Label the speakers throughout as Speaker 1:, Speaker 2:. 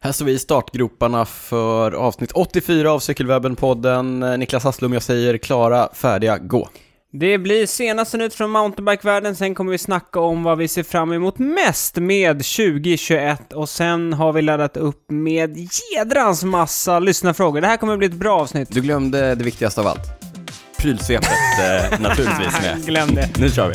Speaker 1: Här står vi i startgroparna för avsnitt 84 av Cykelwebben-podden. Eh, Niklas Hasslum, jag säger klara, färdiga, gå.
Speaker 2: Det blir senaste nytt från mountainbikevärlden, sen kommer vi snacka om vad vi ser fram emot mest med 2021 och sen har vi laddat upp med jädrans massa lyssnarfrågor. Det här kommer bli ett bra avsnitt.
Speaker 1: Du glömde det viktigaste av allt. Prylsvepet eh, naturligtvis med.
Speaker 2: Glöm det.
Speaker 1: Nu kör vi.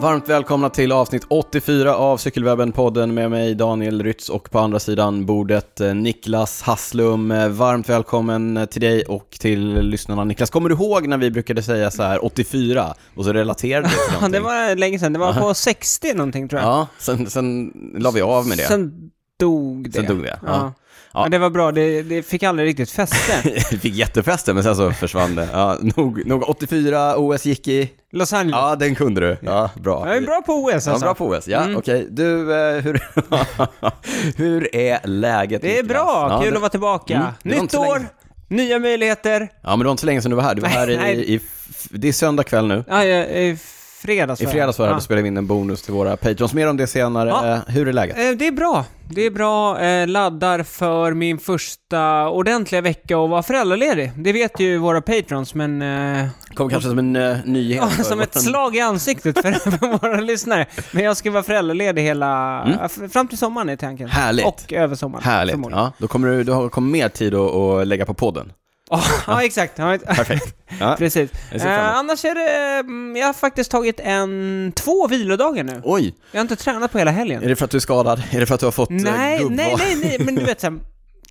Speaker 1: Varmt välkomna till avsnitt 84 av Cykelwebben-podden med mig Daniel Rytz och på andra sidan bordet eh, Niklas Hasslum. Eh, Varmt välkommen eh, till dig och till lyssnarna. Niklas, kommer du ihåg när vi brukade säga så här 84 och så relaterade vi till
Speaker 2: Ja, det
Speaker 1: någonting?
Speaker 2: var länge sedan. Det var på 60 någonting tror jag.
Speaker 1: Ja, sen, sen la vi av med det.
Speaker 2: Sen dog det.
Speaker 1: Sen dog det, ja.
Speaker 2: Ja.
Speaker 1: Ja.
Speaker 2: Men det var bra, det, det fick aldrig riktigt fäste.
Speaker 1: Vi fick jättefesten, men sen så försvann det. Ja, nog, nog 84, OS gick i.
Speaker 2: Los Angeles.
Speaker 1: Ja, den kunde du. Ja, bra.
Speaker 2: Jag är bra på OS
Speaker 1: Ja,
Speaker 2: alltså.
Speaker 1: bra på OS. Ja, okej. Du, eh, hur, hur är läget?
Speaker 2: Det är
Speaker 1: Niklas?
Speaker 2: bra,
Speaker 1: Ja,
Speaker 2: kul
Speaker 1: det-
Speaker 2: att vara tillbaka.
Speaker 1: Mm, det var inte
Speaker 2: Nytt
Speaker 1: så länge
Speaker 2: år,
Speaker 1: sedan.
Speaker 2: nya möjligheter.
Speaker 1: Ja, men det var inte så länge sedan du var här. Du var
Speaker 2: Nej,
Speaker 1: här i,
Speaker 2: nej.
Speaker 1: i, f- det är söndag kväll nu.
Speaker 2: Ja, ja, i fredags
Speaker 1: I
Speaker 2: var jag.
Speaker 1: fredags var det här,
Speaker 2: Ja.
Speaker 1: då spelade vi in en bonus till våra patrons. Mer om det senare.
Speaker 2: Ja.
Speaker 1: Eh, Hur är läget?
Speaker 2: Eh, Det är bra. Det är bra. Eh, Laddar för min första ordentliga vecka och vara föräldraledig. Det vet ju våra patrons, men... eh,
Speaker 1: Kommer kanske som en eh, nyhet. för
Speaker 2: som ett
Speaker 1: våran-
Speaker 2: slag i ansiktet för, för våra lyssnare. Men jag ska vara föräldraledig hela... ja, f- Fram till sommaren är tanken.
Speaker 1: Mm. Härligt.
Speaker 2: Och över sommaren.
Speaker 1: Härligt.
Speaker 2: förmodligen.
Speaker 1: Ja, då kommer du, du har- kommer mer tid att, att lägga på podden.
Speaker 2: Ja, ja, exakt. Ja,
Speaker 1: Perfekt. Ja.
Speaker 2: Precis.
Speaker 1: Jag ser fram emot.
Speaker 2: Eh, annars är det... mm, Jag har faktiskt tagit en... Två vilodagar nu.
Speaker 1: Oj,
Speaker 2: Jag har inte tränat på hela helgen.
Speaker 1: är det för att du är skadad? Är det för att du har fått eh,
Speaker 2: Nej,
Speaker 1: gubbval?
Speaker 2: nej, nej, nej, men du vet såhär,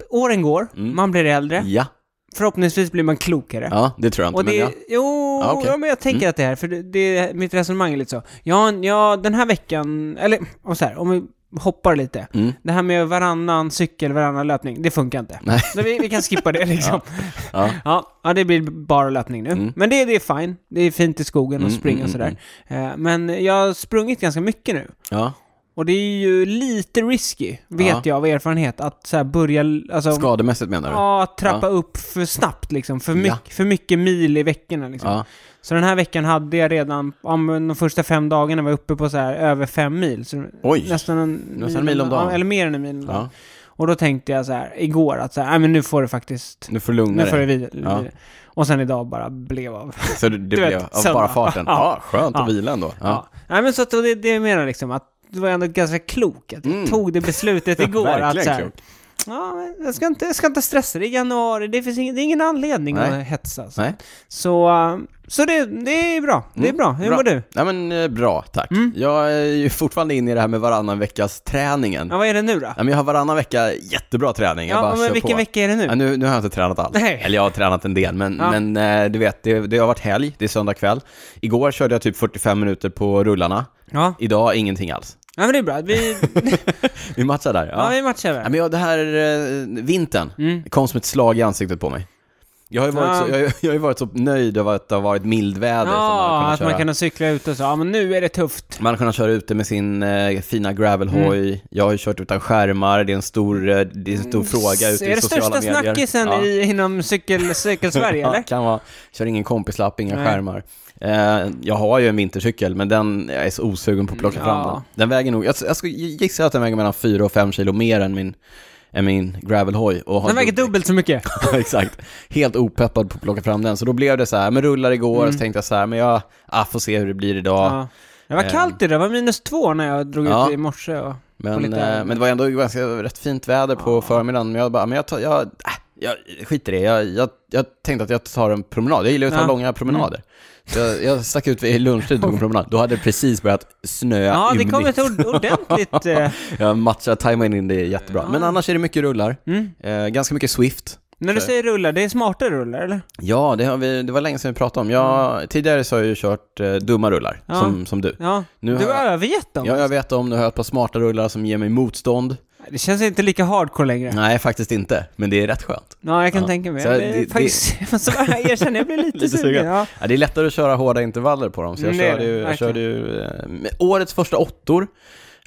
Speaker 2: åren går,
Speaker 1: Mm.
Speaker 2: man blir äldre,
Speaker 1: Ja,
Speaker 2: förhoppningsvis blir man klokare.
Speaker 1: ja, det tror jag inte.
Speaker 2: Och det,
Speaker 1: men ja.
Speaker 2: Jo,
Speaker 1: Ja, okej. Mm.
Speaker 2: ja, men jag tänker att det är, för det, det, mitt resonemang är lite så. Ja, ja, den här veckan, eller och så här, om vi hoppar lite.
Speaker 1: Mm.
Speaker 2: Det här med varannan cykel, varannan löpning, det funkar inte.
Speaker 1: Nej.
Speaker 2: Så vi, vi kan skippa det liksom.
Speaker 1: Ja. Mm.
Speaker 2: Ja, ja, det blir bara löpning nu. Men det, det är fine. Det är fint i skogen och springa och sådär.
Speaker 1: mm,
Speaker 2: Eh, Men jag har sprungit ganska mycket nu.
Speaker 1: Ja.
Speaker 2: Och det är ju lite risky, vet
Speaker 1: Ja.
Speaker 2: jag av erfarenhet, att så här börja... Alltså,
Speaker 1: Skademässigt menar du?
Speaker 2: ja, att trappa upp för snabbt liksom. För, mycket, för mycket mil i veckorna liksom.
Speaker 1: Ja.
Speaker 2: Så den här veckan hade jag redan, ja, men de första fem dagarna var jag uppe på så här över fem mil. Så
Speaker 1: Oj.
Speaker 2: Nästan en
Speaker 1: Nästan en mil om dagen.
Speaker 2: Ja, eller mer än en mil om dagen.
Speaker 1: Ja.
Speaker 2: Och då tänkte jag så här igår att så här, nej men nu får det faktiskt...
Speaker 1: Nu får du lugna
Speaker 2: Nu får det
Speaker 1: dig.
Speaker 2: vidare.
Speaker 1: Ja.
Speaker 2: Och sen idag bara blev av.
Speaker 1: Så det, det
Speaker 2: vet,
Speaker 1: blev av
Speaker 2: söndag.
Speaker 1: bara farten. Ja,
Speaker 2: Ja.
Speaker 1: skönt
Speaker 2: Ja.
Speaker 1: att vila ändå. Ja.
Speaker 2: Ja. Nej men så att, och det, det jag menar liksom att det var ändå ganska klok att jag
Speaker 1: Mm.
Speaker 2: tog det beslutet igår att så
Speaker 1: Verkligen
Speaker 2: här,
Speaker 1: klok.
Speaker 2: Ja, men jag ska inte, jag ska inte stressa. Det är januari, det finns ingen, det är ingen anledning
Speaker 1: Nej.
Speaker 2: att hetsa. Alltså.
Speaker 1: Nej. Mm.
Speaker 2: Så, äh, så det, det är bra. Det är bra. Hur
Speaker 1: Bra.
Speaker 2: mår du?
Speaker 1: Nej men eh, bra, tack.
Speaker 2: Mm.
Speaker 1: Jag är ju fortfarande inne i det här med varannan veckas träningen.
Speaker 2: Ja, vad är det nu då?
Speaker 1: Nej, men jag har varannan vecka jättebra träning. Jag
Speaker 2: Ja,
Speaker 1: bara kör
Speaker 2: men vilken
Speaker 1: på.
Speaker 2: vecka är det nu?
Speaker 1: Ja, nu, nu har jag inte tränat alls.
Speaker 2: Nej.
Speaker 1: Eller jag har tränat en del, men,
Speaker 2: Ja.
Speaker 1: men eh, du vet, det, det har varit helg, det är söndag kväll. Igår körde jag typ 45 minuter på rullarna.
Speaker 2: Ja.
Speaker 1: Idag ingenting alls.
Speaker 2: ja, men det är bra. Vi,
Speaker 1: Vi matchar där.
Speaker 2: ja,
Speaker 1: Ja.
Speaker 2: vi matchar
Speaker 1: Ja,
Speaker 2: väl.
Speaker 1: men jag, det här eh, vintern
Speaker 2: Mm.
Speaker 1: kom som ett slag i ansiktet på mig. Jag har ju varit,
Speaker 2: Ja.
Speaker 1: så, jag, har ju- jag har ju varit så nöjd över att det har varit mildväder. som man har
Speaker 2: Ja,
Speaker 1: kunnat
Speaker 2: att man
Speaker 1: köra.
Speaker 2: kan cykla ut och så. Ja, men nu är det tufft.
Speaker 1: Man har kunnat köra ute med sin eh, fina gravelhoj.
Speaker 2: Mm.
Speaker 1: Jag har ju kört utan skärmar. Det är en stor, eh, det är en stor fråga ute
Speaker 2: är
Speaker 1: i
Speaker 2: det
Speaker 1: sociala medier.
Speaker 2: största snackisen
Speaker 1: Ja.
Speaker 2: i, inom cykel, cykelsverige,
Speaker 1: Ja,
Speaker 2: eller?
Speaker 1: kan vara. Kör ingen kompislapp, inga
Speaker 2: Nej.
Speaker 1: skärmar. Eh, jag har ju en vintercykel, men den, jag är så osugen på att plocka
Speaker 2: Mm,
Speaker 1: fram
Speaker 2: ja.
Speaker 1: den. Den väger nog, jag, jag skulle gissa att den väger mellan 4 och 5 kilo mer än min, än min gravelhoj. och har
Speaker 2: Den väger dubbelt så mycket.
Speaker 1: Ja, Exakt. Helt opeppad på att plocka fram den. Så då blev det så här, men rullar igår, och så tänkte jag så här, men jag, ah, får se hur det blir idag.
Speaker 2: Mm. Ja. Det var kallt idag, det var minus två när jag drog
Speaker 1: Eh. Ja.
Speaker 2: ut i morse. Och...
Speaker 1: men,
Speaker 2: och lite-
Speaker 1: eh, men det var ändå ganska rätt fint väder på förmiddagen. Men jag bara, men jag, tar, jag, äh, jag skiter i det. Jag, jag, jag tänkte att jag tar en promenad. Jag gillar ju att ta
Speaker 2: Ja. Mm.
Speaker 1: långa promenader. Så jag, jag stack ut vid lunchtid och tog en promenad. Då hade det precis börjat snöa
Speaker 2: Ja, det kom
Speaker 1: ymnigt.
Speaker 2: ett ord- ordentligt... eh,
Speaker 1: Jag matchar, tajmade in det jättebra. Men annars är det mycket rullar.
Speaker 2: Mm.
Speaker 1: Eh, ganska mycket Swift.
Speaker 2: När du
Speaker 1: Så-
Speaker 2: säger rullar, det är smarta rullar eller?
Speaker 1: Ja, det, har vi, det var länge sedan vi pratade om. Jag, tidigare så har jag ju kört eh, dumma rullar,
Speaker 2: Mm. Ja.
Speaker 1: som, som du.
Speaker 2: Ja,
Speaker 1: Nu
Speaker 2: du
Speaker 1: har
Speaker 2: har
Speaker 1: jag-
Speaker 2: övergett dem.
Speaker 1: Ja, jag vet om. Nu har jag ett par smarta rullar som ger mig motstånd.
Speaker 2: Det känns inte lika hardcore längre.
Speaker 1: Nej, faktiskt inte. Men det är rätt skönt.
Speaker 2: Ja, jag kan
Speaker 1: Ja.
Speaker 2: tänka mig.
Speaker 1: Så
Speaker 2: det,
Speaker 1: det-
Speaker 2: faktiskt, så bara jag erkänner, jag blir lite,
Speaker 1: Lite
Speaker 2: sugen.
Speaker 1: sugen.
Speaker 2: Ja.
Speaker 1: Ja, det är lättare att köra hårda intervaller på dem, så jag
Speaker 2: Mm, det är
Speaker 1: körde ju,
Speaker 2: det,
Speaker 1: jag
Speaker 2: verkligen.
Speaker 1: körde ju eh, med årets första åttor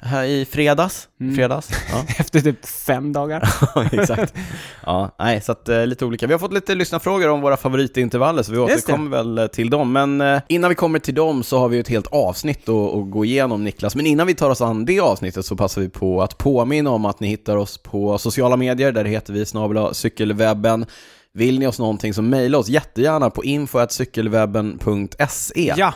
Speaker 1: här i fredags.
Speaker 2: Mm.
Speaker 1: fredags. Ja,
Speaker 2: Efter typ fem dagar.
Speaker 1: exakt. Ja, nej, så att, eh, lite olika. Vi har fått lite lyssnarfrågor om våra favoritintervaller, så vi
Speaker 2: Just det.
Speaker 1: återkommer väl eh, till dem. Men eh, innan vi kommer till dem så har vi ju ett helt avsnitt att, att gå igenom, Niklas. Men innan vi tar oss an det avsnittet så passar vi på att påminna om att ni hittar oss på sociala medier. Där heter vi snabel-a cykelwebben. Vill ni oss någonting så mejla oss jättegärna på info.cykelwebben.se.
Speaker 2: Ja.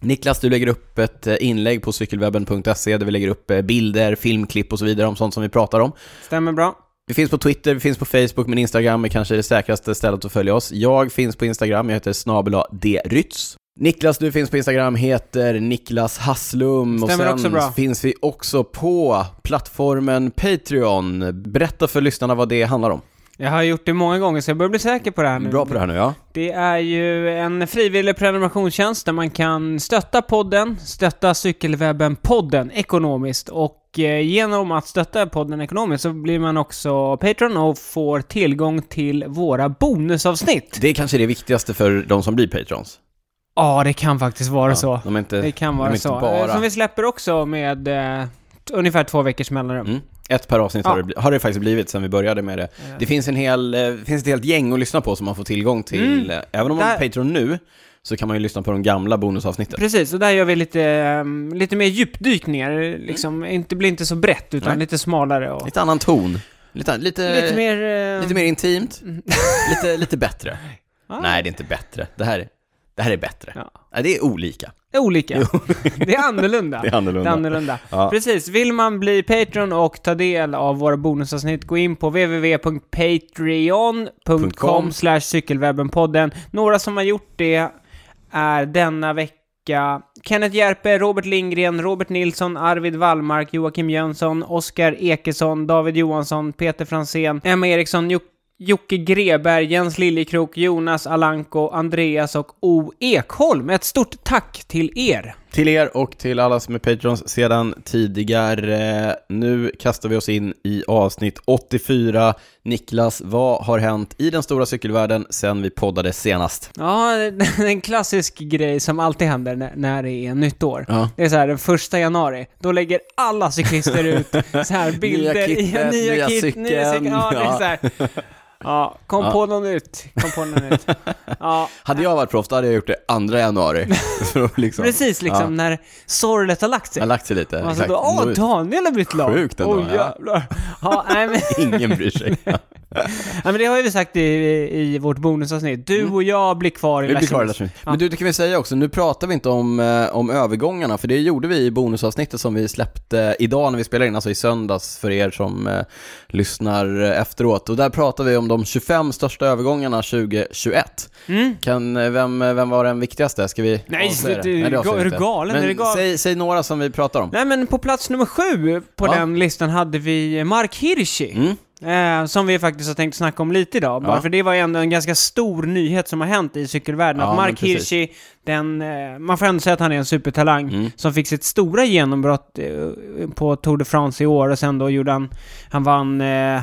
Speaker 1: Niklas, du lägger upp ett eh, inlägg på cykelwebben.se där vi lägger upp eh, bilder, filmklipp och så vidare om sånt som vi pratar om.
Speaker 2: Stämmer bra.
Speaker 1: Vi finns på Twitter, vi finns på Facebook, men Instagram är kanske det säkraste stället att följa oss. Jag finns på Instagram, jag heter snabel drytz. Niklas, du finns på Instagram, heter Niklas Hasslum.
Speaker 2: Stämmer
Speaker 1: och
Speaker 2: också
Speaker 1: sen
Speaker 2: bra.
Speaker 1: finns vi också på plattformen Patreon. Berätta för lyssnarna vad det handlar om.
Speaker 2: Jag har gjort det många gånger så jag börjar bli säker på det här nu.
Speaker 1: Bra på det här nu, ja.
Speaker 2: Det är ju en frivillig prenumerationstjänst där man kan stötta podden, stötta Cykelwebben-podden ekonomiskt och eh, genom att stötta podden ekonomiskt så blir man också Patreon och får tillgång till våra bonusavsnitt.
Speaker 1: Det är kanske det viktigaste för de som blir Patrons.
Speaker 2: Ja, det kan faktiskt vara så.
Speaker 1: De är inte,
Speaker 2: Det kan
Speaker 1: de är
Speaker 2: vara
Speaker 1: inte
Speaker 2: så.
Speaker 1: Bara...
Speaker 2: Eh, Som vi släpper också med eh, t- ungefär två veckors mellanrum.
Speaker 1: Mm. Ett per avsnitt har, det,
Speaker 2: Ja.
Speaker 1: bli- har det faktiskt blivit sen vi började med det. Det finns, en hel, eh, finns ett helt gäng att lyssna på som man får tillgång till. eh, Även om man är
Speaker 2: Mm. Där-
Speaker 1: Patreon nu så kan man ju lyssna på de gamla bonusavsnitten.
Speaker 2: Precis, och där gör vi lite, ehm, lite mer djupdykningar. Liksom, inte, blir inte så brett, utan
Speaker 1: Mm. Nej.
Speaker 2: lite smalare och
Speaker 1: Lite annan ton. Lite, lite,
Speaker 2: lite mer... eh,
Speaker 1: lite mer intimt. lite, lite bättre.
Speaker 2: Ah.
Speaker 1: Nej, det är inte bättre. Det här, det här är bättre.
Speaker 2: Ja.
Speaker 1: Nej, det är olika.
Speaker 2: Det är eh, olika. Det är annorlunda.
Speaker 1: Det är annorlunda. Ja.
Speaker 2: Precis. Vill man bli Patreon och ta del av våra bonusavsnitt, gå in på www.patreon.com cykelwebbenpodden. Några som har gjort det är denna vecka Kenneth Järpe, Robert Lindgren, Robert Nilsson, Arvid Wallmark, Joakim Jönsson, Oskar Ekesson, David Johansson, Peter Fransén, Emma Eriksson, Jocke Jocke Greberg, Jens Liljekrok, Jonas Alanko, Andreas och O. Ekholm. Ett stort tack till er!
Speaker 1: Till er och till alla som är Patrons sedan tidigare. Nu kastar vi oss in i avsnitt 84. Niklas, vad har hänt i den stora cykelvärlden sen vi poddade senast?
Speaker 2: Ja, det är en klassisk grej som alltid händer när, när det är nytt år.
Speaker 1: Ja.
Speaker 2: Det är så här, den första januari, då lägger alla cyklister ut så här bilder
Speaker 1: kittet,
Speaker 2: i
Speaker 1: nya
Speaker 2: nya kit,
Speaker 1: cykeln.
Speaker 2: nya cykeln. Ja, det
Speaker 1: Ja.
Speaker 2: är så här. Ja, kom
Speaker 1: Ja.
Speaker 2: på något nytt. Kom på något nytt. Ja,
Speaker 1: Hade jag varit proffs, då hade jag gjort det andra januari. För att liksom,
Speaker 2: precis liksom
Speaker 1: Ja.
Speaker 2: när sorlet har lagt sig.
Speaker 1: Jag har lagt sig lite.
Speaker 2: Och så
Speaker 1: Exakt.
Speaker 2: då, åh,
Speaker 1: Nå-
Speaker 2: Daniel har bytt lag!
Speaker 1: Sjukt ändå,
Speaker 2: Åh,
Speaker 1: ja.
Speaker 2: jävlar. Ja, nej, men,
Speaker 1: Ingen bryr sig.
Speaker 2: nej, men det har ju vi sagt i, i vårt bonusavsnitt. Du och jag blir kvar i
Speaker 1: Mm. Vi blir kvar i
Speaker 2: Lasse
Speaker 1: Lasse Mys. Men du, det kan vi säga också, nu pratar vi inte om, eh, om övergångarna, för det gjorde vi i bonusavsnittet som vi släppte idag när vi spelade in, alltså i söndags för er som eh, lyssnar eh, efteråt. Och där pratar vi om de 25 största övergångarna 2021.
Speaker 2: Mm.
Speaker 1: Kan, eh, vem, eh, vem var den viktigaste? Ska vi
Speaker 2: Nej,
Speaker 1: avslöja
Speaker 2: det- det-
Speaker 1: det avslöjar
Speaker 2: är
Speaker 1: vi
Speaker 2: du
Speaker 1: inte.
Speaker 2: galen?
Speaker 1: Men
Speaker 2: Är du galen?
Speaker 1: Säg, säg några som vi pratar om.
Speaker 2: Nej men på plats nummer sju på
Speaker 1: Ja.
Speaker 2: den listan hade vi Mark Hirschi.
Speaker 1: Mm.
Speaker 2: Eh, som vi faktiskt har tänkt snacka om lite idag. Bara
Speaker 1: Ja.
Speaker 2: för det var ju ändå en ganska stor nyhet som har hänt i cykelvärlden.
Speaker 1: Ja,
Speaker 2: att
Speaker 1: men
Speaker 2: Mark
Speaker 1: precis.
Speaker 2: Hirschi, den, eh, man får ändå säga att han är en supertalang.
Speaker 1: Mm.
Speaker 2: Som fick sitt stora genombrott eh, på Tour de France i år och sen då gjorde han, han vann eh,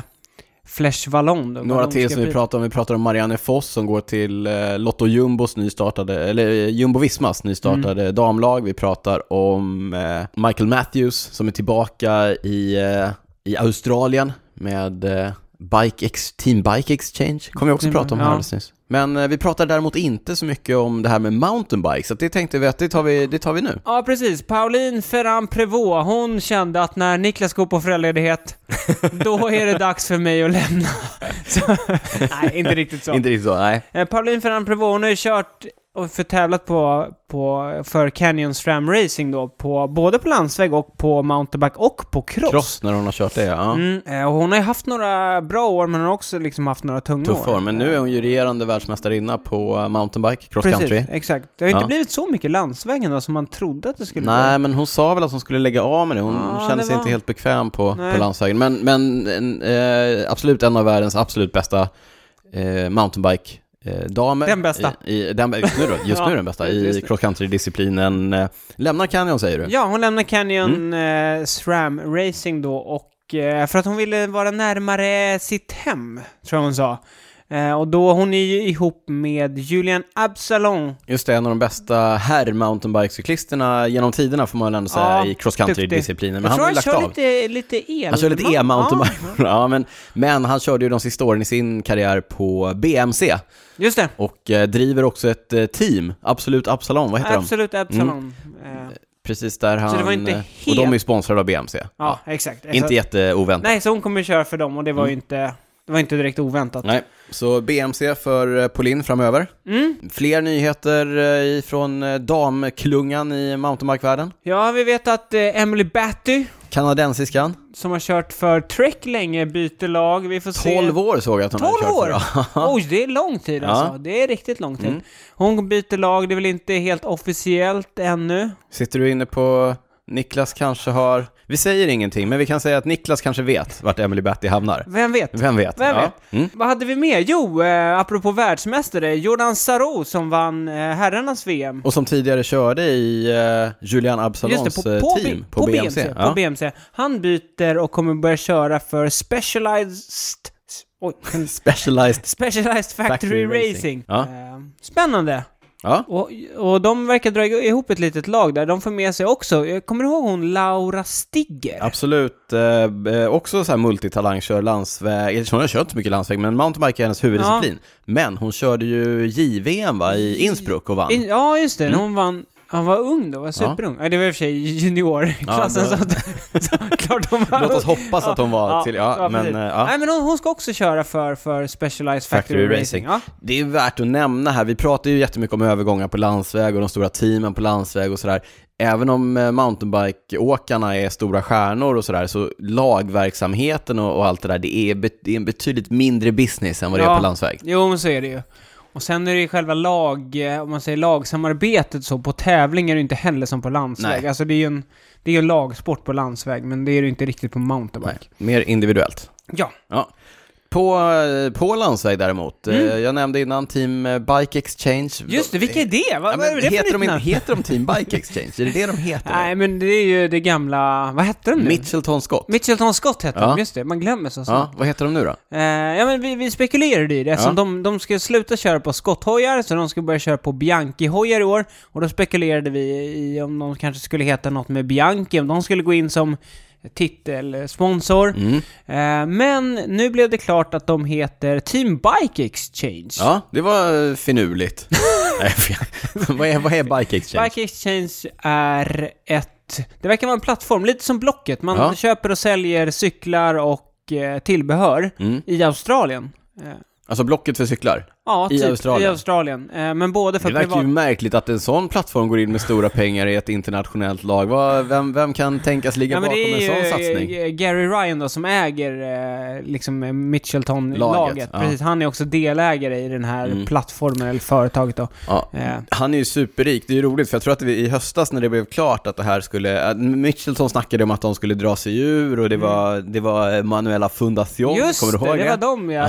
Speaker 2: Flesh Vallon. då,
Speaker 1: Några
Speaker 2: Vallonska
Speaker 1: till som vi
Speaker 2: pri-
Speaker 1: pratar om, vi pratar om Marianne Foss som går till eh, Lotto Jumbos nystartade, eller eh, Jumbo Vismas nystartade
Speaker 2: Mm.
Speaker 1: damlag. Vi pratar om eh, Michael Matthews som är tillbaka i, eh, i Australien med eh, Bike Ex, Team Bike Exchange. kommer jag också
Speaker 2: Team-
Speaker 1: prata om
Speaker 2: Mm, ja.
Speaker 1: här alldeles nyss. Men eh, vi pratar däremot inte så mycket om det här med mountainbike, så att det tänkte vi att det tar vi, det tar vi nu.
Speaker 2: Ja, precis. Pauline Ferran Prévost, hon kände att när Niklas går på föräldraledighet, då är det dags för mig att lämna. Så, nej, inte riktigt så.
Speaker 1: Inte riktigt så, nej.
Speaker 2: Eh, Pauline Ferran Prévost, hon har ju kört och förtävlat på, på, för Canyon Stram Racing då, på, både på landsväg och på mountainbike och på cross.
Speaker 1: Cross när hon har kört det, ja.
Speaker 2: Mm, eh, och hon har ju haft några bra år, men hon har också liksom haft några tunga
Speaker 1: Tuff
Speaker 2: år.
Speaker 1: form, men nu är hon ju regerande världsmästarinna på eh, mountainbike, cross country.
Speaker 2: Precis, exakt. Det har ju inte
Speaker 1: Ja.
Speaker 2: blivit så mycket landsvägen då, som man trodde att det skulle bli.
Speaker 1: Nej, men hon sa väl att hon skulle lägga av med det. Hon
Speaker 2: Ja,
Speaker 1: kände
Speaker 2: det
Speaker 1: sig
Speaker 2: var-
Speaker 1: inte helt bekväm på,
Speaker 2: Nej.
Speaker 1: på landsvägen. Men, men en, eh, absolut en av världens absolut bästa eh, mountainbike eh, damer.
Speaker 2: Den bästa.
Speaker 1: I, i, den, just nu då, just
Speaker 2: Ja,
Speaker 1: nu den bästa
Speaker 2: just
Speaker 1: i
Speaker 2: nu.
Speaker 1: cross country-disciplinen. Eh, lämnar Canyon säger du?
Speaker 2: Ja, hon lämnar Canyon eh, SRAM Racing då och eh, för att hon ville vara närmare sitt hem, tror jag hon sa. Eh, och då, hon är ju ihop med Julian Absalon.
Speaker 1: Just det, en av de bästa herr-mountainbikecyklisterna genom tiderna får man väl ändå säga
Speaker 2: Ja,
Speaker 1: i cross country-disciplinen. Men
Speaker 2: jag
Speaker 1: han
Speaker 2: tror
Speaker 1: har ju
Speaker 2: han
Speaker 1: lagt
Speaker 2: kör
Speaker 1: av.
Speaker 2: lite, lite el.
Speaker 1: Han kör lite e-mountainbike. Ja. men, men han körde ju de sista åren i sin karriär på BMC
Speaker 2: Just det.
Speaker 1: och eh, driver också ett eh, team, Absolut Absalon, vad heter de? Mm.
Speaker 2: Absolut Absalon. Eh,
Speaker 1: Precis där han...
Speaker 2: det var inte
Speaker 1: eh, Och
Speaker 2: helt-
Speaker 1: de är ju sponsrade av BMC.
Speaker 2: ja, exakt. exakt.
Speaker 1: Inte jätteoväntat.
Speaker 2: Nej, så hon kommer köra för dem och det var ju inte, det var inte direkt oväntat.
Speaker 1: Nej, så BMC för eh, Polin framöver.
Speaker 2: Mm.
Speaker 1: Fler nyheter eh, ifrån eh, damklungan i mountainbikevärlden.
Speaker 2: Ja, vi vet att eh, Emily Batty,
Speaker 1: Kanadensiskan.
Speaker 2: som har kört för Trek länge, byter lag. Vi får se...
Speaker 1: 12 år såg jag att hon
Speaker 2: 12
Speaker 1: hade kört
Speaker 2: år?
Speaker 1: för. Ja.
Speaker 2: Oj, det är lång tid
Speaker 1: Ja.
Speaker 2: alltså. Det är riktigt lång tid.
Speaker 1: Mm.
Speaker 2: Hon byter lag, det är väl inte helt officiellt ännu.
Speaker 1: Sitter du inne på Niklas kanske har... Vi säger ingenting, men vi kan säga att Niklas kanske vet vart Emily Batty hamnar.
Speaker 2: Vem vet?
Speaker 1: Vem vet?
Speaker 2: Vem
Speaker 1: Ja.
Speaker 2: vet?
Speaker 1: Mm.
Speaker 2: Vad hade vi mer? Jo, eh, apropå världsmästare, Jordan Saro som vann eh, herrarnas VM.
Speaker 1: Och som tidigare körde i eh, Julian Absalons
Speaker 2: Just det,
Speaker 1: eh,
Speaker 2: på, på,
Speaker 1: team
Speaker 2: B- på, BMC.
Speaker 1: Ja.
Speaker 2: på BMC. Han byter och kommer börja köra för Specialized... s- Oj,
Speaker 1: Specialized.
Speaker 2: Specialized Factory,
Speaker 1: Factory
Speaker 2: Racing.
Speaker 1: Racing. Ja.
Speaker 2: Eh, Spännande.
Speaker 1: Ja.
Speaker 2: Och, och de verkar dra ihop ett litet lag där. De får med sig också, jag kommer du ihåg hon Laura Stigger?
Speaker 1: Absolut. Eh, eh, också så här multitalang, kör landsväg. Eller, Hon har kört inte så mycket landsväg, men mountainbike är hennes huvuddisciplin. Men hon körde ju JVM va, i Innsbruck och vann.
Speaker 2: In- Ja, just
Speaker 1: Mm.
Speaker 2: det. Hon vann... Han var ung då, var superung. Ja. Det var i och för sig juniorklassen,
Speaker 1: Ja,
Speaker 2: så, att, så klart hon var
Speaker 1: Låt oss
Speaker 2: ung.
Speaker 1: hoppas att hon var till... Ja, men,
Speaker 2: precis.
Speaker 1: eh, ja.
Speaker 2: Nej, men hon, hon ska också köra för, för Specialized Factory,
Speaker 1: Factory Racing.
Speaker 2: Racing. Ja.
Speaker 1: Det är värt att nämna här, vi pratar ju jättemycket om övergångar på landsväg och de stora teamen på landsväg och sådär. Även om eh, mountainbike-åkarna är stora stjärnor och sådär, så lagverksamheten och, och allt det där, det är, bet- det är en betydligt mindre business än vad det
Speaker 2: Ja.
Speaker 1: är på landsväg.
Speaker 2: Jo, men så är det ju. Och sen är det ju själva lag, eh, om man säger lagsamarbetet så, på tävling är det ju inte heller som på landsväg.
Speaker 1: Nej.
Speaker 2: Alltså det är ju en, det är ju en lagsport på landsväg, men det är det ju inte riktigt på mountainbike.
Speaker 1: Mer individuellt.
Speaker 2: Ja,
Speaker 1: Ja. På, eh, på landsväg däremot, eh, jag nämnde innan Team eh, Bike Exchange.
Speaker 2: Mm. just det, vilka är det? Vad,
Speaker 1: Ja,
Speaker 2: vad är
Speaker 1: men,
Speaker 2: det för
Speaker 1: heter,
Speaker 2: nytt
Speaker 1: de, inte-
Speaker 2: namn?
Speaker 1: heter de Team Bike Exchange? Är det det de heter?
Speaker 2: Nej, men det är ju det gamla, vad hette de nu?
Speaker 1: Mitchelton Scott?
Speaker 2: Mitchelton Scott hette
Speaker 1: Ja.
Speaker 2: de, just det. Man glömmer så snabbt.
Speaker 1: Ja, vad heter de nu då?
Speaker 2: Eh, ja men vi, vi spekulerade i det eftersom
Speaker 1: Ja.
Speaker 2: de, de ska sluta köra på skotthojar, så de ska börja köra på Bianchi-hojar i år. Och då spekulerade vi i om de kanske skulle heta något med Bianchi, om de skulle gå in som titelsponsor.
Speaker 1: Mm.
Speaker 2: Eh, men nu blev det klart att de heter Team Bike Exchange.
Speaker 1: Ja, det var eh, finurligt. Nej, för- vad, är, vad är Bike Exchange?
Speaker 2: Bike Exchange är ett... Det verkar vara en plattform, lite som Blocket. Man
Speaker 1: Ja.
Speaker 2: köper och säljer cyklar och eh, tillbehör
Speaker 1: Mm.
Speaker 2: i Australien. Eh,
Speaker 1: Alltså Blocket för cyklar.
Speaker 2: Ja,
Speaker 1: I
Speaker 2: typ,
Speaker 1: Australien.
Speaker 2: I Australien. Eh, men både för
Speaker 1: Det verkar
Speaker 2: privat...
Speaker 1: ju märkligt att en sån plattform går in med stora pengar i ett internationellt lag. Vad- Vem, vem kan tänkas ligga
Speaker 2: Ja, men
Speaker 1: bakom
Speaker 2: det
Speaker 1: en
Speaker 2: är
Speaker 1: sån
Speaker 2: ju
Speaker 1: satsning?
Speaker 2: eh, Gary Ryan då som äger eh, liksom eh, Mitchelton-laget.
Speaker 1: Laget, ja.
Speaker 2: Precis, han är också delägare i den här
Speaker 1: Mm.
Speaker 2: plattformen eller företaget då.
Speaker 1: Ja.
Speaker 2: Eh,
Speaker 1: Han är ju superrik, det är ju roligt för jag tror att vi, i höstas när det blev klart att det här skulle, att Mitchelton snackade om att de skulle dra sig ur och det var, det var Manuela Fundación,
Speaker 2: Mm. just
Speaker 1: kommer du
Speaker 2: det,
Speaker 1: ihåg
Speaker 2: det var de ja,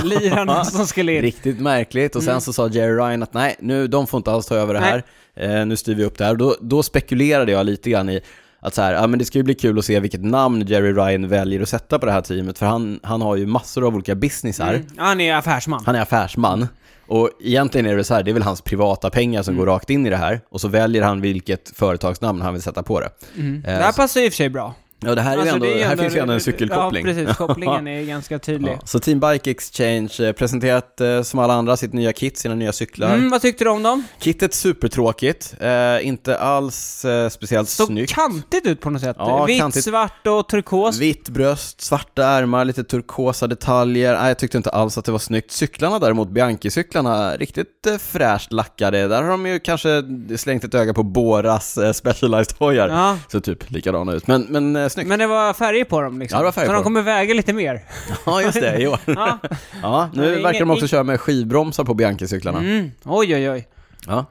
Speaker 2: lirarna som skulle in.
Speaker 1: Riktigt märkligt. Och
Speaker 2: Mm.
Speaker 1: sen så sa Jerry Ryan att nej, nu, de får inte alls ta över det här. Eh, nu styr vi upp det här. Och Då, då spekulerade jag lite grann i att så här, ja, men det ska ju bli kul att se vilket namn Jerry Ryan väljer att sätta på det här teamet. För han, han har ju massor av olika businessar.
Speaker 2: Mm. Han är affärsman.
Speaker 1: Han är affärsman. Och egentligen är det väl så här, det är väl hans privata pengar som
Speaker 2: Mm.
Speaker 1: går rakt in i det här. Och så väljer han vilket företagsnamn han vill sätta på det.
Speaker 2: Mm. Det
Speaker 1: Eh,
Speaker 2: här passar ju i och för sig bra.
Speaker 1: Ja, det här, är ju
Speaker 2: Alltså,
Speaker 1: ändå,
Speaker 2: det är ju
Speaker 1: här
Speaker 2: ändå-
Speaker 1: finns ju ändå en cykelkoppling.
Speaker 2: Ja, precis. Kopplingen är ju ganska tydlig.
Speaker 1: Ja, så Team Bike Exchange eh, presenterat eh, som alla andra sitt nya kit, sina nya cyklar.
Speaker 2: Mm, vad tyckte du om dem?
Speaker 1: Kittet supertråkigt, eh, inte alls eh, speciellt
Speaker 2: Såg
Speaker 1: snyggt.
Speaker 2: kantigt ut på något sätt.
Speaker 1: Ja,
Speaker 2: Vitt,
Speaker 1: kantigt.
Speaker 2: svart och turkos.
Speaker 1: Vitt bröst, svarta ärmar, lite turkosa detaljer. Nej, jag tyckte inte alls att det var snyggt. Cyklarna däremot, Bianchi-cyklarna, riktigt eh, fräscht lackade. Där har de ju kanske slängt ett öga på Boras eh, Specialized-hojar.
Speaker 2: Ja.
Speaker 1: Så typ likadana ut, men, men eh, snyggt.
Speaker 2: Men det var färger på dem liksom.
Speaker 1: Ja, det var färger
Speaker 2: så
Speaker 1: på
Speaker 2: de
Speaker 1: dem.
Speaker 2: kommer väga lite mer.
Speaker 1: Ja, just det, i år.
Speaker 2: Ja.
Speaker 1: Ja,
Speaker 2: Men det
Speaker 1: nu
Speaker 2: är
Speaker 1: verkar de
Speaker 2: ingen-
Speaker 1: också köra med skivbromsar på Bianchi-cyklarna.
Speaker 2: Mm. Oj, oj, oj.
Speaker 1: Ja.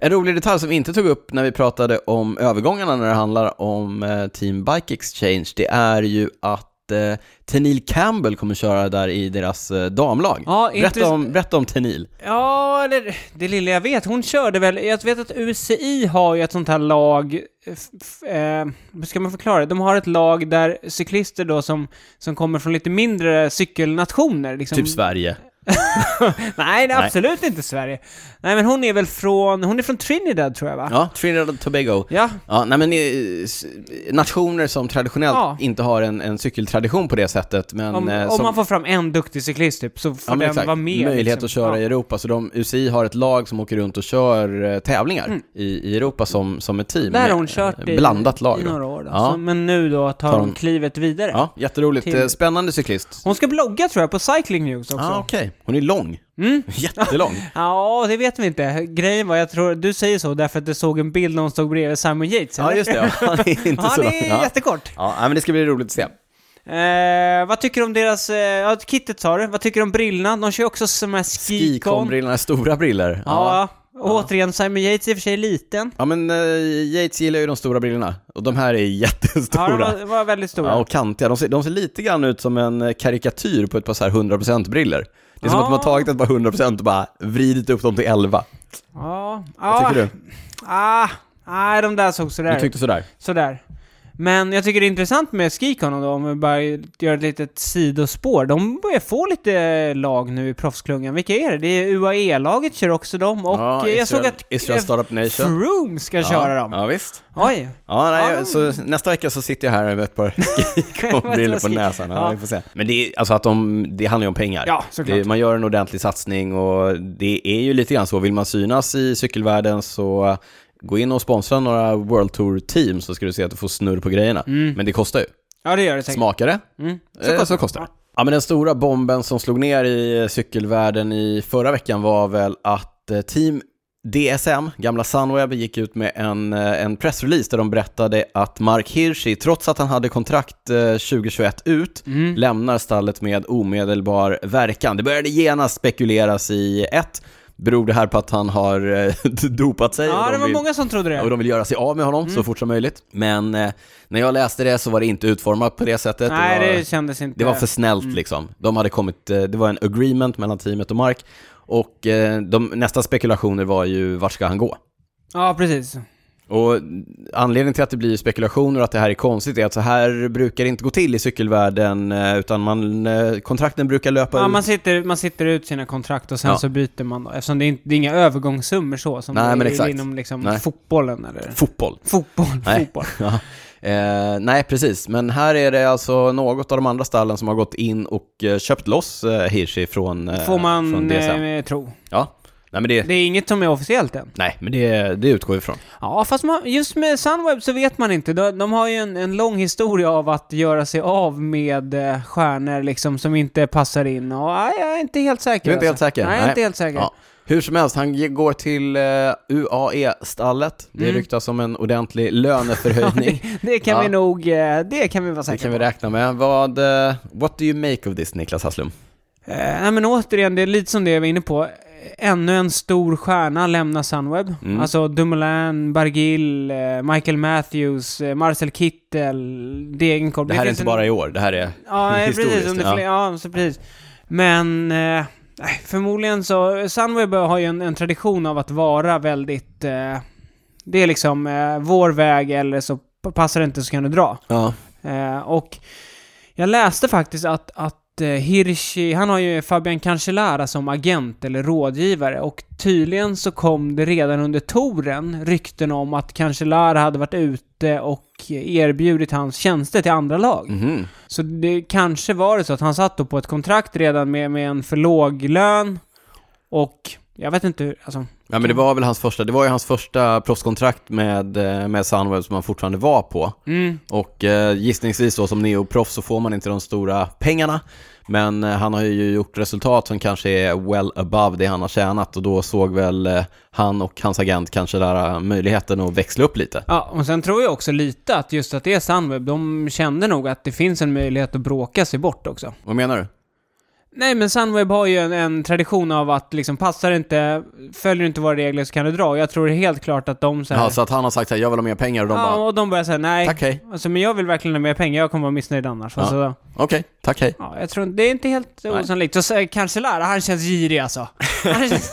Speaker 1: En rolig detalj som vi inte tog upp när vi pratade om övergångarna när det handlar om eh, Team Bike Exchange, det är ju att att eh, Tenil Campbell kommer köra där i deras eh, damlag.
Speaker 2: Ja, inte-
Speaker 1: berätta, om, berätta om Tenil.
Speaker 2: Ja, eller det lilla jag vet. Hon körde väl... Jag vet att UCI har ju ett sånt här lag... f- f- Eh, hur ska man förklara det? De har ett lag där cyklister då som, som kommer från lite mindre cykelnationer. Liksom.
Speaker 1: Typ Sverige.
Speaker 2: Nej, det är
Speaker 1: Nej.
Speaker 2: absolut inte Sverige. Nej, men hon är väl från... Hon är från Trinidad, tror jag, va?
Speaker 1: Ja, Trinidad och Tobago.
Speaker 2: Ja.
Speaker 1: Ja, nej men eh, s- nationer som traditionellt
Speaker 2: Ja.
Speaker 1: inte har en, en cykeltradition på det sättet, men
Speaker 2: Om,
Speaker 1: eh,
Speaker 2: om
Speaker 1: som,
Speaker 2: man får fram en duktig cyklist, typ, så får
Speaker 1: ja, men
Speaker 2: den
Speaker 1: exakt,
Speaker 2: vara med.
Speaker 1: möjlighet
Speaker 2: liksom.
Speaker 1: att köra i
Speaker 2: ja.
Speaker 1: Europa. Så de, UCI har ett lag som åker runt och kör eh, tävlingar i, i Europa som, som ett team.
Speaker 2: Mm. Där har hon
Speaker 1: med,
Speaker 2: kört
Speaker 1: eh,
Speaker 2: i,
Speaker 1: Blandat lag.
Speaker 2: i
Speaker 1: då.
Speaker 2: några år. Då.
Speaker 1: Ja.
Speaker 2: Så, men nu då tar,
Speaker 1: Tar
Speaker 2: hon
Speaker 1: hon-
Speaker 2: klivet vidare.
Speaker 1: Ja, jätteroligt.
Speaker 2: Till-
Speaker 1: Eh, Spännande cyklist.
Speaker 2: Hon ska blogga, tror jag, på Cycling News också.
Speaker 1: ah, okej. Hon är lång.
Speaker 2: Mm.
Speaker 1: Jättelång.
Speaker 2: Ja, det vet vi inte. Grejen var, jag tror, du säger så därför att du såg en bild när hon stod bredvid Simon Yates,
Speaker 1: ja,
Speaker 2: eller?
Speaker 1: just det. Ja, Han är inte så
Speaker 2: Han
Speaker 1: lång.
Speaker 2: är
Speaker 1: Ja.
Speaker 2: jättekort.
Speaker 1: Ja, nej, men det ska bli roligt att se.
Speaker 2: Eh, vad tycker du om deras, eh, ja, kittet sa du, vad tycker du om brillorna? De kör ju också som här skikon. Ja,
Speaker 1: Skicom-brillorna, stora brillor.
Speaker 2: ja. Och återigen, Simon Yates är i och för sig liten.
Speaker 1: Ja men eh, Yates gillar ju de stora brillorna, och de här är
Speaker 2: Ja, de
Speaker 1: jättestora.
Speaker 2: var, var väldigt stora.
Speaker 1: Ja, och kantiga. De ser, de ser lite grann ut som en eh, karikatyr på ett par så här 100% briller. Det är som
Speaker 2: Ja.
Speaker 1: att de har tagit ett par 100% och bara vridit upp dem till 11.
Speaker 2: Ja.
Speaker 1: Vad
Speaker 2: ah,
Speaker 1: tycker du?
Speaker 2: Ah, nej, de där såg sådär
Speaker 1: Du tyckte sådär?
Speaker 2: Sådär. Men jag tycker det är intressant med Skikon då, om vi bara gör ett litet sidospår. De börjar få lite lag nu i proffsklungan. Vilka är det? Det är UAE-laget kör också dem och eh, jag
Speaker 1: Israel,
Speaker 2: såg att
Speaker 1: Israel Startup Nation.
Speaker 2: Froome ska köra dem.
Speaker 1: Ja, visst.
Speaker 2: Oj.
Speaker 1: Ja, nej,
Speaker 2: Ja.
Speaker 1: Så nästa vecka så sitter jag här med ett par skikon-brillor på
Speaker 2: Skik-
Speaker 1: näsan. Ja,
Speaker 2: Ja.
Speaker 1: vi får se. Men det, är, alltså att de, det handlar ju om pengar.
Speaker 2: Ja, såklart.
Speaker 1: det, man gör en ordentlig satsning och det är ju lite grann så. Vill man synas i cykelvärlden så gå in och sponsra några World Tour-team så ska du se att du får snurr på grejerna.
Speaker 2: Mm.
Speaker 1: Men det kostar ju.
Speaker 2: Ja, det gör det säkert.
Speaker 1: Smakar det?
Speaker 2: Mm.
Speaker 1: Eh, Så kostar, så kostar det. Ja, men den stora bomben som slog ner i cykelvärlden i förra veckan var väl att eh, Team DSM, gamla Sunweb, gick ut med en, eh, en pressrelease där de berättade att Mark Hirschi, trots att han hade kontrakt eh, 2021 ut,
Speaker 2: Mm.
Speaker 1: lämnar stallet med omedelbar verkan. Det började genast spekuleras i ett, beror det här på att han har eh, dopat sig? och
Speaker 2: Ja,
Speaker 1: de
Speaker 2: det var
Speaker 1: vill-
Speaker 2: många som trodde
Speaker 1: och
Speaker 2: det. Mm.
Speaker 1: de vill göra sig av med honom så fort som möjligt. Men eh, när jag läste det så var det inte utformat på det sättet.
Speaker 2: Nej,
Speaker 1: det var,
Speaker 2: det kändes inte...
Speaker 1: det var för snällt
Speaker 2: Mm.
Speaker 1: liksom. De hade kommit, eh, det var en agreement mellan teamet och Mark. Och eh, de, nästa spekulationer var ju, vart ska han gå?
Speaker 2: Ja, precis.
Speaker 1: Och anledningen till att det blir spekulationer och att det här är konstigt är att så här brukar det inte gå till i cykelvärlden, eh, utan man, eh, kontrakten brukar löpa
Speaker 2: Ja,
Speaker 1: ut.
Speaker 2: man, sitter, man sitter ut sina kontrakt och sen
Speaker 1: Ja.
Speaker 2: så byter man då. Eftersom det är, inte, det är inga övergångssummor så, som
Speaker 1: Nej,
Speaker 2: det är
Speaker 1: men exakt.
Speaker 2: inom liksom
Speaker 1: Nej.
Speaker 2: fotbollen eller...
Speaker 1: Fotboll.
Speaker 2: Fotboll,
Speaker 1: Nej.
Speaker 2: fotboll.
Speaker 1: Ja. Eh, nej, precis. Men här är det alltså något av de andra stallen som har gått in och eh, köpt loss eh, Hirschi från, eh,
Speaker 2: Får
Speaker 1: från
Speaker 2: man
Speaker 1: DSM.
Speaker 2: eh, tro.
Speaker 1: Ja. Nej, men det,
Speaker 2: Det är inget som är officiellt än.
Speaker 1: nej, men det, det utgår ifrån.
Speaker 2: Ja, fast man, just med Sunweb så vet man inte. De, de har ju en, en lång historia av att göra sig av med eh, stjärnor liksom som inte passar in. Och, nej, jag är inte helt säker. alltså.
Speaker 1: Du är inte helt säker?
Speaker 2: Nej, jag är inte helt säker.
Speaker 1: Ja. Hur som helst, han ge- går till eh, UAE-stallet. Det ryktas om en ordentlig löneförhöjning.
Speaker 2: Mm. Det kan
Speaker 1: Ja.
Speaker 2: vi nog, eh, det kan vi vara
Speaker 1: det kan
Speaker 2: säkra
Speaker 1: vi
Speaker 2: på.
Speaker 1: räkna med. Vad, eh, what do you make of this, Niklas Hasslum?
Speaker 2: Eh, nej men återigen, det är lite som det jag var inne på. Ännu en stor stjärna lämnar Sunweb.
Speaker 1: Mm.
Speaker 2: Alltså Dumoulin, Bargill, eh, Michael Matthews, eh, Marcel Kittel, Degenkolb.
Speaker 1: Det här är
Speaker 2: finns
Speaker 1: inte
Speaker 2: en-
Speaker 1: bara i år, det här är
Speaker 2: Ja, nej,
Speaker 1: historiskt.
Speaker 2: precis. Under fler, ja. så precis. Men eh, nej, förmodligen så... Sunweb har ju en, en tradition av att vara väldigt... Eh, det är liksom eh, vår väg eller så p- passar det inte så kan du dra.
Speaker 1: Ja.
Speaker 2: Eh, och jag läste faktiskt att, att eh, Hirschi, han har ju Fabian Cancellara som agent eller rådgivare och tydligen så kom det redan under touren rykten om att Cancellara hade varit ute och erbjudit hans tjänster till andra lag.
Speaker 1: Mhm.
Speaker 2: Så det kanske var det så att han satt då på ett kontrakt redan med, med en för låg lön och jag vet inte hur, alltså,
Speaker 1: Ja men det var väl hans första, det var ju hans första proffskontrakt med, eh, med Sunweb som han fortfarande var på. Och eh, gissningsvis då som neoproff så får man inte de stora pengarna. Men eh, han har ju gjort resultat som kanske är well above det han har tjänat och då såg väl eh, han och hans agent kanske där eh, möjligheten att växla upp lite.
Speaker 2: ja och sen tror jag också lite att just att det är Sunweb, de kände nog att det finns en möjlighet att bråka sig bort också.
Speaker 1: Vad menar du?
Speaker 2: Nej, men Sunweb har ju en, en tradition av att liksom, passar inte, följer inte våra regler så kan du dra. Och Jag tror helt klart att de så här,
Speaker 1: Ja, så att han har sagt såhär, jag vill ha mer pengar och de
Speaker 2: ja,
Speaker 1: bara,
Speaker 2: och de börjar säga nej.
Speaker 1: tack hej.
Speaker 2: Alltså, men jag vill verkligen ha mer pengar, jag kommer vara missnöjd annars.
Speaker 1: Ja.
Speaker 2: Alltså,
Speaker 1: Okej, tack hej.
Speaker 2: ja, jag tror, det är inte helt
Speaker 1: Nej.
Speaker 2: osannolikt. Så, så Cancellara, han känns girig alltså. Han känns,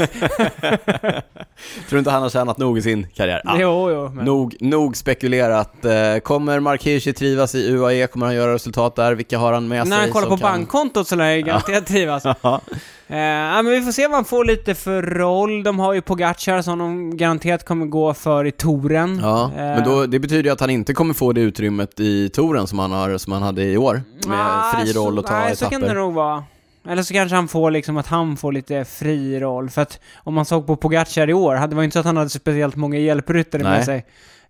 Speaker 1: Tror inte han har tjänat nog i sin karriär? Ah.
Speaker 2: Jo, jo. Men.
Speaker 1: Nog, nog spekulerat. Eh, Kommer Mark Hirschi trivas i UAE? Kommer han göra resultat där? Vilka har han med sig?
Speaker 2: När han kollar
Speaker 1: som
Speaker 2: på
Speaker 1: kan-
Speaker 2: bankkontot så lär jag garanterat trivas.
Speaker 1: Ja.
Speaker 2: Eh, ja, men vi får se vad han får lite för roll. De har ju Pogacar som de garanterat kommer gå för i touren.
Speaker 1: Ja,
Speaker 2: Eh,
Speaker 1: men då, det betyder ju att han inte kommer få det utrymmet i touren som han, har, som han hade i år. Med
Speaker 2: nej,
Speaker 1: fri roll
Speaker 2: så-
Speaker 1: och ta
Speaker 2: Ah, Nej, så kan det
Speaker 1: etapper.
Speaker 2: nog vara. Eller så kanske han får liksom att han får lite fri roll. För att om man såg på Pogacar i år, hade- det var ju inte så att han hade speciellt många hjälpryttare
Speaker 1: Nej.
Speaker 2: med sig.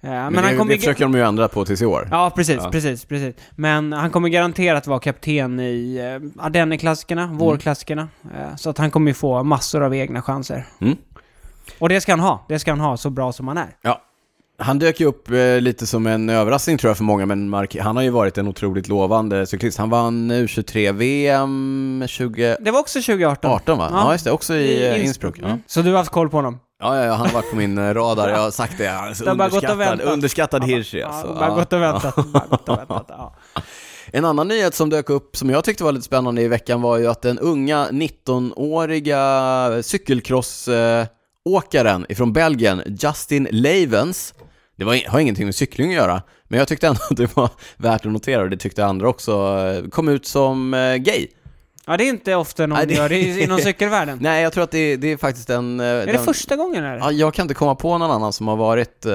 Speaker 2: Eh,
Speaker 1: Men,
Speaker 2: men
Speaker 1: det,
Speaker 2: han kommer
Speaker 1: det försöker de ju ändra på tills i år.
Speaker 2: Ja, precis,
Speaker 1: Ja.
Speaker 2: precis, precis. Men han kommer garanterat vara kapten i eh, Ardennerklassikerna,
Speaker 1: Mm.
Speaker 2: vårklassikerna. Eh, så att han kommer ju få massor av egna chanser.
Speaker 1: Mm.
Speaker 2: Och det ska han ha. Det ska han ha, så bra som han är.
Speaker 1: Ja. Han dök ju upp eh, lite som en överraskning tror jag för många, men Mark, han har ju varit en otroligt lovande cyklist. Han vann U23-VM 2018
Speaker 2: Det var också 2018.
Speaker 1: va? Ja,
Speaker 2: Ja.
Speaker 1: just det, också i eh, Innsbruck. Ja.
Speaker 2: Mm. Så du har haft koll på honom?
Speaker 1: Ja, ja, ja, han har varit på min eh, radar, jag har sagt det. Han är så
Speaker 2: Det har bara gått och
Speaker 1: underskattad,
Speaker 2: väntat.
Speaker 1: underskattad Hirschi alltså.
Speaker 2: ja, bara
Speaker 1: Ja.
Speaker 2: gått och väntat. Bara gått och väntat. Ja.
Speaker 1: En annan nyhet som dök upp som jag tyckte var lite spännande i veckan var ju att den unga 19-åriga cykelcrossåkaren ifrån Belgien, Justin Levens, det var, har ingenting med cykling att göra, men jag tyckte ändå att det var värt att notera och det tyckte andra också, eh, kom ut som eh, gay.
Speaker 2: ja, det är inte ofta någon
Speaker 1: Nej, det-
Speaker 2: gör det i- inom cykelvärlden.
Speaker 1: Nej, jag tror att det, det är faktiskt en... eh,
Speaker 2: Är det första gången eller?
Speaker 1: Ja, jag kan inte komma på någon annan som har varit eh,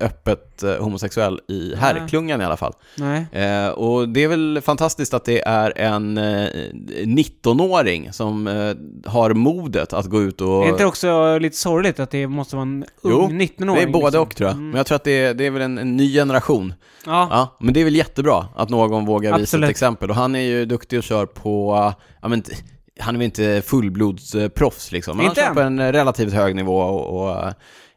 Speaker 1: öppet eh, homosexuell i herrklungan i alla fall.
Speaker 2: Nej.
Speaker 1: Eh, och det är väl fantastiskt att det är en eh, 19-åring som eh, har modet att gå ut och...
Speaker 2: Är inte det också lite sorgligt att det måste vara en
Speaker 1: Jo,
Speaker 2: ung 19-åring?
Speaker 1: det är både
Speaker 2: liksom?
Speaker 1: och tror jag. Men jag tror att det är, det är väl en, en ny generation.
Speaker 2: Ja.
Speaker 1: Ja, men det är väl jättebra att någon vågar visa ett
Speaker 2: Absolut.
Speaker 1: exempel. Och han är ju duktig och kör på, ja men t- han är väl inte fullblodsproffs liksom, men
Speaker 2: Inte
Speaker 1: han kör
Speaker 2: än.
Speaker 1: på en eh, relativt hög nivå och, och eh,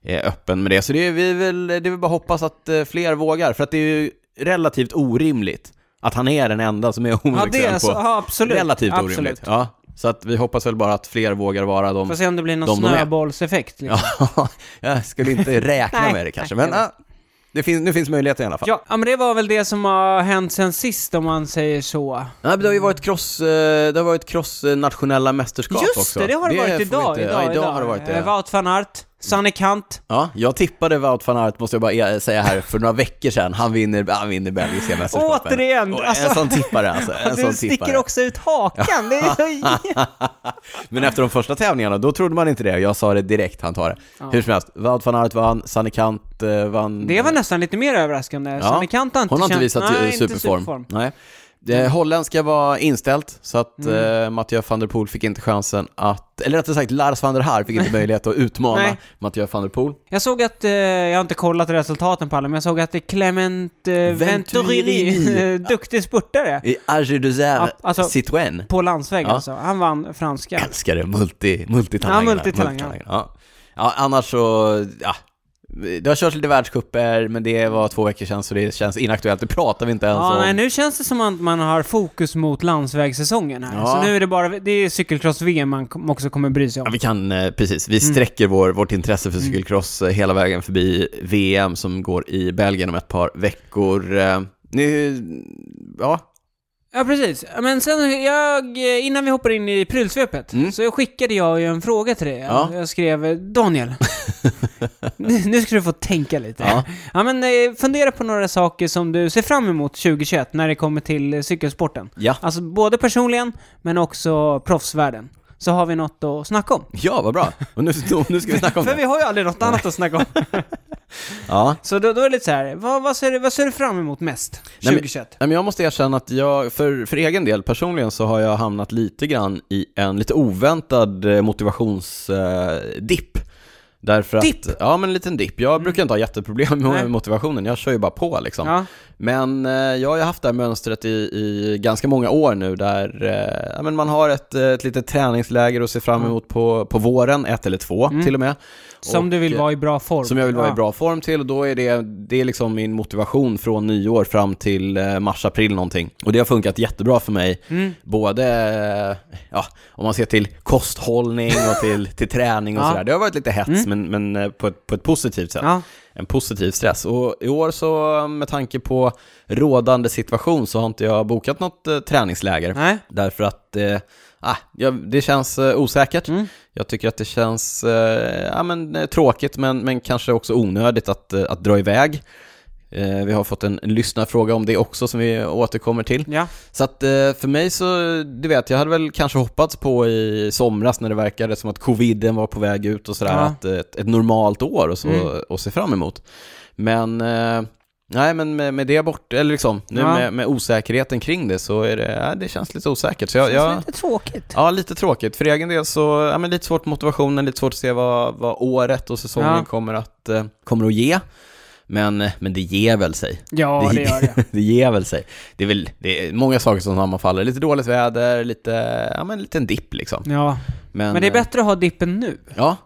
Speaker 1: är öppen med det. Så det är, vi väl, det är väl bara hoppas att eh, fler vågar, för att det är ju relativt orimligt att han är den enda som är
Speaker 2: Ja, det
Speaker 1: homosexuell
Speaker 2: är så,
Speaker 1: liksom på.
Speaker 2: ja, absolut.
Speaker 1: Relativt
Speaker 2: absolut.
Speaker 1: orimligt. Ja, så att vi hoppas väl bara att fler vågar vara de...
Speaker 2: Får se om det blir någon
Speaker 1: de de är.
Speaker 2: snöbollseffekt. Liksom.
Speaker 1: Ja, jag skulle inte räkna
Speaker 2: Nej,
Speaker 1: med det kanske,
Speaker 2: nej,
Speaker 1: men
Speaker 2: jag
Speaker 1: ja, det finns, nu finns möjligheten i alla fall.
Speaker 2: Ja, ja, men det var väl det som har hänt sen sist om man säger så.
Speaker 1: Nej, men det har ju varit cross, eh, det har varit cross eh, nationella mästerskap
Speaker 2: Just
Speaker 1: också.
Speaker 2: det, det har det, varit
Speaker 1: får vi
Speaker 2: idag.
Speaker 1: inte-
Speaker 2: idag,
Speaker 1: ja, idag har det varit
Speaker 2: Eh,
Speaker 1: det.
Speaker 2: Wout van Aert, Sanne Kant.
Speaker 1: Ja, jag tippade Wout van Aert, måste jag bara eh, säga här, för några veckor sedan. Han vinner, han vinner belgiska mästerskapen.
Speaker 2: Återigen,
Speaker 1: Och
Speaker 2: alltså.
Speaker 1: en sån tippare alltså. En
Speaker 2: du
Speaker 1: sån
Speaker 2: sticker
Speaker 1: tippare.
Speaker 2: också ut hakan. Det är så...
Speaker 1: Men efter de första tävlingarna, då trodde man inte det. Jag sa det direkt, han tar det. Hur som helst, Wout van Aert vann, Sanne Kant eh, vann.
Speaker 2: det var nästan lite mer överraskande.
Speaker 1: Ja.
Speaker 2: Sanne Kant har inte
Speaker 1: Hon har inte
Speaker 2: känt-
Speaker 1: visat
Speaker 2: Nej,
Speaker 1: eh,
Speaker 2: inte Mm.
Speaker 1: superform. Nej. Det holländska var inställt, så att eh, Mathieu van der Poel fick inte chansen att, eller rättare sagt Lars van der Haar fick inte möjlighet att utmana
Speaker 2: Nej.
Speaker 1: Mathieu van der Poel.
Speaker 2: Jag såg att, eh, jag har inte kollat resultaten på alla, men jag såg att det är Clement eh,
Speaker 1: Venturini.
Speaker 2: Venturini, eh, duktig spurtare,
Speaker 1: I Arge Duzer
Speaker 2: Ja, alltså-
Speaker 1: Citroën.
Speaker 2: på landsväg
Speaker 1: Ja.
Speaker 2: alltså. Han vann franska.
Speaker 1: Älskar det, multi, multitalangerna.
Speaker 2: Ja, multitalangerna.
Speaker 1: Ja. ja, annars så, ja. Det har kört lite världscuper, men det var två veckor sedan så det känns inaktuellt. Det pratar vi inte ens
Speaker 2: Ja,
Speaker 1: om.
Speaker 2: nej, nu känns det som att man har fokus mot landsvägssäsongen här.
Speaker 1: Ja.
Speaker 2: Så nu är det bara, det är cykelcross-VM man kom- också kommer bry sig
Speaker 1: Ja,
Speaker 2: om.
Speaker 1: vi kan, eh, precis, vi
Speaker 2: Mm.
Speaker 1: sträcker vår, vårt intresse för cykelcross eh, hela vägen förbi VM som går i Belgien om ett par veckor. Eh, Ni, ja,
Speaker 2: Ja, precis. Ja, Men sen, jag, innan vi hoppar in i prylsvepet, så skickade jag ju en fråga till dig.
Speaker 1: Mm. Ja.
Speaker 2: Jag skrev, Daniel, nu nu ska du få tänka lite.
Speaker 1: Ja.
Speaker 2: Ja. men eh, fundera på några saker som du ser fram emot 2021 när det kommer till eh, cykelsporten.
Speaker 1: ja,
Speaker 2: Alltså både personligen, men också proffsvärlden. Så har vi något att snacka om.
Speaker 1: ja, vad bra. Och nu, nu ska vi snacka om
Speaker 2: För
Speaker 1: det.
Speaker 2: vi har ju aldrig något annat att snacka om.
Speaker 1: Ja.
Speaker 2: Så då, då är det lite så här, vad, vad, ser, du- vad ser du fram emot mest
Speaker 1: Nej, men-
Speaker 2: 2021?
Speaker 1: Nej, men jag måste erkänna att jag, för, för egen del, personligen så har jag hamnat eh, lite grann i en lite oväntad motivationsdipp. eh, Därför
Speaker 2: Dipp? Mm.
Speaker 1: att, ja men en liten dipp. Jag brukar inte ha jätteproblem med
Speaker 2: Nej.
Speaker 1: motivationen, jag kör ju bara på liksom.
Speaker 2: Ja.
Speaker 1: Men eh, jag har ju haft det här mönstret i, i ganska många år nu där eh, ja, men man har ett, eh, ett litet träningsläger att se fram emot på, på våren, ett eller två till och med.
Speaker 2: Mm. Som
Speaker 1: Och,
Speaker 2: du vill
Speaker 1: eh,
Speaker 2: vara i bra form.
Speaker 1: som jag vill vara
Speaker 2: ja.
Speaker 1: i bra form till och då är det, det är liksom min motivation från nyår fram till eh, mars-april någonting. Och det har funkat jättebra för mig,
Speaker 2: Mm.
Speaker 1: både eh, ja, om man ser till kosthållning och till, till träning och
Speaker 2: Ja. Mm.
Speaker 1: sådär. Det har varit lite hets men, men eh, på, ett, på ett positivt sätt.
Speaker 2: Ja.
Speaker 1: En positiv stress. Och i år så med tanke på rådande situation så har inte jag bokat något eh, träningsläger.
Speaker 2: Nej.
Speaker 1: Därför att eh, ah, jag, det känns eh, osäkert. Jag tycker att det känns eh, ja, men, eh, tråkigt men, men kanske också onödigt att, eh, att dra iväg. Eh, vi har fått en, en lyssnarfråga om det också som vi återkommer till.
Speaker 2: Ja.
Speaker 1: Så att eh, för mig så, du vet, jag hade väl kanske hoppats på i somras när det verkade som att coviden var på väg ut och sådär,
Speaker 2: Ja.
Speaker 1: att eh, ett, ett normalt år och så,
Speaker 2: Mm.
Speaker 1: och se fram emot. Men, eh, nej men med, med det bort, eller liksom, nu
Speaker 2: Ja.
Speaker 1: med, med osäkerheten kring det så är det, ja, det känns lite osäkert. Så jag,
Speaker 2: Känns
Speaker 1: jag,
Speaker 2: lite tråkigt.
Speaker 1: ja, lite tråkigt. För egen del så, ja men lite svårt med motivationen, lite svårt att se vad, vad året och säsongen
Speaker 2: Ja.
Speaker 1: kommer, att, eh, kommer att ge. Men, eh, men det ger väl sig.
Speaker 2: Ja, det gör det.
Speaker 1: det ger väl sig. Det är väl det är många saker som sammanfaller. Lite dåligt väder, lite, ja men en liten dipp liksom.
Speaker 2: Ja.
Speaker 1: Men, eh,
Speaker 2: Men det är bättre att ha dippen nu.
Speaker 1: Ja,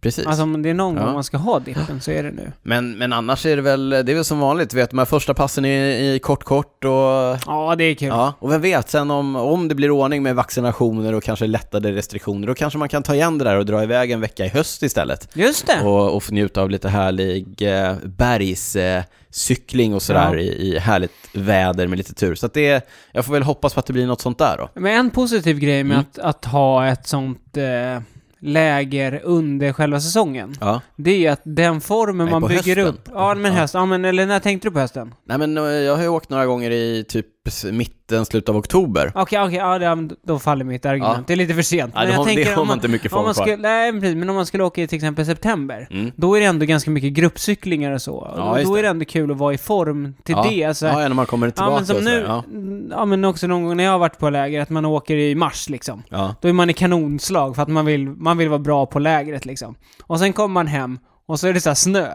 Speaker 1: precis.
Speaker 2: Alltså om det är någon
Speaker 1: Ja.
Speaker 2: gång man ska ha dippen så är det nu.
Speaker 1: Men, men annars är det väl, det är väl som vanligt, vet de här första passen i, i kort kort och
Speaker 2: Ja, det är kul.
Speaker 1: Ja, och vem vet, sen om, om det blir ordning med vaccinationer och kanske lättade restriktioner, då kanske man kan ta igen det där och dra iväg en vecka i höst istället.
Speaker 2: Just det.
Speaker 1: Och, och få njuta av lite härlig eh, bergscykling eh, cykling och sådär
Speaker 2: Ja.
Speaker 1: i, i härligt väder med lite tur. Så att det, jag får väl hoppas på att det blir något sånt där då.
Speaker 2: Men en positiv grej
Speaker 1: Mm.
Speaker 2: med att, att ha ett sånt eh, läger under själva säsongen,
Speaker 1: Ja.
Speaker 2: det är ju att den formen
Speaker 1: Nej,
Speaker 2: man
Speaker 1: på
Speaker 2: bygger
Speaker 1: hösten.
Speaker 2: upp... Ja, men
Speaker 1: Ja.
Speaker 2: höst. Ja, men eller när tänkte du på hösten?
Speaker 1: Nej men eh, jag har ju åkt några gånger i typ mitten, slutet av oktober.
Speaker 2: Okej, okej, ja, det- då faller mitt argument.
Speaker 1: Ja.
Speaker 2: Det är lite för sent.
Speaker 1: Nej,
Speaker 2: men
Speaker 1: det
Speaker 2: jag
Speaker 1: har,
Speaker 2: tänker
Speaker 1: det har
Speaker 2: om
Speaker 1: man inte mycket
Speaker 2: om
Speaker 1: form
Speaker 2: man
Speaker 1: kvar.
Speaker 2: skulle, nej, men precis, men om man skulle åka i till exempel september,
Speaker 1: Mm.
Speaker 2: då är det ändå ganska mycket gruppcyklingar och så. Och
Speaker 1: Ja, just
Speaker 2: då är
Speaker 1: det.
Speaker 2: det ändå kul att vara i form till
Speaker 1: ja.
Speaker 2: det. Så här,
Speaker 1: ja, ja, när man kommer tillbaka
Speaker 2: Ja men som
Speaker 1: och sådär.
Speaker 2: nu,
Speaker 1: Ja.
Speaker 2: ja men också någon gång när jag har varit på läger, att man åker i mars liksom.
Speaker 1: Ja.
Speaker 2: Då är man i kanonslag för att man vill, man vill vara bra på lägret liksom. Och sen kommer man hem och så är det så här snö.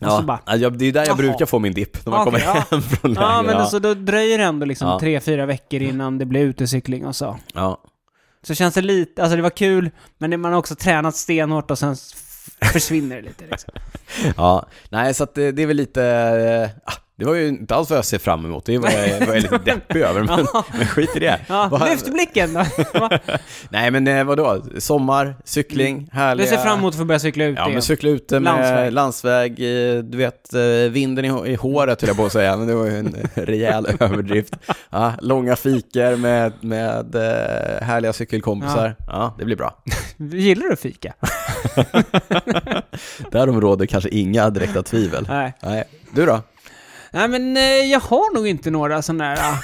Speaker 2: Och så bara...
Speaker 1: Ja, det är ju där jag
Speaker 2: Jaha.
Speaker 1: brukar få min dipp, när man
Speaker 2: Okej,
Speaker 1: kommer
Speaker 2: ja.
Speaker 1: hem från lägret.
Speaker 2: Ja men alltså, då dröjer det ändå liksom
Speaker 1: Ja.
Speaker 2: tre, fyra veckor innan det blir utecykling och så.
Speaker 1: ja.
Speaker 2: Så känns det lite, alltså det var kul, men det- man har också tränat stenhårt och sen s- försvinner det lite liksom.
Speaker 1: Ja, nej så att det, det är väl lite, eh, ah, det var ju inte alls vad jag ser fram emot, det var jag, var jag lite deppig över, men, men skit i det.
Speaker 2: Ja,
Speaker 1: Vad-
Speaker 2: lyft blicken då!
Speaker 1: nej men eh, vadå, sommar, cykling, härliga...
Speaker 2: Du Mm. ser fram emot att få börja cykla ut
Speaker 1: Ja
Speaker 2: igen.
Speaker 1: men cykla ute med landsväg,
Speaker 2: Landsväg.
Speaker 1: eh, du vet eh, vinden i, hå- i håret höll jag på att säga, men det var ju en rejäl överdrift. Ja, långa fikor med, med eh, härliga cykelkompisar. Ja. det blir bra.
Speaker 2: Gillar du fika?
Speaker 1: Därom råder kanske inga direkta tvivel.
Speaker 2: Nej.
Speaker 1: Nej. Du då?
Speaker 2: Nej men eh, jag har nog inte några sådana där... ah.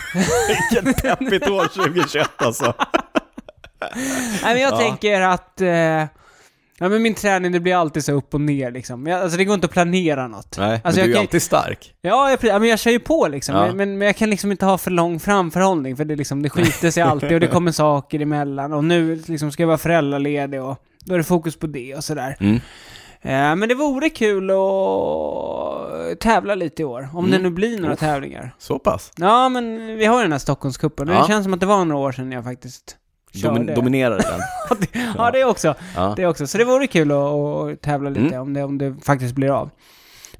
Speaker 1: Vilket deppigt år 2021 alltså.
Speaker 2: Nej men jag
Speaker 1: Ja.
Speaker 2: tänker att... Eh, ja men min träning det blir alltid så upp och ner liksom. Jag, alltså det går inte att planera något.
Speaker 1: Nej, men
Speaker 2: alltså,
Speaker 1: du är
Speaker 2: jag
Speaker 1: ju
Speaker 2: kan,
Speaker 1: alltid stark.
Speaker 2: Ja, jag, ja men jag kör ju på liksom.
Speaker 1: Ja.
Speaker 2: Men, men, men jag kan liksom inte ha för lång framförhållning för det, liksom, det skiter sig alltid och det kommer saker emellan. Och nu liksom, ska jag vara föräldraledig och då är det fokus på det och sådär.
Speaker 1: Mm.
Speaker 2: Eh, men det vore kul att tävla lite i år. Om
Speaker 1: Mm.
Speaker 2: det nu blir några tävlingar.
Speaker 1: Så pass?
Speaker 2: Ja men vi har ju den här Stockholmscupen och
Speaker 1: Ja.
Speaker 2: det känns som att det var några år sedan jag faktiskt körde.
Speaker 1: Domin- dominerar den?
Speaker 2: ja det också.
Speaker 1: Ja. Mm.
Speaker 2: Det också. Så det vore kul att, att tävla lite om, det, om det faktiskt blir av.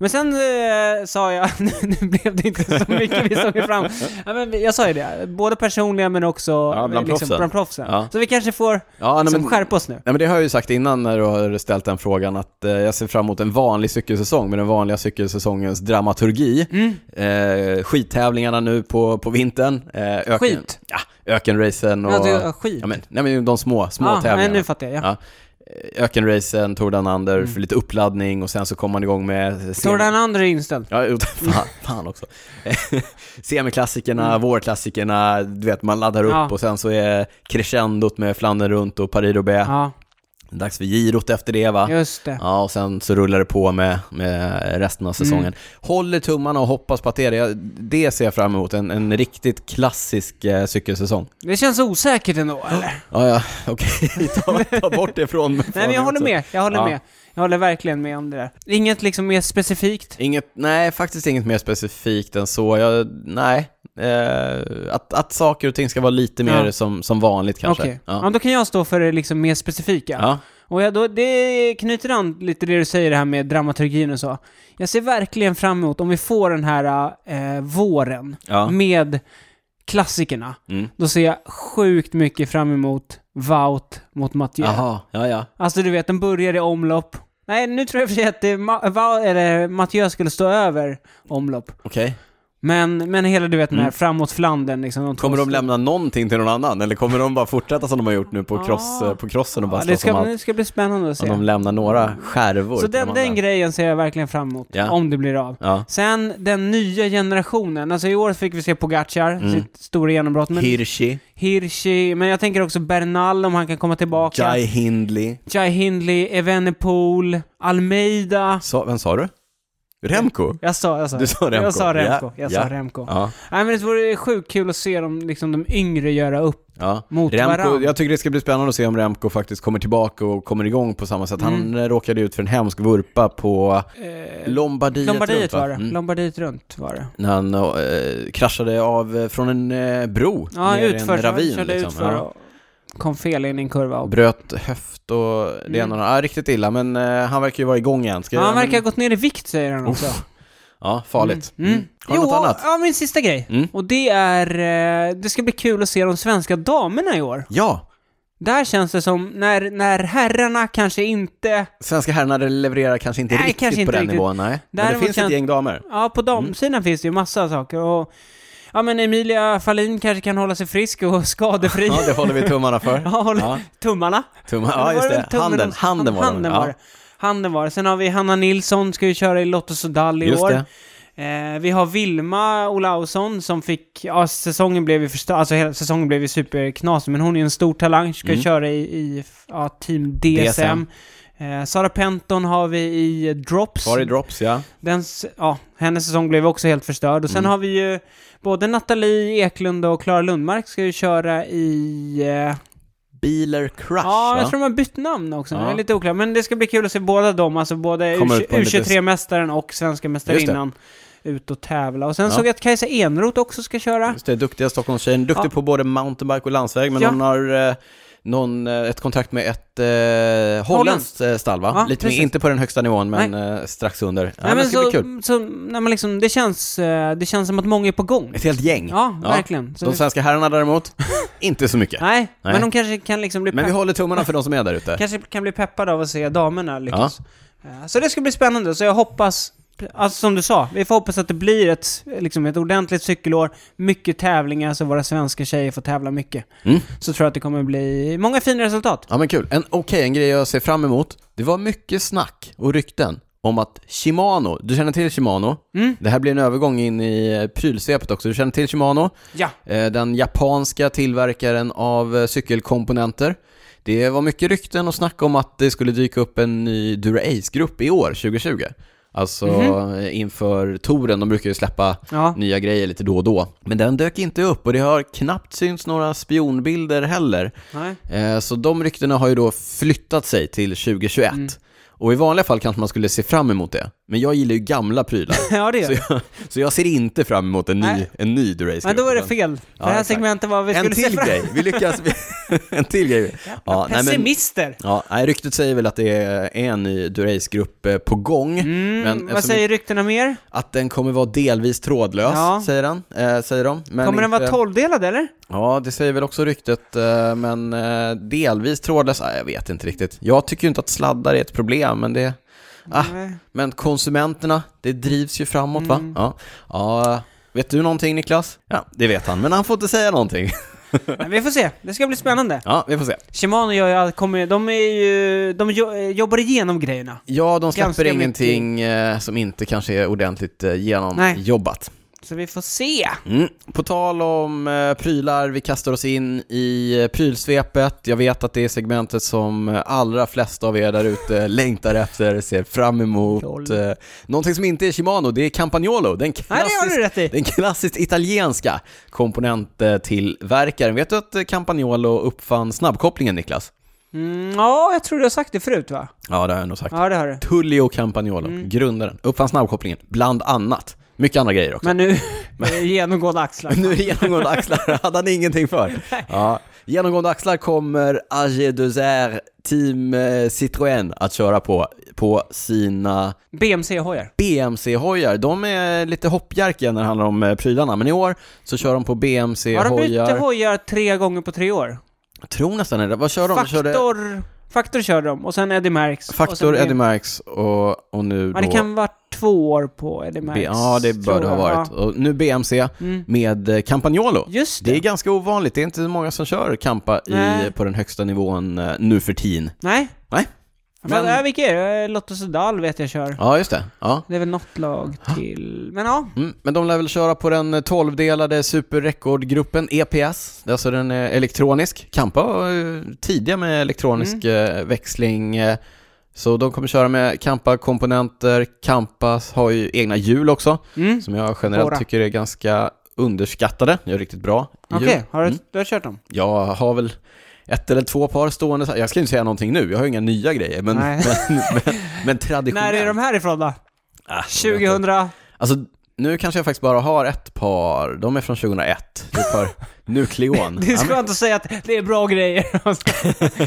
Speaker 2: Men sen eh, sa jag, nu, nu blev det inte så mycket vi såg fram ja, men Jag sa ju det, både personliga men också liksom,
Speaker 1: Ja, bland proffsen.
Speaker 2: bland proffsen.
Speaker 1: Ja.
Speaker 2: Så vi kanske får
Speaker 1: Ja, nej,
Speaker 2: liksom,
Speaker 1: men, nej,
Speaker 2: skärpa oss nu.
Speaker 1: men det har jag ju sagt innan när du har ställt den frågan att eh, jag ser fram emot en vanlig cykelsäsong med den vanliga cykelsäsongens dramaturgi. Eh, skittävlingarna nu på, på vintern. Eh, öken,
Speaker 2: Mm. Skit?
Speaker 1: Ja, ökenracen och...
Speaker 2: Ja, det är skit.
Speaker 1: ja, men, nej, men de små, små
Speaker 2: ah, nej,
Speaker 1: tävlingarna.
Speaker 2: nu Mm. fattar jag. Ja.
Speaker 1: Ja. Ökenracen, Tour Danander för lite uppladdning och sen så kommer man igång med...
Speaker 2: Står den andra inställd?
Speaker 1: Ja, jo, fan, fan också. Semiklassikerna, vårklassikerna, du vet man laddar upp
Speaker 2: Mm. Ja.
Speaker 1: och sen så är crescendot med Flandern runt och Paris-Roubaix.
Speaker 2: Ja,
Speaker 1: Dags för girot efter det va?
Speaker 2: just det.
Speaker 1: Ja, och sen så rullar det på med, med resten av säsongen.
Speaker 2: Mm.
Speaker 1: Håller tummarna och hoppas på att det är det. Jag- Det ser jag fram emot, en, en riktigt klassisk eh, cykelsäsong.
Speaker 2: Det känns osäkert ändå, eller?
Speaker 1: Ja, ja, okej, ta, ta bort det från
Speaker 2: Nej men jag håller med, jag håller
Speaker 1: Ja.
Speaker 2: med. Jag håller verkligen med om det där. Inget liksom mer specifikt?
Speaker 1: Inget, nej, faktiskt inget mer specifikt än så. Jag, nej. Eh, att, att saker och ting ska vara lite mer
Speaker 2: Ja.
Speaker 1: som, som vanligt kanske.
Speaker 2: Okej. Ja. då kan jag stå för det liksom mer specifika.
Speaker 1: Ja.
Speaker 2: Och jag, då, det knyter an lite det du säger det här med dramaturgin och så. Jag ser verkligen fram emot om vi får den här eh, våren
Speaker 1: Ja.
Speaker 2: med klassikerna.
Speaker 1: Mm.
Speaker 2: Då ser jag sjukt mycket fram emot Vaut mot Mathieu.
Speaker 1: Jaha, ja, ja.
Speaker 2: Alltså du vet, den börjar i omlopp. Nej, nu tror jag för sig att det, Ma- Va- eller Mathieu skulle stå över omlopp.
Speaker 1: Okej.
Speaker 2: Men, men hela du vet den här framåt Flandern liksom. De två-
Speaker 1: Mm. Kommer de lämna någonting till någon annan eller kommer de bara fortsätta som de har gjort nu på,
Speaker 2: Ah.
Speaker 1: cross, eh, på crossen och bara
Speaker 2: ja,
Speaker 1: slå
Speaker 2: det,
Speaker 1: som
Speaker 2: ska,
Speaker 1: allt?
Speaker 2: det ska bli spännande att
Speaker 1: Om
Speaker 2: se.
Speaker 1: de lämnar några skärvor
Speaker 2: Mm. Så
Speaker 1: till
Speaker 2: den,
Speaker 1: de
Speaker 2: den
Speaker 1: andra.
Speaker 2: grejen ser jag verkligen fram emot.
Speaker 1: Ja.
Speaker 2: Om det blir av.
Speaker 1: Ja.
Speaker 2: Sen den nya generationen. Alltså i år fick vi se Pogacar,
Speaker 1: Mm.
Speaker 2: sitt stora genombrott. Men
Speaker 1: Hirschi,
Speaker 2: Hirschi, men jag tänker också Bernal om han kan komma tillbaka.
Speaker 1: Jai Hindley.
Speaker 2: Jai Hindley, Evenepoel, Almeida.
Speaker 1: Sa, vem sa du? Remco?
Speaker 2: Jag sa, jag sa,
Speaker 1: Du sa Remco.
Speaker 2: Jag sa Remco.
Speaker 1: Ja,
Speaker 2: Jag
Speaker 1: ja.
Speaker 2: sa Remco.
Speaker 1: Ja.
Speaker 2: Nej men det vore sjukt kul att se de, liksom, de yngre göra upp.
Speaker 1: Ja.
Speaker 2: Mot
Speaker 1: Remco,
Speaker 2: varann.
Speaker 1: jag tycker det ska bli spännande att se om Remco faktiskt kommer tillbaka och kommer igång på samma sätt. Han eh, råkade ut för en hemsk vurpa på
Speaker 2: Mm. Eh,
Speaker 1: Lombardiet, Mm. runt,
Speaker 2: Lombardiet
Speaker 1: va?
Speaker 2: var det.
Speaker 1: Mm.
Speaker 2: Lombardiet runt var det.
Speaker 1: När han eh, kraschade av eh, från en eh, bro
Speaker 2: Ja,
Speaker 1: ner i
Speaker 2: utför.
Speaker 1: en ravin.
Speaker 2: körde
Speaker 1: liksom.
Speaker 2: utför
Speaker 1: Ja.
Speaker 2: och kom fel in i en kurva. Och... Mm.
Speaker 1: Bröt höft och det ena och det andra. Ja, riktigt illa, men eh, han verkar ju vara igång igen. Ska
Speaker 2: Ja, han verkar ha
Speaker 1: men,
Speaker 2: gått ner i vikt säger han också.
Speaker 1: ja, farligt.
Speaker 2: Mm. Mm.
Speaker 1: Har du
Speaker 2: jo,
Speaker 1: något annat?
Speaker 2: ja min sista grej.
Speaker 1: Mm.
Speaker 2: Och det är, eh, det ska bli kul att se de svenska damerna i år.
Speaker 1: Ja,
Speaker 2: Där känns det som, när, när herrarna kanske inte,
Speaker 1: svenska herrarna levererar kanske inte
Speaker 2: Nej,
Speaker 1: riktigt
Speaker 2: kanske
Speaker 1: på
Speaker 2: inte
Speaker 1: den
Speaker 2: riktigt.
Speaker 1: nivån, nej. Men det
Speaker 2: Däremot
Speaker 1: finns
Speaker 2: kan-
Speaker 1: ett gäng damer.
Speaker 2: ja på damsidan finns det ju massa saker och, ja men Emilia Fahlin kanske kan hålla sig frisk och skadefri.
Speaker 1: Ja, det håller vi tummarna för.
Speaker 2: Ja, håller
Speaker 1: Ja.
Speaker 2: tummarna.
Speaker 1: Tumma,
Speaker 2: Eller
Speaker 1: ja
Speaker 2: var
Speaker 1: just
Speaker 2: väl
Speaker 1: det.
Speaker 2: tummen
Speaker 1: Handen,
Speaker 2: också?
Speaker 1: handen var
Speaker 2: handen
Speaker 1: det.
Speaker 2: var det. Handen var det. Sen har vi Hanna Nilsson, ska ju köra i Lotto Sodal i
Speaker 1: Just
Speaker 2: år.
Speaker 1: det.
Speaker 2: Eh, vi har Vilma Olausson som fick, ja säsongen blev ju första, alltså hela säsongen blev ju superknasig, men hon är ju en stor talang, ska ju
Speaker 1: Mm.
Speaker 2: köra i, i ja, team DSM.
Speaker 1: DSM.
Speaker 2: Eh, Sara Penton har vi i Drops.
Speaker 1: Var i drops, ja.
Speaker 2: Den, s- ja, hennes säsong blev också helt förstörd. Och sen
Speaker 1: Mm.
Speaker 2: har vi ju både Nathalie Eklund och Klara Lundmark ska ju köra i... Eh,
Speaker 1: Biler Crush,
Speaker 2: Ja,
Speaker 1: va?
Speaker 2: jag tror de har bytt namn också.
Speaker 1: Ja.
Speaker 2: Det är lite oklart. Men det ska bli kul att se båda dem, alltså både
Speaker 1: Kommer ut på en liten-
Speaker 2: U23-mästaren och svenska mästarinnan ut och tävla. Och sen
Speaker 1: Ja.
Speaker 2: såg jag att Kajsa Enroth också ska köra.
Speaker 1: Just det, duktiga Stockholmstjejen. Duktig
Speaker 2: Ja.
Speaker 1: på både mountainbike och landsväg, men
Speaker 2: Ja.
Speaker 1: hon har eh, någon, eh, ett kontrakt med ett eh, holländskt eh, stall, va?
Speaker 2: Ja,
Speaker 1: Lite mer,
Speaker 2: precis.
Speaker 1: inte på den högsta nivån, men eh, strax under. Ja, men det ska bli kul.
Speaker 2: så, så när man liksom, det känns, eh, det känns som att många är på gång.
Speaker 1: Ett helt gäng.
Speaker 2: Ja, verkligen. Så
Speaker 1: De
Speaker 2: vi-
Speaker 1: svenska herrarna däremot, inte så mycket.
Speaker 2: nej,
Speaker 1: Nej.
Speaker 2: men de kanske kan liksom bli
Speaker 1: Men vi
Speaker 2: pepp-
Speaker 1: håller tummarna för de som är där ute.
Speaker 2: kanske kan bli peppade av att se damerna lyckas. Eh, Så det ska bli spännande, så jag hoppas, alltså som du sa, vi får hoppas att det blir ett, liksom ett ordentligt cykelår, mycket tävlingar så våra svenska tjejer får tävla mycket.
Speaker 1: Mm.
Speaker 2: Så tror jag att det kommer bli många fina resultat.
Speaker 1: Ja men kul. En, Okej, en grej jag ser fram emot. Det var mycket snack och rykten om att Shimano, du känner till Shimano?
Speaker 2: Mm.
Speaker 1: Det här blir en övergång in i eh, prylsvepet också. Du känner till Shimano?
Speaker 2: Ja.
Speaker 1: Eh, Den japanska tillverkaren av eh, cykelkomponenter. Det var mycket rykten och snack om att det skulle dyka upp en ny Dura-Ace-grupp i år, 2020. Alltså
Speaker 2: Mhm.
Speaker 1: eh, inför touren, de brukar ju släppa
Speaker 2: Ja.
Speaker 1: nya grejer lite då och då. Men den dök inte upp och det har knappt synts några spionbilder heller.
Speaker 2: Nej.
Speaker 1: Eh, Så de ryktena har ju då flyttat sig till 2021.
Speaker 2: Mm.
Speaker 1: Och i vanliga fall kanske man skulle se fram emot det. Men jag gillar ju gamla prylar.
Speaker 2: Ja, det gör
Speaker 1: så,
Speaker 2: det.
Speaker 1: jag, så jag ser inte fram emot en ny,
Speaker 2: Nej.
Speaker 1: en ny Durace
Speaker 2: Men då var det fel. För
Speaker 1: Ja,
Speaker 2: det här
Speaker 1: exakt.
Speaker 2: segmentet var vi skulle
Speaker 1: En
Speaker 2: se
Speaker 1: till
Speaker 2: fram
Speaker 1: grej, vi lyckas. vi- en till grej. Ja, nej, men,
Speaker 2: Pessimister!
Speaker 1: ja, nej, ryktet säger väl att det är en ny Durace-grupp eh, på gång. men
Speaker 2: Mm,
Speaker 1: alltså,
Speaker 2: Vad
Speaker 1: eftersom-
Speaker 2: säger ryktena mer?
Speaker 1: Att den kommer vara delvis trådlös,
Speaker 2: Ja.
Speaker 1: säger, han, eh, säger de. Men
Speaker 2: Kommer den
Speaker 1: inte-
Speaker 2: vara tolvdelad eller?
Speaker 1: Ja, det säger väl också ryktet, eh, men eh, delvis trådlös, ah, jag vet inte riktigt. Jag tycker ju inte att sladdar är ett problem, men det... Ah,
Speaker 2: Nej.
Speaker 1: men konsumenterna, det drivs ju framåt va?
Speaker 2: Mm.
Speaker 1: Ja. ja. Vet du någonting Niklas? Ja, det vet han, men han får inte säga någonting.
Speaker 2: Men vi får se, det ska bli spännande.
Speaker 1: Ja, vi får se.
Speaker 2: Shimano gör ju, allt- kommer, de, är ju, de jo- jobbar igenom grejerna.
Speaker 1: Ja, de släpper
Speaker 2: Ganska mycket.
Speaker 1: ingenting eh, som inte kanske är ordentligt eh, genomjobbat.
Speaker 2: Så vi får se.
Speaker 1: Mm. På tal om eh, prylar, vi kastar oss in i eh, prylsvepet. Jag vet att det är segmentet som eh, allra flesta av er där ute längtar efter, ser fram emot.
Speaker 2: Lol.
Speaker 1: Eh, någonting som inte är Shimano, det är Campagnolo, den
Speaker 2: Nej, det har
Speaker 1: klassiskt,
Speaker 2: du rätt i.
Speaker 1: den klassiskt italienska komponenttillverkaren. Vet du att eh, Campagnolo uppfann eh, snabbkopplingen, Niklas?
Speaker 2: Mm, ja, jag tror du har sagt det förut va?
Speaker 1: Ja, det har jag nog sagt.
Speaker 2: Ja, det har du.
Speaker 1: Tullio Campagnolo,
Speaker 2: Mm.
Speaker 1: grundaren, uppfann snabbkopplingen, bland annat. Mycket andra grejer också.
Speaker 2: Men nu, genomgående axlar.
Speaker 1: Nu är det genomgående axlar hade han ingenting för. Ja. Genomgående axlar kommer AG Deser Team eh, Citroën att köra på, på sina
Speaker 2: BMC-hojar.
Speaker 1: BMC-hojar. De är lite hoppjerkiga när det handlar om eh, prylarna, men i år så kör de på
Speaker 2: Har de bytt
Speaker 1: BMC-hojar.
Speaker 2: hojar tre gånger på tre år?
Speaker 1: Jag tror nästan det. Vad kör de? De körde
Speaker 2: Faktor, Faktor körde de, och sen Eddie Merckx. och sen
Speaker 1: Faktor,
Speaker 2: BMC.
Speaker 1: Eddie Merckx och, och nu
Speaker 2: Ja, det
Speaker 1: då...
Speaker 2: kan vara två år på Eddie Merckx.
Speaker 1: B- ja, det
Speaker 2: tror
Speaker 1: bör det ha
Speaker 2: jag.
Speaker 1: varit.
Speaker 2: Ja.
Speaker 1: Och nu BMC
Speaker 2: Mm.
Speaker 1: med eh, Campagnolo.
Speaker 2: Just det.
Speaker 1: Det är ganska ovanligt, det är inte så många som kör Campa i,
Speaker 2: Nej.
Speaker 1: på den högsta nivån eh, nu för tiden.
Speaker 2: Nej.
Speaker 1: Nej.
Speaker 2: Men...
Speaker 1: Men-
Speaker 2: Vad, vilka är det? Eh, Lotto Sudal vet jag kör.
Speaker 1: Ja, just det. Ja.
Speaker 2: Det är väl något lag till... Men ja.
Speaker 1: Mm. Men de lär väl köra på den eh, 12-delade superrekordgruppen EPS, Det är alltså den eh, elektronisk. Campa var eh, tidiga med elektronisk
Speaker 2: Mm.
Speaker 1: eh, växling, eh, så de kommer köra med Campa-komponenter. Campa har ju egna hjul också,
Speaker 2: Mm.
Speaker 1: som jag generellt
Speaker 2: Våra.
Speaker 1: tycker är ganska underskattade. Jag är riktigt bra i
Speaker 2: Okej,
Speaker 1: hjul.
Speaker 2: har du,
Speaker 1: Mm.
Speaker 2: du har kört dem?
Speaker 1: Jag har väl ett eller två par stående, så- jag ska inte säga någonting nu, jag har ju inga nya grejer, men, men,
Speaker 2: Nej.
Speaker 1: men, men
Speaker 2: När
Speaker 1: traditionellt.
Speaker 2: är de här ifrån då?
Speaker 1: Ah,
Speaker 2: 2000?
Speaker 1: Alltså, nu kanske jag faktiskt bara har ett par, de är från 2001, det är ett par Nukleon.
Speaker 2: Det är
Speaker 1: Ja, men-
Speaker 2: skönt att säga att det är bra grejer.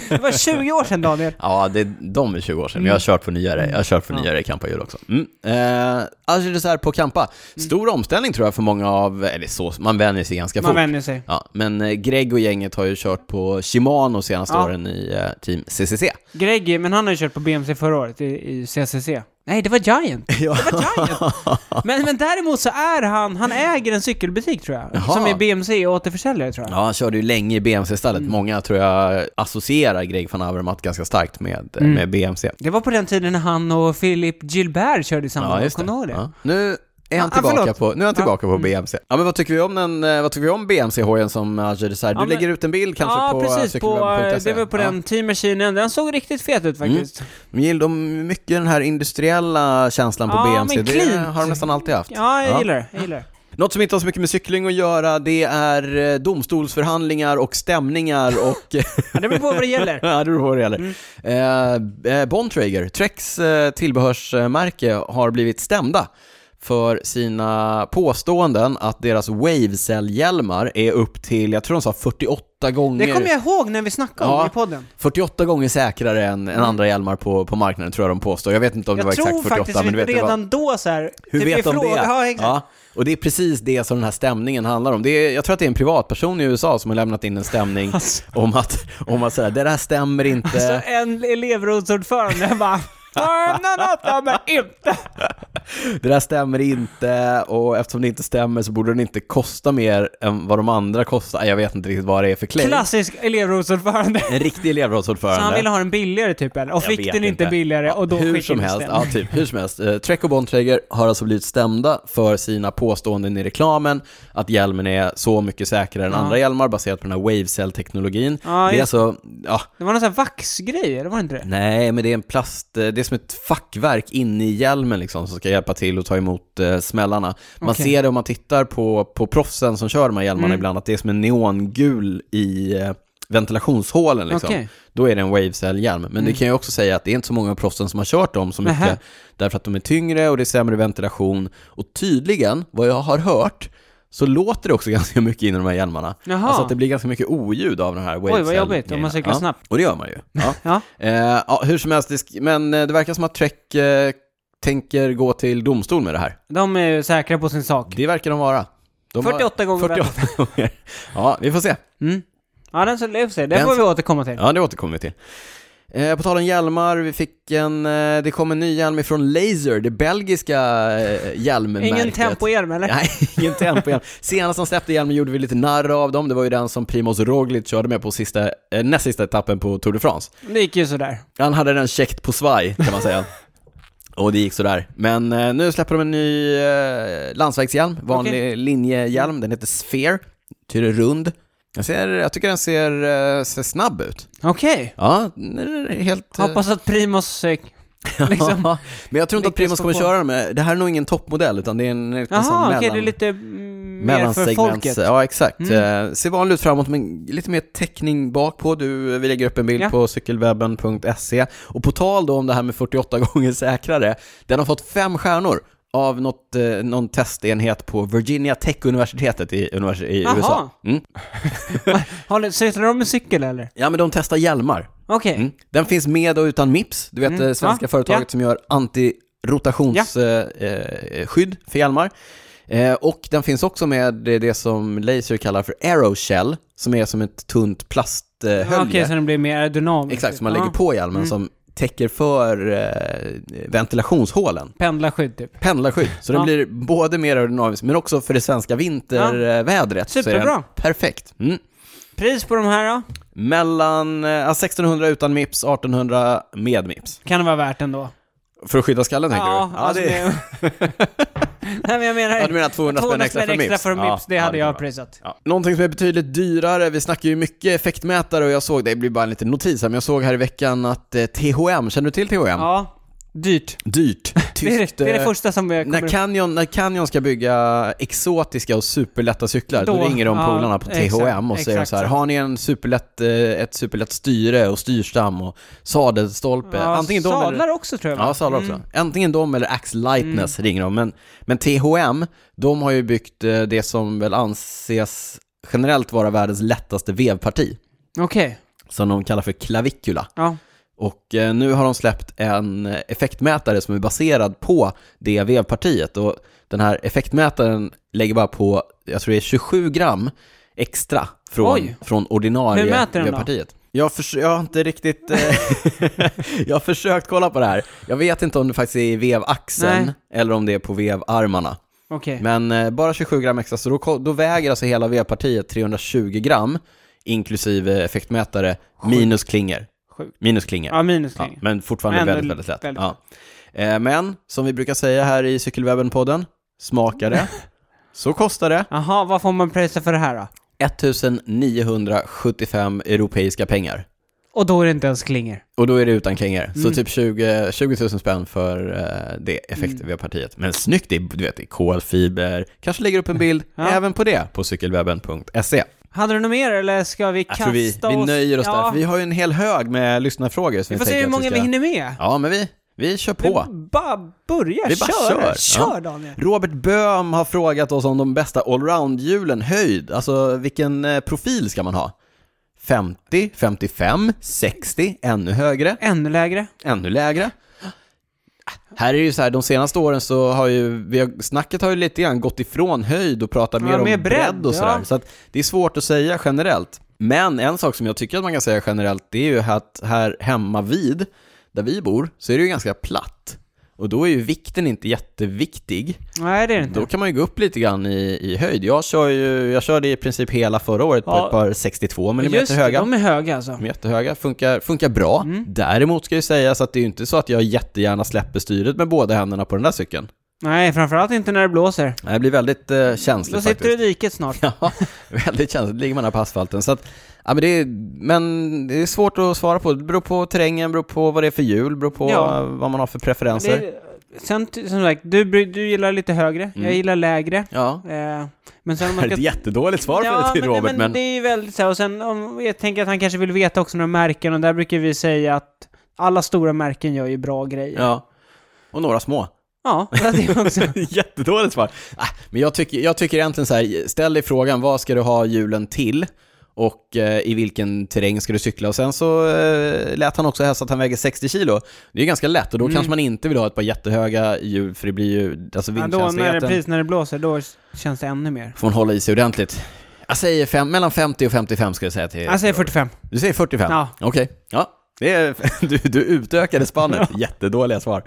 Speaker 2: Det var 20 år sedan Daniel.
Speaker 1: Ja, det, de är 20 år sedan, men jag har kört på nyare, jag har kört på
Speaker 2: Mm. Ja.
Speaker 1: nyare Kampa-hjul också. Mm. Eh, alltså det är så här på Kampa,
Speaker 2: Mm.
Speaker 1: stor omställning tror jag för många av, eller så, man vänjer sig ganska
Speaker 2: Man
Speaker 1: fort.
Speaker 2: vänjer sig.
Speaker 1: Ja, men eh, Greg och gänget har ju kört på Shimano senaste
Speaker 2: Ja.
Speaker 1: åren i eh, Team CCC.
Speaker 2: Greggy, men han har ju kört på BMC förra året i, i CCC. Nej, det var Giant.
Speaker 1: Ja.
Speaker 2: Det var Giant. Men, men däremot så är han, han äger en cykelbutik tror jag.
Speaker 1: Jaha.
Speaker 2: Som är BMC-återförsäljare tror jag.
Speaker 1: Ja, han körde ju länge i BMC-stallet.
Speaker 2: Mm.
Speaker 1: Många tror jag associerar Greg van Avermaet ganska starkt med, eh,
Speaker 2: Mm.
Speaker 1: med BMC.
Speaker 2: Det var på den tiden när han och Philip Gilbert körde i samma
Speaker 1: Ja,
Speaker 2: lag,
Speaker 1: just det.
Speaker 2: kommer du ihåg det?
Speaker 1: Ja. Nu är han
Speaker 2: Ah, ah,
Speaker 1: tillbaka,
Speaker 2: förlåt. Mm.
Speaker 1: på, nu är han tillbaka på BMC. Ja, men vad tycker vi om, den, eh, vad tycker vi om BMC-hojen som Alger säger? Du
Speaker 2: Ja, men-
Speaker 1: lägger ut en bild kanske
Speaker 2: ja,
Speaker 1: på eh,
Speaker 2: precis. På,
Speaker 1: cykelwebben.se.
Speaker 2: det var på
Speaker 1: Ja. Mm.
Speaker 2: den Team Machinen. Den såg riktigt fet ut faktiskt.
Speaker 1: Men gillar de mycket den här industriella känslan på
Speaker 2: Ja,
Speaker 1: BMC?
Speaker 2: men
Speaker 1: Det
Speaker 2: clean.
Speaker 1: har de nästan alltid haft.
Speaker 2: Ja, jag gillar det. Jag gillar det.
Speaker 1: Något som inte har så mycket med cykling att göra, det är eh, domstolsförhandlingar och stämningar och
Speaker 2: Ja, det beror på vad det gäller.
Speaker 1: Ja, det beror på vad det gäller.
Speaker 2: Mm.
Speaker 1: Eh, eh, Bontrager, Treks eh, tillbehörsmärke, har blivit stämda för sina påståenden att deras Wavecell-hjälmar är upp till, jag tror de sa 48 gånger,
Speaker 2: Det kommer jag ihåg när vi snackade om
Speaker 1: Ja.
Speaker 2: i podden.
Speaker 1: 48 gånger säkrare än, än andra hjälmar på, på marknaden, tror jag de påstår. Jag vet inte om det
Speaker 2: Mm. Jag
Speaker 1: var
Speaker 2: tror
Speaker 1: exakt 48,
Speaker 2: faktiskt
Speaker 1: men du vet, det var,
Speaker 2: redan då så här,
Speaker 1: hur
Speaker 2: typ
Speaker 1: vet de det?
Speaker 2: ifråga- Ja, exakt.
Speaker 1: och det är precis det som den här stämningen handlar om. Det är, jag tror att det är en privatperson i USA som har lämnat in en stämning
Speaker 2: Alltså.
Speaker 1: om att, om att säga, det där stämmer inte.
Speaker 2: Så Alltså, en elevrådsordförande bara Öronen öppnar men inte!
Speaker 1: Det där stämmer inte och eftersom det inte stämmer så borde den inte kosta mer än vad de andra kostar. Jag vet inte riktigt vad det är för claim.
Speaker 2: Klassisk elevrådsordförande.
Speaker 1: En riktig elevrådsordförande.
Speaker 2: Så han ville ha den billigare typ eller? Och
Speaker 1: Jag
Speaker 2: fick
Speaker 1: vet
Speaker 2: den inte billigare och då
Speaker 1: hur
Speaker 2: skickades
Speaker 1: som helst,
Speaker 2: den.
Speaker 1: ja, typ, hur som helst. Eh, Trek och Bontrager har alltså blivit stämda för sina påståenden i reklamen att hjälmen är så mycket säkrare än andra hjälmar baserat på den här Wavecell-teknologin.
Speaker 2: Ja,
Speaker 1: det är
Speaker 2: just-
Speaker 1: alltså, ja,
Speaker 2: Det var någon sån här vaxgrej, eller var det inte det?
Speaker 1: Nej, men det är en plast, eh, det är som ett fackverk inne i hjälmen liksom, som ska hjälpa till och ta emot eh, smällarna. Man
Speaker 2: Okej. Mm.
Speaker 1: ser det om man tittar på, på proffsen som kör de här hjälmarna ibland, att det är som en neongul i eh, ventilationshålen liksom.
Speaker 2: Okej. Mm.
Speaker 1: Då är det en wavecell-hjälm. Men det kan jag också säga att det är inte så många av proffsen som har kört dem så mycket,
Speaker 2: Nähä.
Speaker 1: därför att de är tyngre och det är sämre ventilation. Och tydligen, vad jag har hört, så låter det också ganska mycket in i de här hjälmarna.
Speaker 2: Jaha.
Speaker 1: Alltså att det blir ganska mycket oljud av den här wavecell
Speaker 2: jobbigt om man cyklar
Speaker 1: ja.
Speaker 2: snabbt.
Speaker 1: Och det gör man ju. Ja.
Speaker 2: Ja.
Speaker 1: Eh, ja, hur som helst, det sk- men eh, det verkar som att Trek eh, tänker gå till domstol med det här.
Speaker 2: De är ju säkra på sin sak.
Speaker 1: Det verkar de vara. De har-
Speaker 2: 48 gånger
Speaker 1: 48 gånger. Ja, vi får se.
Speaker 2: Mm. Ja, den så det får se. Det
Speaker 1: Den-
Speaker 2: får vi återkomma till.
Speaker 1: Ja, det återkommer vi till. Eh, på tal om hjälmar, vi fick en, eh, det kom en ny hjälm ifrån Laser, det belgiska eh, hjälmmärket.
Speaker 2: Ingen tempohjälm eller?
Speaker 1: Nej, ingen tempohjälm. Senast de släppte hjälmen gjorde vi lite narr av dem, det var ju den som Primoz Roglic körde med på sista, eh, näst sista etappen på Tour de France.
Speaker 2: Det gick ju sådär.
Speaker 1: Han hade den käckt på svaj, kan man säga. Och det gick sådär. Men eh, nu släpper de en ny eh, landsvägshjälm, vanlig linjehjälm. Den heter Sphere, betyder rund. Jag, ser, jag tycker den ser, eh, ser snabb ut.
Speaker 2: Okej.
Speaker 1: Ja, den är helt... eh,
Speaker 2: Hoppas att Primus eh, Liksom.
Speaker 1: Ja, men jag tror inte att Primus
Speaker 2: lyckas få
Speaker 1: kommer
Speaker 2: på-
Speaker 1: köra dem. Det här är nog ingen toppmodell, utan det är en, en sån
Speaker 2: Jaha,
Speaker 1: liksom
Speaker 2: okej,
Speaker 1: mellan,
Speaker 2: det är lite mm, mer för
Speaker 1: mellansegments.
Speaker 2: folket. Mm.
Speaker 1: Ja, exakt. Eh, ser vanligt ut framåt, men lite mer täckning bak på. Du, eh, vi lägger upp en bild
Speaker 2: Ja.
Speaker 1: på cykelwebben.se. Och på tal då om det här med 48 gånger säkrare, den har fått fem stjärnor av något, eh, någon testenhet på Virginia Tech-universitetet i, univers- i
Speaker 2: Jaha.
Speaker 1: USA. Mm.
Speaker 2: Har ni- Cyklar de med cykel eller?
Speaker 1: Ja, men de testar hjälmar.
Speaker 2: Okej.
Speaker 1: Mm. Den finns med och utan Mips, du vet
Speaker 2: Mm.
Speaker 1: det svenska
Speaker 2: Ja,
Speaker 1: företaget
Speaker 2: ja.
Speaker 1: som gör antirotationsskydd för hjälmar. Eh, Och den finns också med det det som Laser kallar för aeroshell, som är som ett tunt
Speaker 2: Ja,
Speaker 1: plasthölje.
Speaker 2: Ah, Okej, så Ah. Mm. den blir mer aerodynamisk.
Speaker 1: Exakt, som man
Speaker 2: Ja.
Speaker 1: lägger på hjälmen som täcker för eh, ventilationshålen.
Speaker 2: Pendlarskydd typ.
Speaker 1: Pendlarskydd, så den
Speaker 2: Ja.
Speaker 1: blir både mer aerodynamisk men också för det svenska vintervädret. så är den
Speaker 2: Superbra.
Speaker 1: Perfekt. Mm.
Speaker 2: Pris på de här då?
Speaker 1: Mellan eh, 1600 utan Mips, 1800 med Mips.
Speaker 2: Kan det vara värt ändå?
Speaker 1: För att skydda skallen tänker
Speaker 2: ja,
Speaker 1: du?
Speaker 2: alltså,
Speaker 1: det-
Speaker 2: det... Nej men jag menar...
Speaker 1: ja, du menar 200 spänn extra för Mips?
Speaker 2: för Mips,
Speaker 1: Ja,
Speaker 2: det
Speaker 1: ja,
Speaker 2: hade
Speaker 1: kan
Speaker 2: jag
Speaker 1: vara.
Speaker 2: prisat.
Speaker 1: Ja. Någonting som är betydligt dyrare, vi snackar ju mycket effektmätare och jag såg, det blir bara en liten notis här, men jag såg här i veckan att eh, THM, känner du till THM?
Speaker 2: Ja, dyrt.
Speaker 1: Dyrt, tyskt.
Speaker 2: Det är, det är det
Speaker 1: eh,
Speaker 2: första som jag
Speaker 1: när
Speaker 2: kommer...
Speaker 1: Canyon, när Canyon ska bygga exotiska och superlätta cyklar, då,
Speaker 2: Då-
Speaker 1: ringer de
Speaker 2: ja,
Speaker 1: polarna på
Speaker 2: exakt,
Speaker 1: THM och säger
Speaker 2: exakt
Speaker 1: så här,
Speaker 2: så.
Speaker 1: har ni en superlätt, eh, ett superlätt styre och styrstam och sadelstolpe?
Speaker 2: Ja,
Speaker 1: Antingen de eller-
Speaker 2: sadlar också tror jag. va? Mm.
Speaker 1: Ja, sadlar också. Antingen de eller Axe Lightness ringer de. Men, men THM, de har ju byggt eh, det som väl anses generellt vara världens lättaste vevparti,
Speaker 2: Okej.
Speaker 1: som de kallar för klavikula.
Speaker 2: Ja.
Speaker 1: Och eh, nu har de släppt en eh, effektmätare som är baserad på det vevpartiet. Och den här effektmätaren lägger bara på, jag tror det är 27 gram extra från,
Speaker 2: Oj.
Speaker 1: från ordinarie
Speaker 2: Hur mäter den då?
Speaker 1: vevpartiet. Jag, förs- jag har inte riktigt... Eh, jag har försökt kolla på det här. Jag vet inte om det faktiskt är i vevaxeln
Speaker 2: Nej.
Speaker 1: eller om det är på vevarmarna.
Speaker 2: Okej.
Speaker 1: Men eh, bara 27 gram extra, så då, ko- då väger alltså hela vevpartiet 320 gram inklusive effektmätare minus klingor.
Speaker 2: Sjukt.
Speaker 1: Minus klingor.
Speaker 2: Ja, minus
Speaker 1: Ja,
Speaker 2: kring.
Speaker 1: men fortfarande
Speaker 2: Men
Speaker 1: väldigt,
Speaker 2: ändå
Speaker 1: väldigt lätt.
Speaker 2: väldigt
Speaker 1: ja. Eh, Men, som vi brukar säga här i Cykelwebben-podden, smakar det, så kostar det
Speaker 2: Jaha, vad får man prisa för det här då?
Speaker 1: 1975 europeiska pengar.
Speaker 2: Och då är det inte ens klinger.
Speaker 1: Och då är det utan klingor.
Speaker 2: Mm.
Speaker 1: Så typ 20, 20 000 spänn för eh, det
Speaker 2: Mm.
Speaker 1: effektivpartiet. Men snyggt, det är, du vet, det är kolfiber. Kanske lägger upp en bild även på det på cykelwebben.se.
Speaker 2: Hade du något mer eller ska vi
Speaker 1: Jag
Speaker 2: kasta
Speaker 1: tror vi, vi
Speaker 2: oss?
Speaker 1: nöjer oss där,
Speaker 2: ja,
Speaker 1: för vi har ju en hel hög med lyssnarfrågor. Som
Speaker 2: Vi får se hur många vi hinner med.
Speaker 1: Ja, men vi, vi kör på.
Speaker 2: Vi bara börjar,
Speaker 1: Vi bara
Speaker 2: kör!
Speaker 1: kör.
Speaker 2: Kör
Speaker 1: Ja.
Speaker 2: Daniel!
Speaker 1: Robert Böhm har frågat oss om de bästa allroundhjulen höjd, alltså vilken eh, profil ska man ha? 50, 55, 60, ännu högre,
Speaker 2: Ännu lägre.
Speaker 1: ännu lägre. Här är det ju så här, de senaste åren så har ju, vi har, snacket har ju lite grann gått ifrån höjd och pratat
Speaker 2: Ja,
Speaker 1: mer om
Speaker 2: mer
Speaker 1: bredd,
Speaker 2: bredd,
Speaker 1: och sådär.
Speaker 2: ja.
Speaker 1: Så att det är svårt att säga generellt. Men en sak som jag tycker att man kan säga generellt, det är ju att här hemma vid, där vi bor, så är det ju ganska platt. Och då är ju vikten inte jätteviktig.
Speaker 2: Nej, det är det inte.
Speaker 1: Då kan man ju gå upp lite grann i, i höjd. Jag, kör ju, jag körde i princip hela förra året på
Speaker 2: Ja.
Speaker 1: ett par 62 mm
Speaker 2: Just det,
Speaker 1: höga.
Speaker 2: de Mm. är höga alltså.
Speaker 1: De är jättehöga, funkar, funkar bra. Däremot ska ju sägas att det är ju inte så att jag jättegärna släpper styret med båda händerna på den där cykeln.
Speaker 2: Nej, framförallt inte när det blåser.
Speaker 1: Det blir väldigt eh, känsligt
Speaker 2: Då
Speaker 1: faktiskt.
Speaker 2: sitter du i diket snart.
Speaker 1: Ja, väldigt känsligt. Ligger man här på asfalten. Så att, ja, men, det är, men det är svårt att svara på. Det beror på terrängen, beror på vad det är för hjul, beror på
Speaker 2: Ja.
Speaker 1: eh, vad man har för preferenser.
Speaker 2: Det, sen, ty- som sagt, du, bry- du gillar lite högre, jag gillar lägre.
Speaker 1: Ja.
Speaker 2: Eh, men sen
Speaker 1: Det
Speaker 2: om
Speaker 1: Mm.
Speaker 2: man
Speaker 1: är
Speaker 2: ska...
Speaker 1: ett jättedåligt svar
Speaker 2: Ja,
Speaker 1: för till
Speaker 2: men,
Speaker 1: Robert,
Speaker 2: men, det är ju väldigt så här, och sen om, jag tänker att han kanske vill veta också några märken och där brukar vi säga att alla stora märken gör ju bra grejer.
Speaker 1: ja. Och några små.
Speaker 2: Ja, det är också.
Speaker 1: Jättedåligt svar. Äh, men jag tycker, jag tycker egentligen så här, ställ dig frågan vad ska du ha hjulen till och eh, i vilken terräng ska du cykla? Och sen så eh, lät han också hälsa att han väger 60 kilo. Det är ju ganska lätt och då kanske man inte vill ha ett par jättehöga hjul för det blir ju, alltså
Speaker 2: Mm. Ja, då när det,
Speaker 1: vindkänsligheten
Speaker 2: precis när det blåser, då känns det ännu mer.
Speaker 1: får man hålla i sig ordentligt. Jag säger fem, mellan 50 och 55 ska jag säga till
Speaker 2: Jag säger 45.
Speaker 1: Du säger 45?
Speaker 2: Ja.
Speaker 1: Okej. Ja. Det är, du, du utökade spannet. Jättedåliga svar.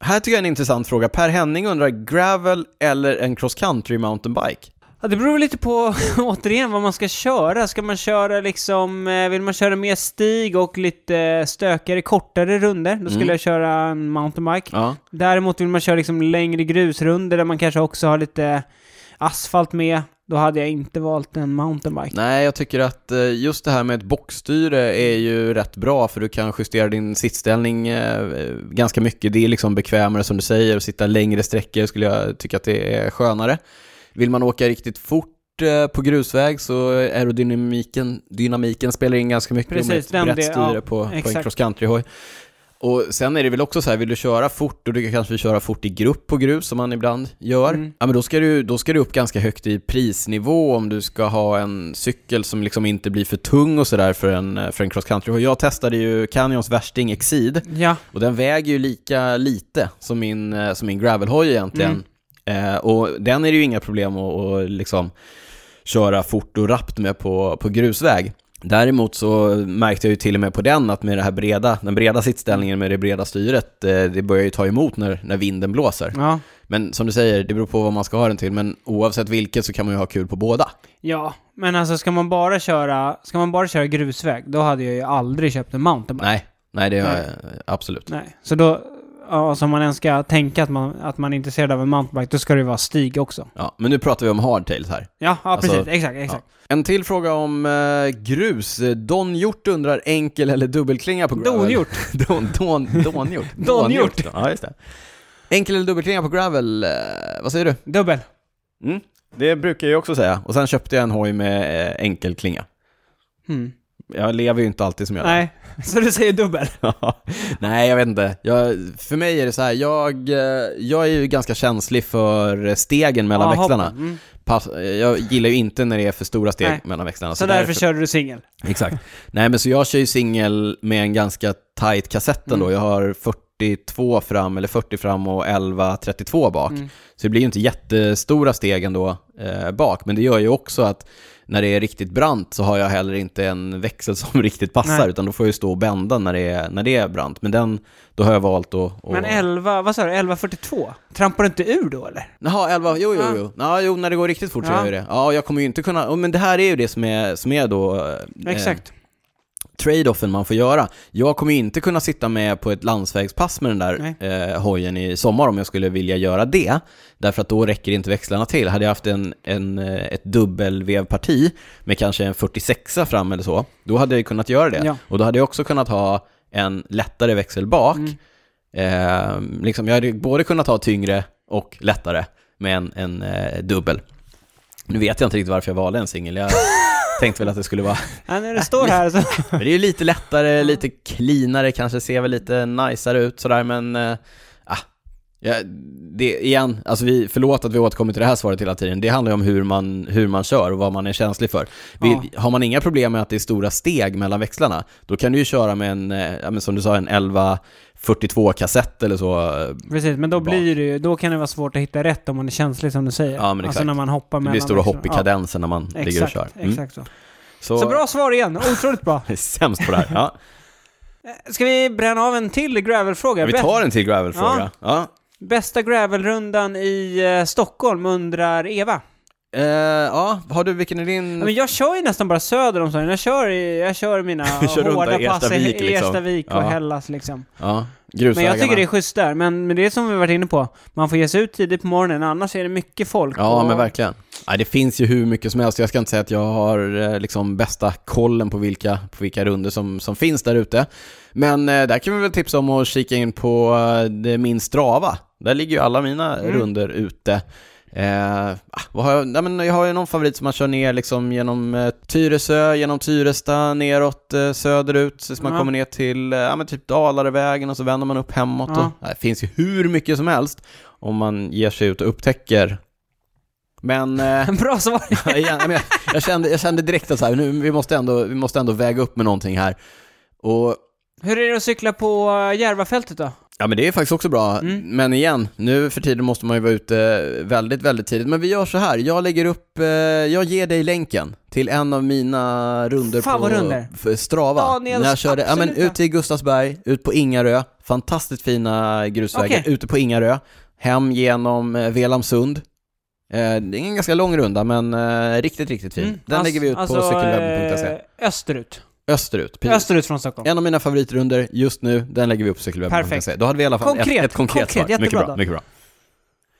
Speaker 1: Här tycker jag är en intressant fråga. Per Henning undrar, gravel eller en cross country mountainbike?
Speaker 2: Ja, det beror lite på, återigen, vad man ska köra. Ska man köra liksom, eh, vill man köra mer stig och lite stökigare, kortare runder då skulle jag köra en mountainbike.
Speaker 1: Mm. Ja.
Speaker 2: Däremot vill man köra liksom längre grusrunder där man kanske också har lite, ja asfalt med, då hade jag inte valt en mountainbike.
Speaker 1: Nej, jag tycker att eh, just det här med ett bockstyre är ju rätt bra för du kan justera din sittställning eh, ganska mycket. Det är liksom bekvämare som du säger och sitta längre sträckor skulle jag tycka att det är skönare. Vill man åka riktigt fort eh, på grusväg så aerodynamiken dynamiken spelar in ganska mycket
Speaker 2: Precis,
Speaker 1: med ett
Speaker 2: den
Speaker 1: brett
Speaker 2: det-
Speaker 1: styre på,
Speaker 2: ja,
Speaker 1: på en
Speaker 2: exakt.
Speaker 1: cross country-hoj. Och sen är det väl också så här, vill du köra fort, och du kanske vill köra fort i grupp på grus som man ibland gör,
Speaker 2: Mm.
Speaker 1: ja men då ska, du, då ska du upp ganska högt i prisnivå om du ska ha en cykel som liksom inte blir för tung och sådär för en, för en cross country. Och jag testade ju Canyons värsting Exceed,
Speaker 2: Ja,
Speaker 1: och den väger ju lika lite som min, eh, som min gravelhoj egentligen. Eh, och den är det ju inga problem att, att liksom köra fort och rappt med på, på grusväg. Däremot så märkte jag ju till och med på den att med det här breda, den breda sittställningen med det breda styret, eh, det börjar ju ta emot när, när vinden blåser.
Speaker 2: ja.
Speaker 1: Men som du säger, det beror på vad man ska ha den till, men oavsett vilket så kan man ju ha kul på båda.
Speaker 2: Ja, men alltså ska man bara köra, ska man bara köra grusväg, då hade jag ju aldrig köpt en mountainbike.
Speaker 1: Nej, nej det är
Speaker 2: Nej.
Speaker 1: absolut.
Speaker 2: Nej. Så då, ja, så om man ens ska tänka att man, att man är intresserad av en mountainbike, då ska det ju vara stig också.
Speaker 1: Ja, men nu pratar vi om hardtails här.
Speaker 2: Ja, ja
Speaker 1: Alltså,
Speaker 2: precis. Exakt, exakt.
Speaker 1: En till fråga om eh, grus. Don Hjort undrar enkel eller dubbelklinga på gravel?
Speaker 2: Dongjort.
Speaker 1: Don, don, dongjort.
Speaker 2: Don Hjort.
Speaker 1: Don Hjort. Ja, just det. Enkel eller dubbelklinga på gravel? eh, vad säger du?
Speaker 2: Dubbel.
Speaker 1: Mm. Det brukar jag också säga. Och sen köpte jag en hoj med eh, enkelklinga.
Speaker 2: Mm.
Speaker 1: Jag lever ju inte alltid som jag lär.
Speaker 2: Nej, så du säger dubbel?
Speaker 1: Nej, jag vet inte. Jag, för mig är det så här, jag, eh, jag är ju ganska känslig för eh, stegen mellan
Speaker 2: Ja,
Speaker 1: växlarna.
Speaker 2: hoppen. Mm.
Speaker 1: Pass, eh, jag gillar ju inte när det är för stora steg
Speaker 2: Nej.
Speaker 1: mellan växlarna.
Speaker 2: Så därför körde du singel?
Speaker 1: Exakt. Nej, men så jag kör ju singel med en ganska tight kassett ändå.
Speaker 2: Mm.
Speaker 1: Jag har 42 fram, eller 40 fram och 11, 32 bak.
Speaker 2: Mm.
Speaker 1: Så det blir ju inte jättestora steg ändå eh, bak, men det gör ju också att när det är riktigt brant så har jag heller inte en växel som riktigt passar,
Speaker 2: Nej.
Speaker 1: utan då får jag ju stå och bända när det är, när det är brant. Men den, då har jag valt att... att
Speaker 2: Men 11, vad sa du, 11.42? Trampar du inte ur då eller?
Speaker 1: Jaha, 11, jo, jo,
Speaker 2: Ja.
Speaker 1: jo. Ja, jo, när det går riktigt fort så
Speaker 2: Ja.
Speaker 1: gör jag ju det. Ja, jag kommer ju inte kunna... oh, Men det här är ju det som är, som är då... eh,
Speaker 2: Exakt.
Speaker 1: trade-offen man får göra. Jag kommer ju inte kunna sitta med på ett landsvägspass med den där
Speaker 2: Nej.
Speaker 1: eh, hojen i sommar om jag skulle vilja göra det. Därför att då räcker inte växlarna till. Hade jag haft en, en, eh, ett dubbelvevparti med kanske en 46 fram eller så, då hade jag ju kunnat göra det.
Speaker 2: Ja.
Speaker 1: Och då hade jag också kunnat ha en lättare växel bak.
Speaker 2: Mm.
Speaker 1: Eh, liksom, jag hade ju både kunnat ha tyngre och lättare med en, en eh, dubbel. Nu vet jag inte riktigt varför jag valde en singel. Jag tänkte väl att det skulle vara
Speaker 2: Ja, när det står här så...
Speaker 1: men det är ju lite lättare, lite cleanare, kanske ser väl lite najsare ut sådär, men... eh, ah, ja, det, igen, alltså vi, förlåt att vi återkommer till det här svaret hela tiden. Det handlar ju om hur man, hur man kör och vad man är känslig för. Vi,
Speaker 2: Ja.
Speaker 1: Har man inga problem med att det är stora steg mellan växlarna, då kan du ju köra med en, eh, ja, men som du sa, en 1142-kassett eller så. eh,
Speaker 2: Precis, men då
Speaker 1: Bak.
Speaker 2: blir det ju, då kan det vara svårt att hitta rätt om man är känslig som du säger.
Speaker 1: Ja, men
Speaker 2: Alltså
Speaker 1: exakt.
Speaker 2: när man hoppar
Speaker 1: Det
Speaker 2: mellan
Speaker 1: blir stora
Speaker 2: växlarna.
Speaker 1: hopp i
Speaker 2: Ja,
Speaker 1: kadensen när man ligger och kör.
Speaker 2: Exakt,
Speaker 1: Mm.
Speaker 2: exakt så. Så bra svar igen, otroligt bra.
Speaker 1: Sämst på det här. Ja.
Speaker 2: Ska vi bränna av en till gravelfråga?
Speaker 1: Vi
Speaker 2: Bä-
Speaker 1: tar en till gravelfråga. Ja.
Speaker 2: Bästa gravelrundan i eh, Stockholm undrar Eva.
Speaker 1: Eh, ja, har du, vilken är din
Speaker 2: Ja, Men jag kör ju nästan bara söder om Stockholm. Jag kör, i, jag kör mina
Speaker 1: kör runt
Speaker 2: hårda
Speaker 1: där i
Speaker 2: pass
Speaker 1: Erstavik,
Speaker 2: i
Speaker 1: liksom.
Speaker 2: Erstavik och
Speaker 1: Ja.
Speaker 2: Hellas liksom.
Speaker 1: Ja,
Speaker 2: Men
Speaker 1: grusvägarna.
Speaker 2: jag tycker det är schysst där. Men, men det är som vi varit inne på. Man får ge sig ut tidigt på morgonen, annars är det mycket folk.
Speaker 1: Ja,
Speaker 2: och-
Speaker 1: men verkligen. Nej, det finns ju hur mycket som helst. Jag ska inte säga att jag har eh, liksom bästa kollen på vilka, på vilka runder som, som finns där ute. Men eh, där kan vi väl tipsa om att kika in på eh, det- min Strava. Där ligger ju alla mina
Speaker 2: Mm.
Speaker 1: runder ute. Eh, ah, vad har jag? Nej, men jag har ju någon favorit som man kör ner liksom genom eh, Tyresö, genom Tyresta, neråt eh, söderut, så man
Speaker 2: Ja.
Speaker 1: kommer ner till eh, ja, men typ Dalarevägen och så vänder man upp hemåt.
Speaker 2: Ja.
Speaker 1: Och, nej, det finns ju hur mycket som helst om man ger sig ut och upptäcker. Men, eh,
Speaker 2: Bra svar!
Speaker 1: igen, jag, menar, jag, kände, jag kände direkt att så här, nu, vi, måste ändå, vi måste ändå väga upp med någonting här. Och
Speaker 2: Hur är det att cykla på eh, Järvafältet då?
Speaker 1: Ja men det är faktiskt också bra,
Speaker 2: Mm.
Speaker 1: men igen, nu för tiden måste man ju vara ute väldigt, väldigt tidigt. Men vi gör så här, jag lägger upp, eh, jag ger dig länken till en av mina runder
Speaker 2: Fan,
Speaker 1: på
Speaker 2: vad runder.
Speaker 1: f- Strava.
Speaker 2: Daniels
Speaker 1: När jag körde, ja men
Speaker 2: absoluta.
Speaker 1: ut till Gustavsberg, ut på Ingarö, fantastiskt fina grusvägar,
Speaker 2: Okej.
Speaker 1: ute på Ingarö, hem genom eh, Velamsund. Eh, det är en ganska lång runda, men eh, riktigt, riktigt fin.
Speaker 2: Mm.
Speaker 1: Den
Speaker 2: Alltså-
Speaker 1: lägger vi ut på
Speaker 2: alltså,
Speaker 1: cykelwebben.se.
Speaker 2: eh, Österut.
Speaker 1: Österut, precis.
Speaker 2: Österut från Stockholm.
Speaker 1: En av mina favoritrunder just nu, den lägger vi upp på cykelwebben.se.
Speaker 2: Perfekt.
Speaker 1: Då hade vi i alla fall ett,
Speaker 2: Konkret,
Speaker 1: ett konkret,
Speaker 2: konkret,
Speaker 1: svar. Mycket
Speaker 2: jättebra
Speaker 1: bra,
Speaker 2: då.
Speaker 1: mycket bra.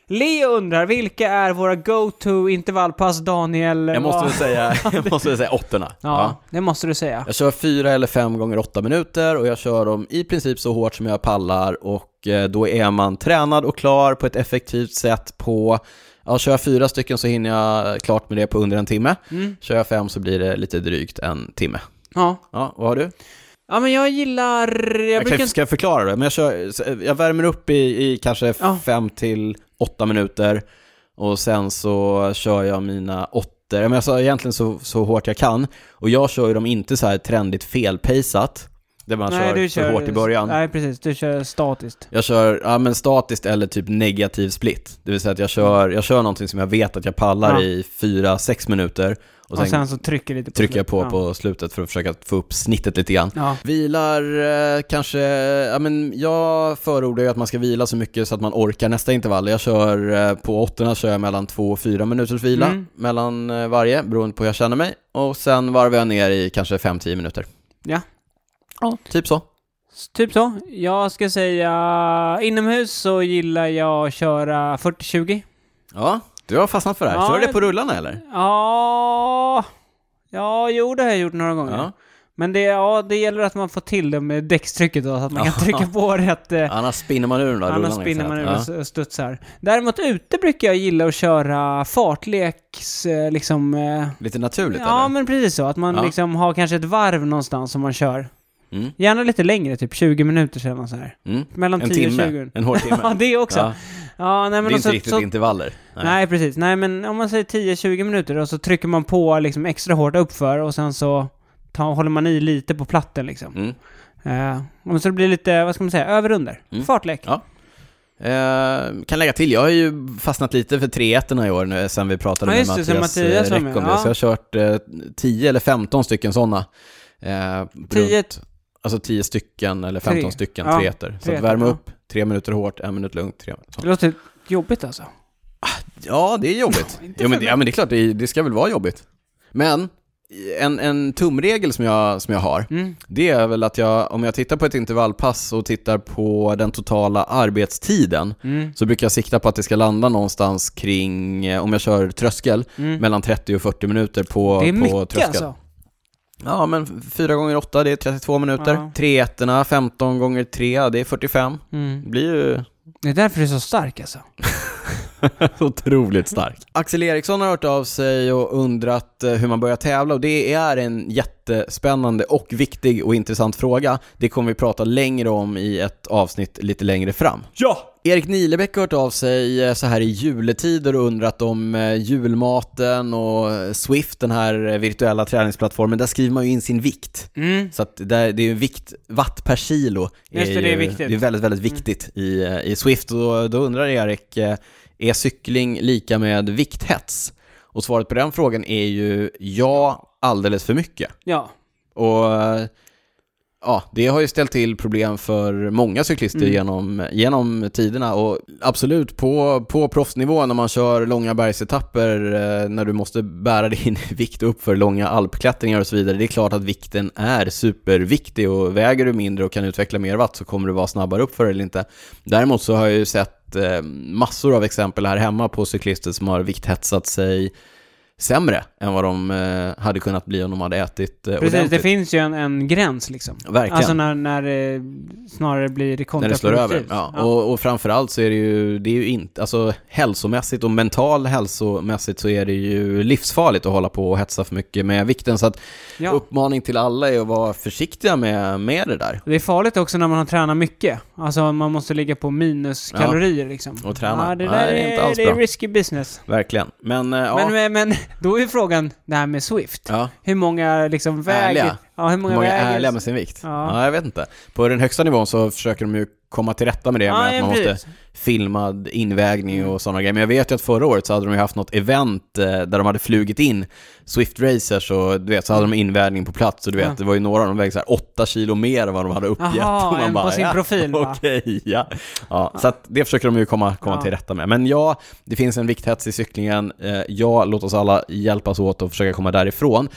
Speaker 2: Leo undrar, vilka är våra go-to intervallpass, Daniel?
Speaker 1: Jag måste
Speaker 2: Vad-
Speaker 1: väl säga, jag måste väl säga åttorna.
Speaker 2: Ja, det måste du säga.
Speaker 1: Jag kör fyra eller fem gånger åtta minuter och jag kör dem i princip så hårt som jag pallar och eh, då är man tränad och klar på ett effektivt sätt på Ja, kör jag fyra stycken så hinner jag klart med det på under en timme.
Speaker 2: Mm.
Speaker 1: Kör jag fem så blir det lite drygt en timme.
Speaker 2: Ja.
Speaker 1: Ja, vad har du?
Speaker 2: ja, men jag gillar... Jag,
Speaker 1: Jag
Speaker 2: brukar...
Speaker 1: kan, ska jag förklara det? Men jag, kör, jag värmer upp i, i kanske
Speaker 2: Ja.
Speaker 1: fem till åtta minuter och sen så kör jag mina åttor. Ja, men Jag sa egentligen så, så hårt jag kan och jag kör ju dem inte så här trendigt felpejsat där man
Speaker 2: Nej,
Speaker 1: kör,
Speaker 2: du
Speaker 1: alltså, för hårt i början.
Speaker 2: Nej, precis. Du kör statiskt.
Speaker 1: Jag kör ja, men statiskt eller typ negativ split. Det vill säga att jag kör, jag kör någonting som jag vet att jag pallar
Speaker 2: Ja.
Speaker 1: i fyra, sex minuter och
Speaker 2: Och
Speaker 1: sen,
Speaker 2: sen, så trycker lite på
Speaker 1: trycker jag på
Speaker 2: slut.
Speaker 1: på slutet för att försöka få upp snittet lite grann.
Speaker 2: Ja.
Speaker 1: Vilar eh, kanske, ja men jag förordar ju att man ska vila så mycket så att man orkar nästa intervall. Jag kör, eh, på åttorna kör jag mellan två och fyra minuters vila
Speaker 2: Mm.
Speaker 1: mellan eh, varje, beroende på hur jag känner mig. Och sen varvar jag ner i kanske fem-tio minuter.
Speaker 2: Ja.
Speaker 1: Ja, typ så.
Speaker 2: S- Typ så. Jag ska säga... Inomhus så gillar jag att köra 40-20.
Speaker 1: Ja, du har fastnat för det här.
Speaker 2: Ja,
Speaker 1: Kör du det
Speaker 2: jag-
Speaker 1: på rullarna eller?
Speaker 2: Ja... Ja, jo, det har jag gjort några gånger.
Speaker 1: Ja.
Speaker 2: Men det, ja, det gäller att man får till det med däckstrycket då, så att man kan trycka på rätt... eh,
Speaker 1: Annars spinner man ur den där
Speaker 2: Annars
Speaker 1: rullarna,
Speaker 2: spinner man ur
Speaker 1: exakt.
Speaker 2: och s- och studsar. Däremot ute brukar jag gilla att köra fartleks... eh, Liksom, eh,
Speaker 1: Ja. Lite naturligt
Speaker 2: ja,
Speaker 1: eller?
Speaker 2: men precis så. Att man
Speaker 1: Ja.
Speaker 2: liksom har kanske ett varv någonstans som man kör.
Speaker 1: Mm.
Speaker 2: Gärna lite längre, typ 20 minuter sedan så här.
Speaker 1: Mm.
Speaker 2: Mellan
Speaker 1: En
Speaker 2: 10 och
Speaker 1: timme,
Speaker 2: 20.
Speaker 1: en hård timme.
Speaker 2: Ja, det också.
Speaker 1: Ja,
Speaker 2: Ja. nej, men
Speaker 1: det är
Speaker 2: och
Speaker 1: inte
Speaker 2: så,
Speaker 1: riktigt
Speaker 2: så,
Speaker 1: intervaller.
Speaker 2: nej. precis. Nej, men om man säger 10-20 minuter och så trycker man på liksom extra hårt uppför och sen så ta, håller man i lite på platten liksom.
Speaker 1: Mm.
Speaker 2: Eh, och så det blir lite, vad ska man säga, över under.
Speaker 1: Mm.
Speaker 2: Fartlek.
Speaker 1: Ja. Eh, kan lägga till, jag har ju fastnat lite för 3 1 i år nu, eh, sen vi pratade
Speaker 2: Ja,
Speaker 1: med
Speaker 2: just det, sen
Speaker 1: Mattias, eh,
Speaker 2: Mattias var
Speaker 1: Räck
Speaker 2: med,
Speaker 1: om det.
Speaker 2: ja.
Speaker 1: Så jag har kört eh, 10 eller 15 stycken sådana. Eh, runt-
Speaker 2: 10
Speaker 1: Alltså 10 stycken eller 15
Speaker 2: Tre.
Speaker 1: stycken
Speaker 2: Ja,
Speaker 1: 3 1 Så
Speaker 2: tre
Speaker 1: att värma
Speaker 2: ettor, ja.
Speaker 1: upp, 3 minuter hårt, 1 minut lugnt. Tre,
Speaker 2: Det låter jobbigt alltså.
Speaker 1: Ja, det är jobbigt.
Speaker 2: Inte
Speaker 1: jo, men,
Speaker 2: för
Speaker 1: det- ja, men det är klart, det, det ska väl vara jobbigt. Men en, en tumregel som jag, som jag har,
Speaker 2: Mm.
Speaker 1: det är väl att jag, om jag tittar på ett intervallpass och tittar på den totala arbetstiden,
Speaker 2: Mm.
Speaker 1: så brukar jag sikta på att det ska landa någonstans kring, eh, om jag kör tröskel,
Speaker 2: Mm.
Speaker 1: mellan 30 och 40 minuter på,
Speaker 2: det är
Speaker 1: på
Speaker 2: mycket
Speaker 1: tröskel.
Speaker 2: alltså.
Speaker 1: Ja, men 4 gånger 8 det är 32 minuter.
Speaker 2: Ja.
Speaker 1: 3 ettorna 15 gånger 3 det är 45. Det
Speaker 2: Mm.
Speaker 1: blir ju
Speaker 2: Det är därför du är så stark alltså.
Speaker 1: Otroligt stark. Axel Eriksson har hört av sig och undrat eh, hur man börjar tävla och det är en jättespännande och viktig och intressant fråga. Det kommer vi prata längre om i ett avsnitt lite längre fram.
Speaker 2: Ja!
Speaker 1: Erik Nilebäck har hört av sig eh, så här i juletider och undrat om eh, julmaten och eh, Swift, den här eh, virtuella träningsplattformen. Där skriver man ju in sin vikt.
Speaker 2: Mm.
Speaker 1: Så att det, är- det är ju vikt, watt per kilo.
Speaker 2: Just det, det är
Speaker 1: ju-
Speaker 2: viktigt. Mm.
Speaker 1: Det är väldigt, väldigt viktigt i, eh, i Swift. Och då, då undrar Erik, eh, är cykling lika med vikthets? Och svaret på den frågan är ju ja, alldeles för mycket.
Speaker 2: Ja.
Speaker 1: Och eh, ja, det har ju ställt till problem för många cyklister
Speaker 2: Mm.
Speaker 1: genom, genom tiderna. Och absolut, på, på proffsnivå när man kör långa bergsetapper, eh, när du måste bära din vikt upp för långa alpklättringar och så vidare, det är klart att vikten är superviktig och väger du mindre och kan utveckla mer watt så kommer du vara snabbare upp för det eller inte. Däremot så har jag ju sett eh, massor av exempel här hemma på cyklister som har vikthetsat sig sämre än vad de eh, hade kunnat bli om de hade ätit eh,
Speaker 2: Precis, det
Speaker 1: ordentligt.
Speaker 2: finns ju en, en gräns liksom.
Speaker 1: Verkligen.
Speaker 2: Alltså när, när det snarare blir
Speaker 1: när det
Speaker 2: kontraproduktivt.
Speaker 1: slår över. Ja. Och, och framförallt så är det ju, det är ju inte, alltså hälsomässigt och mental hälsomässigt så är det ju livsfarligt att hålla på och hetsa för mycket med vikten. Så att
Speaker 2: Ja.
Speaker 1: uppmaning till alla är att vara försiktiga med, med det där.
Speaker 2: Och Det är farligt också när man har tränat mycket. Alltså man måste ligga på minuskalorier liksom.
Speaker 1: Och träna.
Speaker 2: Ja, det där
Speaker 1: Nej,
Speaker 2: är,
Speaker 1: det är inte alls
Speaker 2: det är
Speaker 1: bra.
Speaker 2: risky business.
Speaker 1: Verkligen. Men, eh, ja.
Speaker 2: Men, men, men då är ju frågan, det här med Swift.
Speaker 1: ja.
Speaker 2: Hur många liksom väger...
Speaker 1: Ärliga.
Speaker 2: Ja, hur
Speaker 1: Hur
Speaker 2: många,
Speaker 1: många är
Speaker 2: väger...
Speaker 1: ärliga med sin vikt?
Speaker 2: Ja.
Speaker 1: Ja. jag vet inte. På den högsta nivån så försöker de ju komma till rätta med det
Speaker 2: Ja,
Speaker 1: med att man
Speaker 2: precis.
Speaker 1: måste filmad invägning
Speaker 2: Mm.
Speaker 1: och sådana grejer. Men jag vet ju att förra året så hade de ju haft något event eh, där de hade flugit in Swift Racers och du vet, så hade de invägning på plats och du vet,
Speaker 2: Mm. Ja.
Speaker 1: det var ju några av dem vägde så här 8 kilo mer än vad de hade uppgett.
Speaker 2: Jaha,
Speaker 1: och
Speaker 2: en på sin
Speaker 1: ja,
Speaker 2: profil, va?
Speaker 1: Okej, ja. ja. Så att det försöker de ju komma, komma
Speaker 2: Ja.
Speaker 1: till rätta med. Men ja, det finns en vikthets i cyklingen. Eh, Ja, låt oss alla hjälpas åt och försöka komma därifrån.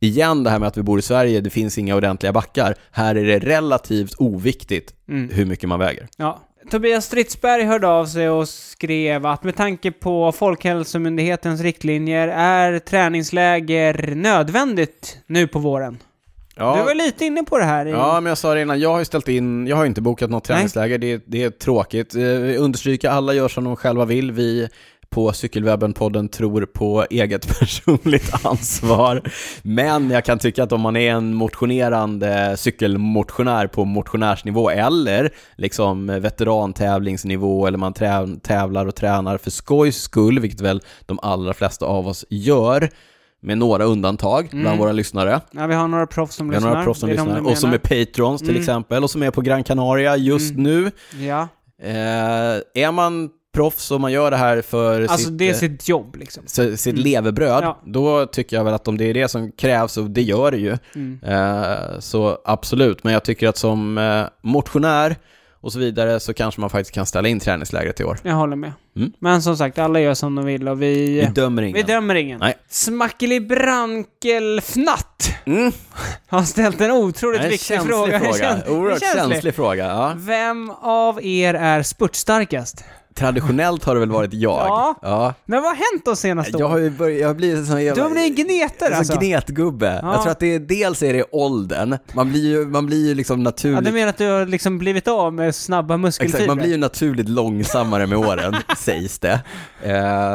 Speaker 1: Igen det här med att vi bor i Sverige, det finns inga ordentliga backar. Här är det relativt oviktigt
Speaker 2: Mm.
Speaker 1: hur mycket man väger.
Speaker 2: Ja. Tobias Stridsberg hörde av sig och skrev att med tanke på Folkhälsomyndighetens riktlinjer är träningsläger nödvändigt nu på våren.
Speaker 1: Ja,
Speaker 2: Du var lite inne på det här. i-
Speaker 1: ja, men jag sa det innan, jag har ju ställt in, jag har ju inte bokat något
Speaker 2: Nej.
Speaker 1: träningsläger, det, är- det är tråkigt. Eh, vi understryker, alla gör som de själva vill. Vi på Cykelwebben-podden tror på eget personligt ansvar. Men jag kan tycka att om man är en motionerande cykelmotionär på motionärsnivå eller liksom veterantävlingsnivå eller man trä- tävlar och tränar för skojs skull, vilket väl de allra flesta av oss gör, med några undantag bland
Speaker 2: Mm.
Speaker 1: våra lyssnare.
Speaker 2: Ja, vi har några proffs som
Speaker 1: Vi har
Speaker 2: lyssnar.
Speaker 1: några proffs som
Speaker 2: Det är de
Speaker 1: lyssnar,
Speaker 2: du
Speaker 1: och som är
Speaker 2: menar.
Speaker 1: patrons till
Speaker 2: Mm.
Speaker 1: exempel, och som är på Gran Canaria just nu.
Speaker 2: Ja.
Speaker 1: Eh, är man proffs och man gör det här för
Speaker 2: Alltså,
Speaker 1: sitt,
Speaker 2: det är
Speaker 1: eh,
Speaker 2: sitt jobb liksom.
Speaker 1: si- sitt levebröd,
Speaker 2: Ja.
Speaker 1: då tycker jag väl att om det är det som krävs, och det gör det ju,
Speaker 2: Mm.
Speaker 1: eh, så absolut. Men jag tycker att som eh, motionär och så vidare så kanske man faktiskt kan ställa in träningslägret i år.
Speaker 2: Jag håller med.
Speaker 1: Mm.
Speaker 2: Men som sagt, alla gör som de vill och vi...
Speaker 1: Vi dömer ingen.
Speaker 2: Vi dömer ingen.
Speaker 1: Nej.
Speaker 2: Smackeli-brankelfnatt
Speaker 1: Mm.
Speaker 2: har ställt en otroligt
Speaker 1: Det är en
Speaker 2: viktig
Speaker 1: känslig
Speaker 2: fråga.
Speaker 1: fråga.
Speaker 2: Det är käns- det är
Speaker 1: Oerhört
Speaker 2: känsligt.
Speaker 1: känslig fråga. Ja.
Speaker 2: Vem av er är spurtstarkast?
Speaker 1: Traditionellt har det väl varit jag.
Speaker 2: Ja.
Speaker 1: ja.
Speaker 2: Men vad har hänt de senaste
Speaker 1: Jag
Speaker 2: åren?
Speaker 1: har ju börjat, jag har blivit en sån
Speaker 2: Du
Speaker 1: jävla-
Speaker 2: har blivit en gnetare alltså?
Speaker 1: Alltså gnetgubbe.
Speaker 2: Ja.
Speaker 1: Jag tror att det är, dels är det åldern, man blir ju, man blir ju liksom
Speaker 2: Ja, du
Speaker 1: naturligt,
Speaker 2: menar att du har liksom blivit av med snabba
Speaker 1: exakt,
Speaker 2: muskelfibrer?
Speaker 1: man blir ju naturligt långsammare med åren, sägs det. Eh,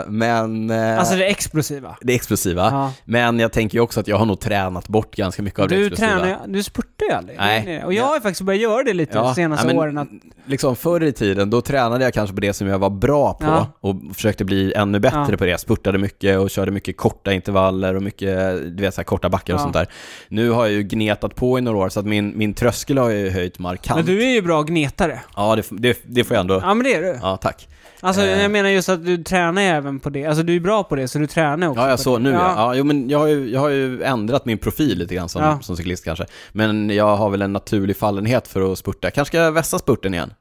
Speaker 1: men eh,
Speaker 2: Alltså det explosiva?
Speaker 1: det explosiva.
Speaker 2: Ja.
Speaker 1: Men jag tänker ju också att jag har nog tränat bort ganska mycket av det
Speaker 2: Du
Speaker 1: explosiva.
Speaker 2: tränar ju- du spurtar ju aldrig.
Speaker 1: Nej.
Speaker 2: Det är det. Och jag har ju faktiskt börjat göra det lite de senaste
Speaker 1: ja, men
Speaker 2: åren. Att,
Speaker 1: Liksom förr i tiden, då tränade jag kanske på det som jag var bra på
Speaker 2: Ja.
Speaker 1: och försökte bli ännu bättre
Speaker 2: Ja.
Speaker 1: på det. Jag spurtade mycket och körde mycket korta intervaller och mycket, du vet, så här, korta backar och
Speaker 2: Ja.
Speaker 1: sånt där. Nu har jag ju gnetat på i några år så att min, min tröskel har ju höjt markant.
Speaker 2: men du är ju bra gnetare.
Speaker 1: Ja, det, det, det får jag ändå.
Speaker 2: Ja men det är du.
Speaker 1: Ja, tack.
Speaker 2: Alltså
Speaker 1: Eh.
Speaker 2: jag menar just att du tränar ju även på det. Alltså du är bra på det, så du tränar också
Speaker 1: Ja, jag
Speaker 2: på
Speaker 1: så
Speaker 2: det.
Speaker 1: nu ja. ja jo, men jag har, ju, jag har ju ändrat min profil lite grann som,
Speaker 2: Ja.
Speaker 1: som cyklist kanske. Men jag har väl en naturlig fallenhet för att spurta. Kanske ska jag vässa spurten igen.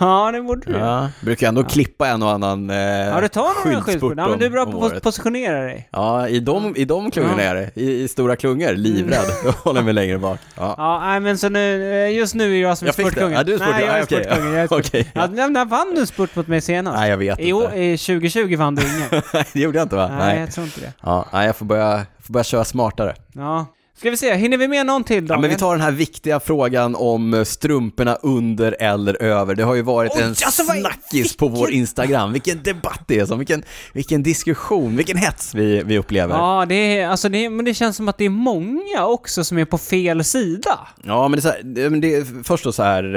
Speaker 2: Ja, det borde du. Ja,
Speaker 1: Ja. Brukar jag ändå klippa en och annan eh,
Speaker 2: ja du tar några skyltspurt. Ja, men du är bra
Speaker 1: om- om
Speaker 2: på att
Speaker 1: året.
Speaker 2: positionera dig.
Speaker 1: Ja, i de, i de klungorna
Speaker 2: Ja. Mm.
Speaker 1: är det. I, I stora klungor, livrädd. Då håller jag mig längre bak. Ja.
Speaker 2: Ja, nej men så nu, eh, just nu är jag som är
Speaker 1: Jag fick det.
Speaker 2: spurtkungen.
Speaker 1: Ja, du är spurtkungen.
Speaker 2: Nej, jag är
Speaker 1: Ja, okej.
Speaker 2: spurtkungen. Jag är spurtkungen.
Speaker 1: Okej.
Speaker 2: Ja, nej, när vann du en spurt mot mig senast?
Speaker 1: Nej, jag vet
Speaker 2: I år,
Speaker 1: inte.
Speaker 2: i 2020 vann du ingen. Nej,
Speaker 1: Nej, det gjorde jag inte va? Nej.
Speaker 2: jag tror inte det.
Speaker 1: Ja, nej, jag får börja, får börja köra smartare.
Speaker 2: Ja. Ska vi se, hinner vi med någon till då?
Speaker 1: Ja, men vi tar den här viktiga frågan om eh, strumporna under eller över. Det har ju varit
Speaker 2: Oj,
Speaker 1: en
Speaker 2: alltså, vad-
Speaker 1: snackis på vår Instagram. Vilken debatt det är som, vilken, vilken diskussion, vilken hets vi, vi upplever. Ja.
Speaker 2: Ja, det är, alltså det är, men det känns som att det är många också som är på fel sida.
Speaker 1: men det är så här, det- men det är först då så här,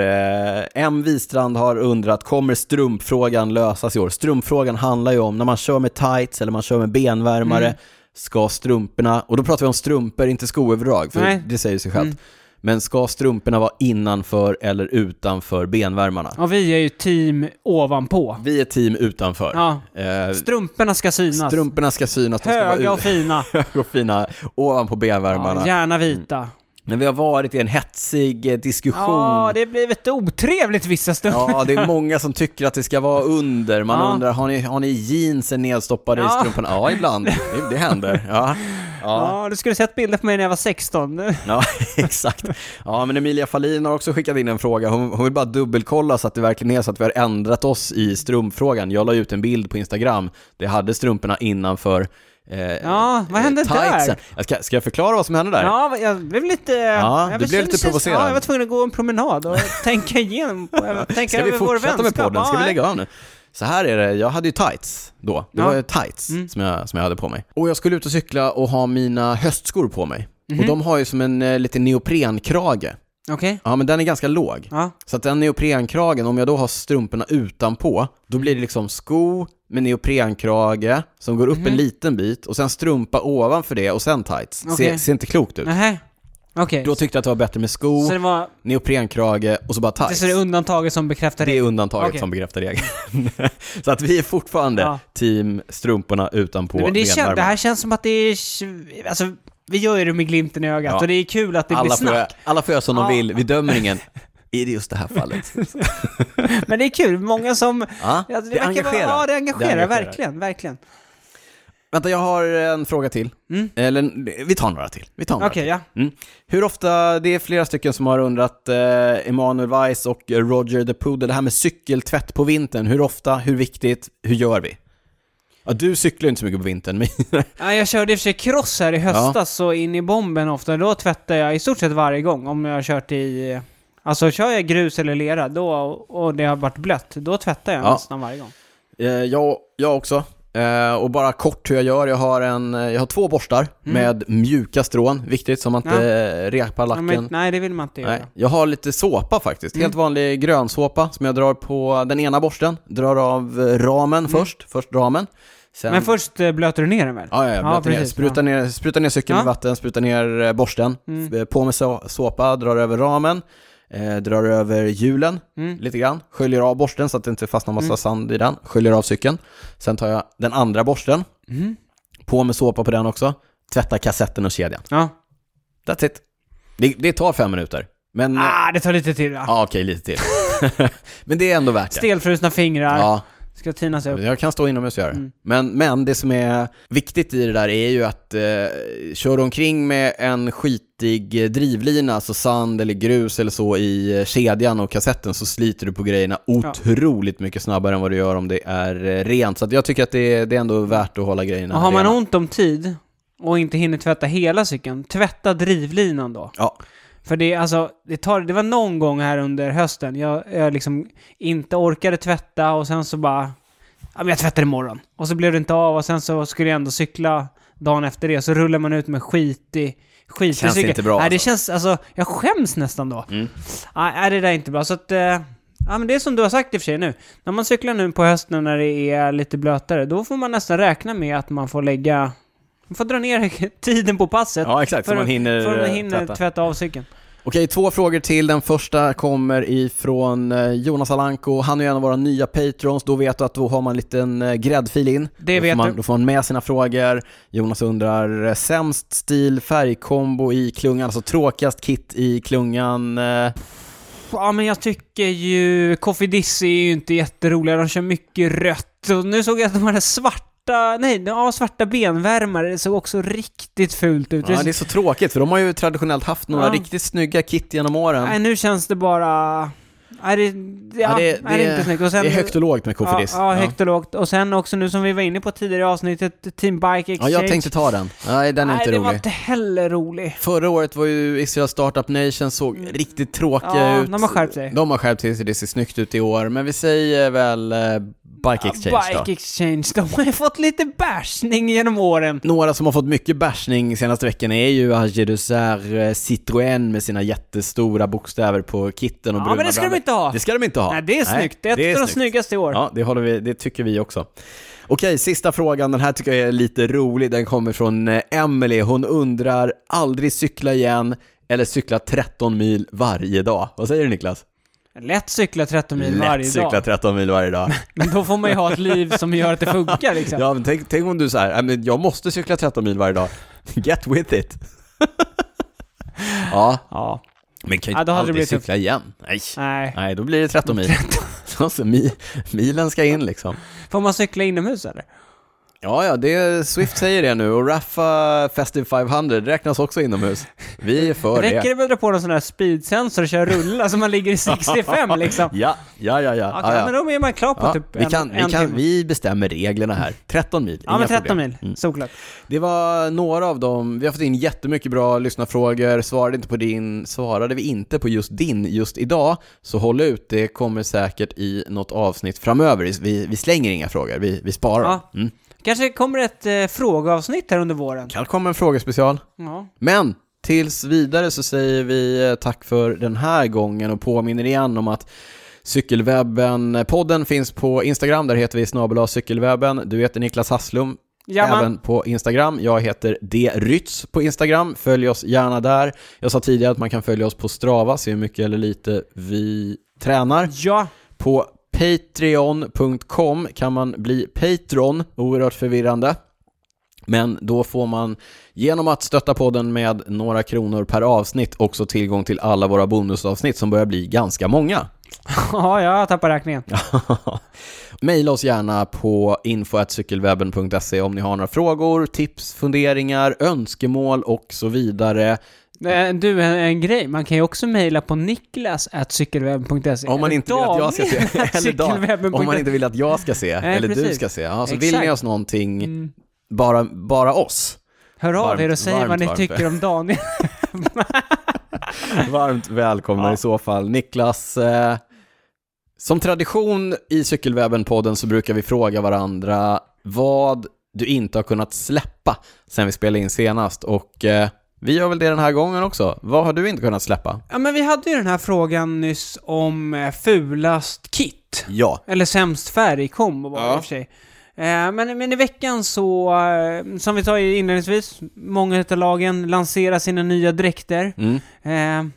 Speaker 1: eh, M. Wistrand har undrat, kommer strumpfrågan lösas i år? Strumpfrågan handlar ju om när man kör med tights eller man kör med benvärmare,
Speaker 2: Mm.
Speaker 1: ska strumporna, och då pratar vi om strumpor, inte skoöverdrag, för
Speaker 2: Nej. Mm.
Speaker 1: det säger sig självt. Men ska strumporna vara innanför eller utanför benvärmarna?
Speaker 2: Ja, vi är ju team ovanpå.
Speaker 1: Vi är team utanför.
Speaker 2: Ja.
Speaker 1: Eh,
Speaker 2: Strumporna ska synas.
Speaker 1: strumporna ska synas, de ska
Speaker 2: Höga
Speaker 1: vara
Speaker 2: och fina.
Speaker 1: höga och fina ovanpå benvärmarna.
Speaker 2: Ja, gärna
Speaker 1: Mm.
Speaker 2: vita.
Speaker 1: Men vi har varit i en hetsig eh, diskussion.
Speaker 2: Ja, det har blivit otrevligt vissa stunder.
Speaker 1: Ja, det är många som tycker att det ska vara under. Man
Speaker 2: Ja.
Speaker 1: undrar, har ni, har ni jeansen nedstoppade
Speaker 2: Ja.
Speaker 1: i strumporna? Ja, ibland. Det, det händer. Ja. Ja.
Speaker 2: Ja, du skulle sett bilder på mig när jag var 16.
Speaker 1: Ja, exakt. Ja, men Emilia Fahlin har också skickat in en fråga. Hon, hon vill bara dubbelkolla så att det verkligen är så att vi har ändrat oss i strumpfrågan. Jag la ut en bild på Instagram. Det hade strumporna innanför eh,
Speaker 2: Ja, vad hände där?
Speaker 1: Jag ska, ska jag förklara vad som hände där?
Speaker 2: Ja, vad- jag blev lite... jag
Speaker 1: du
Speaker 2: blev-
Speaker 1: blev lite
Speaker 2: kändes-
Speaker 1: provocerad.
Speaker 2: Ja, jag var tvungen att gå en promenad och tänka igenom, tänka
Speaker 1: Ska vi
Speaker 2: över vår
Speaker 1: fortsätta med
Speaker 2: vänskap.
Speaker 1: podden? Ska
Speaker 2: Ja,
Speaker 1: vi lägga av nu? Så här är det, jag hade ju tights då. Det
Speaker 2: Ja. Mm.
Speaker 1: var ju tights som, jag, som jag hade på mig. Och jag skulle ut och cykla och ha mina höstskor på mig.
Speaker 2: Mhm.
Speaker 1: Och de har ju som en eh, lite neoprenkrage.
Speaker 2: Okej.
Speaker 1: Ja, men den är ganska låg.
Speaker 2: Ja.
Speaker 1: Så att den neoprenkragen, om jag då har strumporna utanpå, då blir det liksom sko med neoprenkrage som går upp
Speaker 2: Mhm.
Speaker 1: en liten bit och sen strumpa ovanför det och sen tights. Ser,
Speaker 2: Okej.
Speaker 1: ser inte klokt ut.
Speaker 2: Nähä. Okej.
Speaker 1: Då tyckte jag att det var bättre med sko,
Speaker 2: Så det var...
Speaker 1: neoprenkrage och så bara
Speaker 2: Det är
Speaker 1: tights.
Speaker 2: så det är undantaget som bekräftar
Speaker 1: Det är
Speaker 2: det.
Speaker 1: undantaget
Speaker 2: Okej.
Speaker 1: som bekräftar regeln. så att vi är fortfarande
Speaker 2: Ja.
Speaker 1: team strumporna utanpå
Speaker 2: Men det, kän,
Speaker 1: benvärmarna.
Speaker 2: det här känns som att det är... Alltså, vi gör ju det med glimten i ögat
Speaker 1: Ja.
Speaker 2: och det är kul att det blir
Speaker 1: alla, får,
Speaker 2: snack.
Speaker 1: göra- alla får göra som
Speaker 2: Ja.
Speaker 1: de vill, vi dömer ingen. I just det här fallet.
Speaker 2: Men det är kul, många som...
Speaker 1: Ja,
Speaker 2: Ja, det,
Speaker 1: det
Speaker 2: verkar vara-
Speaker 1: engagerar.
Speaker 2: Ja, det
Speaker 1: Det
Speaker 2: engagerar,
Speaker 1: engagerar.
Speaker 2: verkligen, verkligen.
Speaker 1: Vänta, jag har en fråga till.
Speaker 2: Mm.
Speaker 1: Eller, vi tar några till. Vi tar några
Speaker 2: Okej, ja.
Speaker 1: till. Mm. Hur ofta, det är flera stycken som har undrat, eh, Emanuel Weiss och Roger the Poodle, det här med cykeltvätt på vintern. Hur ofta, hur viktigt, hur gör vi? Ja, du cyklar ju inte så mycket på vintern, men...
Speaker 2: Ja, jag körde i och för sig cross här i höstas så in i bomben ofta. Då tvättar jag i stort sett varje gång om jag har kört i... Alltså kör jag grus eller lera då, och det har varit blött, då tvättar jag
Speaker 1: Ja.
Speaker 2: nästan varje gång.
Speaker 1: Eh, jag, jag också. Eh, och bara kort hur jag gör. Jag har, en, eh, jag har två borstar med mjuka strån. Viktigt, så man inte ja. repar
Speaker 2: Mm. Ja,
Speaker 1: lacken.
Speaker 2: men, nej, det Mm. vill man inte göra.
Speaker 1: Nej, jag har lite såpa faktiskt. Helt vanlig grönsåpa som jag drar på den ena borsten. Drar av eh, ramen först. Först ramen. Sen...
Speaker 2: Mm. Men först eh, blöter du ner den väl?
Speaker 1: Ja, ja, blöter ner.
Speaker 2: precis,
Speaker 1: Spruta, ner, spruta ner cykeln
Speaker 2: Ja. Mm.
Speaker 1: med vatten, spruta ner eh, borsten, F- eh, på med så- såpa, drar över ramen, eh, drar över hjulen
Speaker 2: Mm.
Speaker 1: lite grann, sköljer av borsten så att det inte fastnar massa sand i den, sköljer av cykeln. Sen tar jag den andra borsten,
Speaker 2: Mm.
Speaker 1: på med såpa på den också, tvättar kassetten och kedjan.
Speaker 2: Ja.
Speaker 1: That's it. Det, det tar fem minuter, men...
Speaker 2: Ah, det tar lite till. Ja.
Speaker 1: Ja, okej, lite till. men det är ändå värt det.
Speaker 2: Stelfrusna fingrar,
Speaker 1: Ja,
Speaker 2: ska tinas upp.
Speaker 1: jag kan stå inomhus och göra det.
Speaker 2: Mm.
Speaker 1: Men, men det som är viktigt i det där är ju att eh, kör du omkring med en skitig eh, drivlina, alltså sand eller grus eller så i eh, kedjan och kassetten så sliter du på grejerna otroligt mycket snabbare än vad du gör om det är eh, rent. Så att jag tycker att det, är- det är ändå värt att hålla grejerna
Speaker 2: Och har man
Speaker 1: rena.
Speaker 2: ont om tid och inte hinner tvätta hela cykeln, tvätta drivlinan då.
Speaker 1: Ja,
Speaker 2: För det, är alltså, det, tar, det var någon gång här under hösten jag, jag liksom inte orkade tvätta och sen så bara... Ja, men jag tvättar imorgon. Och så blev det inte av och sen så skulle jag ändå cykla dagen efter det. Så rullar man ut med skit i skit
Speaker 1: Känns inte bra,
Speaker 2: Nej, det
Speaker 1: alltså. Mm.
Speaker 2: känns... Alltså, jag skäms nästan då. Nej, nej, det där är inte bra. Så att... eh, Ja, men det är som du har sagt i och för sig nu. När man cyklar nu på hösten när det är lite blötare, då får man nästan räkna med att man får lägga... Man får dra ner tiden på passet.
Speaker 1: ja exakt, så man hinner,
Speaker 2: för att man
Speaker 1: eh,
Speaker 2: hinner
Speaker 1: tvätta.
Speaker 2: tvätta av cykeln.
Speaker 1: Okej, två frågor till. Den första kommer ifrån eh, Jonas Alanko. Han är ju en av våra nya patrons. Då vet du att då har man en liten eh, gräddfil in.
Speaker 2: Det
Speaker 1: då,
Speaker 2: vet
Speaker 1: får man,
Speaker 2: du.
Speaker 1: då får man med sina frågor. Jonas undrar, eh, sämst stil färgkombo i klungan, alltså tråkigast kit i klungan. eh,
Speaker 2: Ja, men jag tycker ju... Coffee Dizzy är ju inte jätteroliga. De kör mycket rött. Och nu såg jag att de hade svarta... Nej, ja, svarta benvärmare. Det såg också riktigt fult ut.
Speaker 1: Ja, det är så tråkigt för de har ju traditionellt haft några
Speaker 2: Ja.
Speaker 1: riktigt snygga kit genom åren.
Speaker 2: Nej, nu känns det bara... Nej, det, det, ja,
Speaker 1: det-
Speaker 2: det, nej, det är
Speaker 1: det-
Speaker 2: inte snyggt. Och sen,
Speaker 1: det är högt och lågt med Kofidis.
Speaker 2: Ja, ja, högt och lågt. Och sen också nu som vi var inne på tidigare i avsnittet, Team Bike
Speaker 1: ja,
Speaker 2: Exchange.
Speaker 1: jag tänkte ta den. Nej, den är
Speaker 2: Nej,
Speaker 1: inte
Speaker 2: det
Speaker 1: rolig.
Speaker 2: var inte heller rolig.
Speaker 1: Förra året var ju Israel Startup Nation såg riktigt tråkiga
Speaker 2: Mm. Ja,
Speaker 1: ut.
Speaker 2: de har skärpt sig.
Speaker 1: De har skärpt sig, så det ser snyggt ut i år. Men vi säger väl eh, Bike Exchange
Speaker 2: Bike
Speaker 1: då.
Speaker 2: Exchange, de har ju fått lite bashning genom åren.
Speaker 1: Några som har fått mycket bashning senaste veckan är ju Agé Citroën med sina jättestora bokstäver på kitten och
Speaker 2: Ja,
Speaker 1: bruna
Speaker 2: men det ska de
Speaker 1: brallor.
Speaker 2: inte ha.
Speaker 1: Det ska de inte ha.
Speaker 2: Nej, det är snyggt. Det är ett av de snyggaste i år.
Speaker 1: Ja, det, håller vi, det tycker vi också. Okej, sista frågan. Den här tycker jag är lite rolig. Den kommer från eh, Emily. Hon undrar, aldrig cykla igen eller cykla 13 mil varje dag. Vad säger du Niklas?
Speaker 2: Lätt cykla 13 mil
Speaker 1: Lätt
Speaker 2: varje
Speaker 1: cykla
Speaker 2: dag.
Speaker 1: 13 mil varje dag.
Speaker 2: Men då får man ju ha ett liv som gör att det funkar liksom.
Speaker 1: ja, men tänk, tänk om du så här, "Nej, men jag måste cykla 13 mil varje dag. Get with it. ja,
Speaker 2: Ja.
Speaker 1: men kan ju
Speaker 2: Ja,
Speaker 1: inte
Speaker 2: då hade det
Speaker 1: alltid
Speaker 2: blivit
Speaker 1: cykla igen. Nej.
Speaker 2: Nej.
Speaker 1: Nej, då blir det 13 mil. alltså, mi, milen ska in liksom.
Speaker 2: Får man cykla inomhus eller?
Speaker 1: Ja, ja, det, Swift säger det nu och Raffa Festive 500 räknas också inomhus. Vi är för
Speaker 2: Räcker
Speaker 1: det.
Speaker 2: det med att dra på någon sån här speedsensor och köra rulla så man ligger i 65 liksom?
Speaker 1: Ja, ja, ja, ja.
Speaker 2: Okej,
Speaker 1: ja,
Speaker 2: men
Speaker 1: ja.
Speaker 2: då är man klar på
Speaker 1: Ja,
Speaker 2: typ
Speaker 1: vi, kan,
Speaker 2: en,
Speaker 1: vi,
Speaker 2: en
Speaker 1: kan,
Speaker 2: timme.
Speaker 1: vi bestämmer reglerna här. 13 mil,
Speaker 2: Ja, men
Speaker 1: inga
Speaker 2: 13
Speaker 1: problem. Mm.
Speaker 2: mil. Såklart.
Speaker 1: Det var några av dem. Vi har fått in jättemycket bra lyssnarfrågor. Svarade, inte på din, svarade vi inte på just din just idag, så håll ut. Det kommer säkert i något avsnitt framöver. Vi, vi slänger inga frågor, vi, vi sparar dem.
Speaker 2: Ja. Kanske kommer ett eh, frågeavsnitt här under våren.
Speaker 1: Kan komma en frågespecial.
Speaker 2: Ja.
Speaker 1: Men tills vidare så säger vi eh, tack för den här gången och påminner igen om att Cykelwebben-podden finns på Instagram, där heter vi snabel cykelwebben. Du heter Niklas Hasslum,
Speaker 2: Jajamän.
Speaker 1: även på Instagram. Jag heter drytz på Instagram. Följ oss gärna där. Jag sa tidigare att man kan följa oss på Strava, se hur mycket eller lite vi tränar.
Speaker 2: ja.
Speaker 1: På patreon.com kan man bli patron, oerhört förvirrande. Men då får man genom att stötta podden med några kronor per avsnitt också tillgång till alla våra bonusavsnitt som börjar bli ganska många.
Speaker 2: ja, jag tappar räkningen.
Speaker 1: Maila oss gärna på info.cykelwebben.se om ni har några frågor, tips, funderingar, önskemål och så vidare.
Speaker 2: Eh, Du, en, en grej. Man kan ju också mejla på niklas.cykelwebben.se.
Speaker 1: Om man inte vill att jag ska se. Eller Dan, om man
Speaker 2: Cykelwebben.se.
Speaker 1: inte vill att jag ska se,
Speaker 2: Nej,
Speaker 1: eller du
Speaker 2: precis.
Speaker 1: ska se. Ja, så
Speaker 2: Exakt.
Speaker 1: vill ni oss någonting, bara, bara oss.
Speaker 2: Mm. Hör av
Speaker 1: Varmt,
Speaker 2: er och säg vad
Speaker 1: varmt,
Speaker 2: ni
Speaker 1: varmt.
Speaker 2: tycker om Daniel.
Speaker 1: Varmt välkomna i så fall. Niklas, eh, som tradition i Cykelwebben-podden så brukar vi fråga varandra vad du inte har kunnat släppa sen vi spelade in senast. Och eh, vi gör väl det den här gången också. Vad har du inte kunnat släppa?
Speaker 2: ja, men vi hade ju den här frågan nyss om eh, fulast kit.
Speaker 1: Ja.
Speaker 2: Eller sämst färg kom och var det i
Speaker 1: Ja.
Speaker 2: och för sig. Eh, Men, men i veckan så, eh, som vi sa inledningsvis, många utav lagen lanserar sina nya dräkter.
Speaker 1: Mm.
Speaker 2: Eh,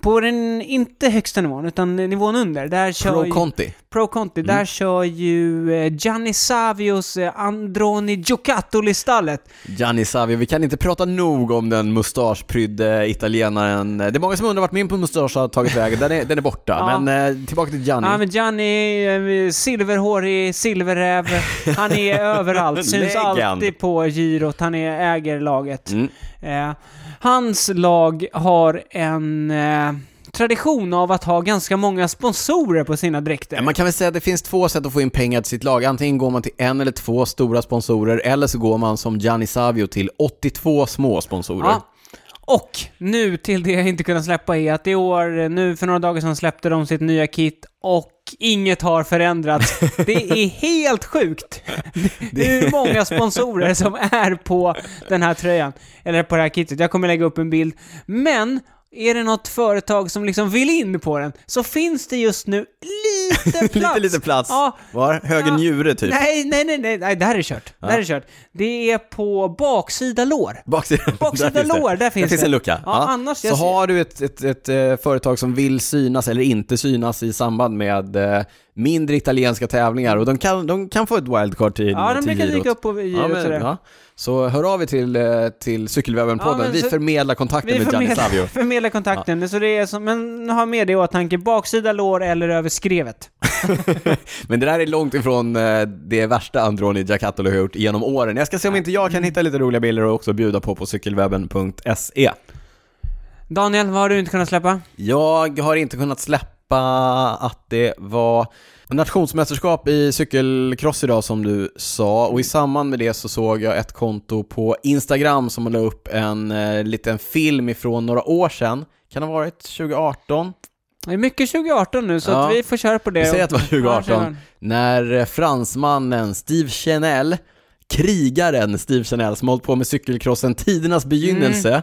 Speaker 2: På den, inte högsta nivån, utan nivån under, där kör
Speaker 1: Pro
Speaker 2: ju-
Speaker 1: Conti.
Speaker 2: Pro Conti,
Speaker 1: Mm.
Speaker 2: där kör ju eh, Gianni Savios eh, Androni Giocattoli-stallet.
Speaker 1: Gianni Savio, vi kan inte prata nog om den mustaschprydde italienaren. Det är många som undrar vart min mustasch har tagit vägen. Den är, den är borta.
Speaker 2: Ja.
Speaker 1: Men eh, tillbaka till Gianni.
Speaker 2: Ja, men Gianni, eh, silverhårig, silverräv. Han är överallt, syns
Speaker 1: Legend.
Speaker 2: alltid på girot. Han är, äger laget.
Speaker 1: Mm.
Speaker 2: Eh, hans lag har en eh, tradition av att ha ganska många sponsorer på sina dräkter.
Speaker 1: Man kan väl säga att det finns två sätt att få in pengar till sitt lag. Antingen går man till en eller två stora sponsorer, eller så går man som Gianni Savio till 82 små sponsorer.
Speaker 2: Ja. Och nu till det jag inte kunnat släppa är att i år, nu för några dagar sedan släppte de sitt nya kit och inget har förändrats. Det är helt sjukt hur många sponsorer som är på den här tröjan. Eller på det här kitet. Jag kommer lägga upp en bild. Men är det något företag som liksom vill in på den så finns det just nu lite plats.
Speaker 1: lite, lite plats.
Speaker 2: Ja,
Speaker 1: Var? Höger
Speaker 2: Ja.
Speaker 1: njure, typ.
Speaker 2: Nej, nej, nej, nej, nej, det här är kört. Det här är kört. Det är på baksida lår.
Speaker 1: Baksidan,
Speaker 2: Baksida
Speaker 1: där finns det.
Speaker 2: lår, där finns
Speaker 1: finns
Speaker 2: det.
Speaker 1: en lucka.
Speaker 2: Ja, annars-
Speaker 1: så
Speaker 2: jag ser-
Speaker 1: har du ett, ett, ett eh, företag som vill synas eller inte synas i samband med eh, mindre italienska tävlingar och de kan, de kan få ett wildcard till
Speaker 2: Ja, de
Speaker 1: till
Speaker 2: brukar
Speaker 1: girot.
Speaker 2: dyka upp på
Speaker 1: Ja,
Speaker 2: girot
Speaker 1: men,
Speaker 2: sådär.
Speaker 1: ja. Så hör av er till, eh, till
Speaker 2: Ja,
Speaker 1: Cykelwebben-podden.
Speaker 2: men
Speaker 1: vi
Speaker 2: så-
Speaker 1: förmedlar kontakten
Speaker 2: Vi
Speaker 1: med Gianni
Speaker 2: förmedlar,
Speaker 1: Savio.
Speaker 2: förmedlar kontakten, så det är som, men ha med det i åtanke, baksida lår eller över skrevet.
Speaker 1: Men det där är långt ifrån eh, det värsta Androni Giacattolo har gjort genom åren. Jag ska se om inte jag kan hitta lite roliga bilder och också bjuda på på cykelwebben.se.
Speaker 2: Daniel, vad har du inte kunnat släppa?
Speaker 1: Jag har inte kunnat släppa att det var nationsmästerskap i cykelcross idag som du sa och i samband med det så såg jag ett konto på Instagram som la upp en eh, liten film ifrån några år sedan. Kan det ha varit 2018?
Speaker 2: Det är mycket 2018 nu, så
Speaker 1: Ja.
Speaker 2: att vi får köra på det.
Speaker 1: Vi säger att det var 2018.
Speaker 2: Ja, kör.
Speaker 1: När eh, fransmannen Steve Chanel, krigaren Steve Chanel, som hållit på med cykelcrossen tidernas begynnelse,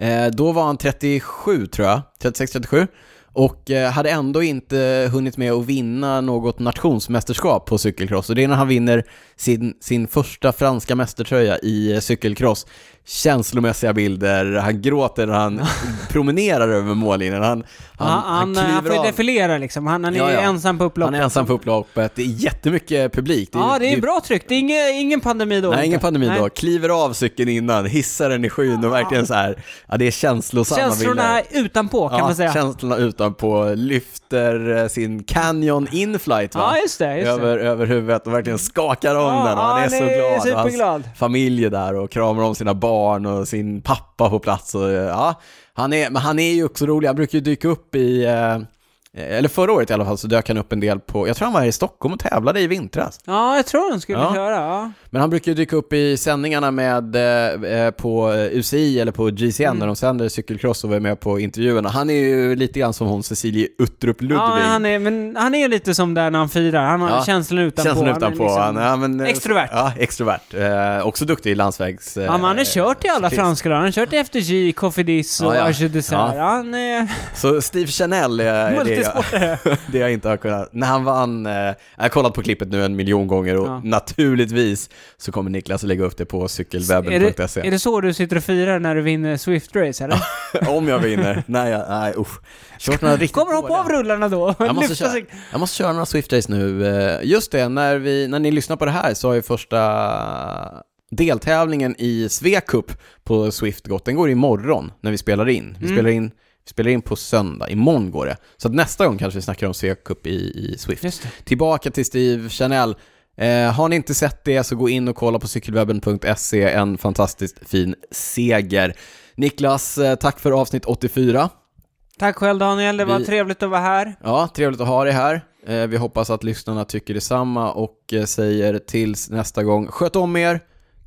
Speaker 1: eh, då var han 37 tror jag, 36-37, och eh, hade ändå inte hunnit med att vinna något nationsmästerskap på cykelcross. Och det är när han vinner sin, sin första franska mästertröja i eh, cykelcross. Känslomässiga bilder, han gråter när han promenerar över mållinjen. Han, han,
Speaker 2: han, han, han, får
Speaker 1: kliver
Speaker 2: ju
Speaker 1: av.
Speaker 2: defilera liksom, han, han är
Speaker 1: Ja, ja.
Speaker 2: ensam på upploppet.
Speaker 1: Han är ensam på upploppet, det är jättemycket publik.
Speaker 2: ja, det är bra tryck. Det är ingen, ingen pandemi då.
Speaker 1: Nej, ingen pandemi
Speaker 2: Nej.
Speaker 1: då. Kliver av cykeln innan, hissar den i skyn och verkligen så här, ja det är känslosamma
Speaker 2: Känslorna
Speaker 1: bilder.
Speaker 2: är utanpå, kan
Speaker 1: ja,
Speaker 2: man säga.
Speaker 1: känslorna utanpå, lyfter eh, sin Canyon inflight va?
Speaker 2: Ja, just det. Just det.
Speaker 1: över, över huvudet och verkligen skakar om
Speaker 2: Ja,
Speaker 1: den och han
Speaker 2: ja,
Speaker 1: är så glad. Och hans
Speaker 2: superglad.
Speaker 1: familj är där och kramar om sina barn och sin pappa på plats. Och, eh, ja, han, är, men han är ju också rolig, han brukar ju dyka upp i, eh, eller förra året i alla fall så dök han upp en del på, jag tror han var här i Stockholm och tävlade i vintras.
Speaker 2: Ja, jag tror de skulle
Speaker 1: Ja.
Speaker 2: köra. Ja.
Speaker 1: Men han brukar ju dyka upp i sändningarna med, eh, eh, på eh, UCI eller på GCN
Speaker 2: Mm.
Speaker 1: när de sänder cykelcross och är med på intervjuerna. Han är ju lite grann som hon Cecilie Uttrup Ludvig.
Speaker 2: Ja, men han är, men han är lite som där när han firar. Han har
Speaker 1: Ja.
Speaker 2: känslan utanpå.
Speaker 1: Känslan
Speaker 2: Han är
Speaker 1: utanpå.
Speaker 2: liksom-
Speaker 1: Han, ja, men, eh,
Speaker 2: extrovert.
Speaker 1: Ja, extrovert. Eh, också duktig i landsvägs... Eh,
Speaker 2: Ja, men han har kört i alla
Speaker 1: cyklist.
Speaker 2: franska lag. Han har kört i FDJ, Cofidis och
Speaker 1: Ja, ja.
Speaker 2: Arche Dessert.
Speaker 1: Ja.
Speaker 2: Han eh, är
Speaker 1: Så Steve Chanel eh, är det jag,
Speaker 2: multisportare.
Speaker 1: det jag inte har kunnat... När han vann... Eh, jag har kollat på klippet nu en miljon gånger och
Speaker 2: Ja.
Speaker 1: naturligtvis så kommer Niklas att lägga upp det på
Speaker 2: Är det, är
Speaker 1: cykelwebben.se.
Speaker 2: det så du sitter och firar när du vinner Swift Race, eller?
Speaker 1: Om jag vinner. Nej, jag, nej usch. Kört några riktigt
Speaker 2: Kommer hoppa
Speaker 1: dåliga.
Speaker 2: av rullarna då?
Speaker 1: Jag måste,
Speaker 2: Lyfta
Speaker 1: köra,
Speaker 2: sig-
Speaker 1: jag måste köra några Swift Race nu. Eh, Just det, när, vi, när ni lyssnar på det här så har ju första
Speaker 2: Mm.
Speaker 1: deltävlingen i Svea Cup på Swift gått. Den går imorgon när vi spelar in. Vi spelar in Vi spelar in på söndag, imorgon går det. Så att nästa gång kanske vi snackar om C-Cup i, i Swift.
Speaker 2: Just det.
Speaker 1: Tillbaka till Steve Chanel. Eh, har ni inte sett det så gå in och kolla på cykelwebben.se, en fantastiskt fin seger. Niklas, eh, tack för avsnitt 84.
Speaker 2: Tack själv Daniel, det var
Speaker 1: Vi-
Speaker 2: trevligt att vara här.
Speaker 1: Ja, trevligt att ha dig här. Eh, vi hoppas att lyssnarna tycker detsamma och eh, säger tills nästa gång, sköt om er,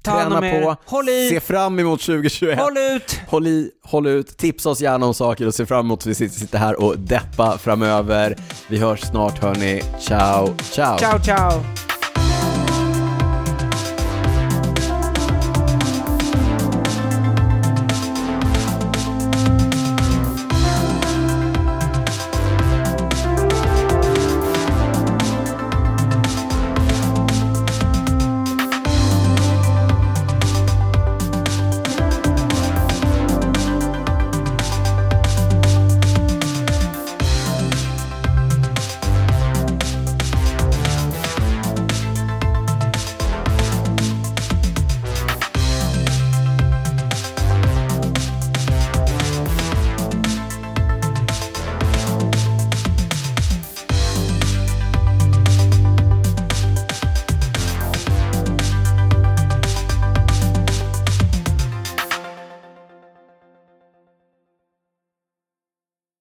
Speaker 2: Ta hand
Speaker 1: träna
Speaker 2: om er.
Speaker 1: på,
Speaker 2: Håll i.
Speaker 1: se fram emot 2021.
Speaker 2: Håll ut!
Speaker 1: Håll i, håll ut, tipsa oss gärna om saker och se fram emot att vi sitter- sitter här och deppa framöver. Vi hörs snart hörni. Ciao, ciao.
Speaker 2: Ciao, ciao!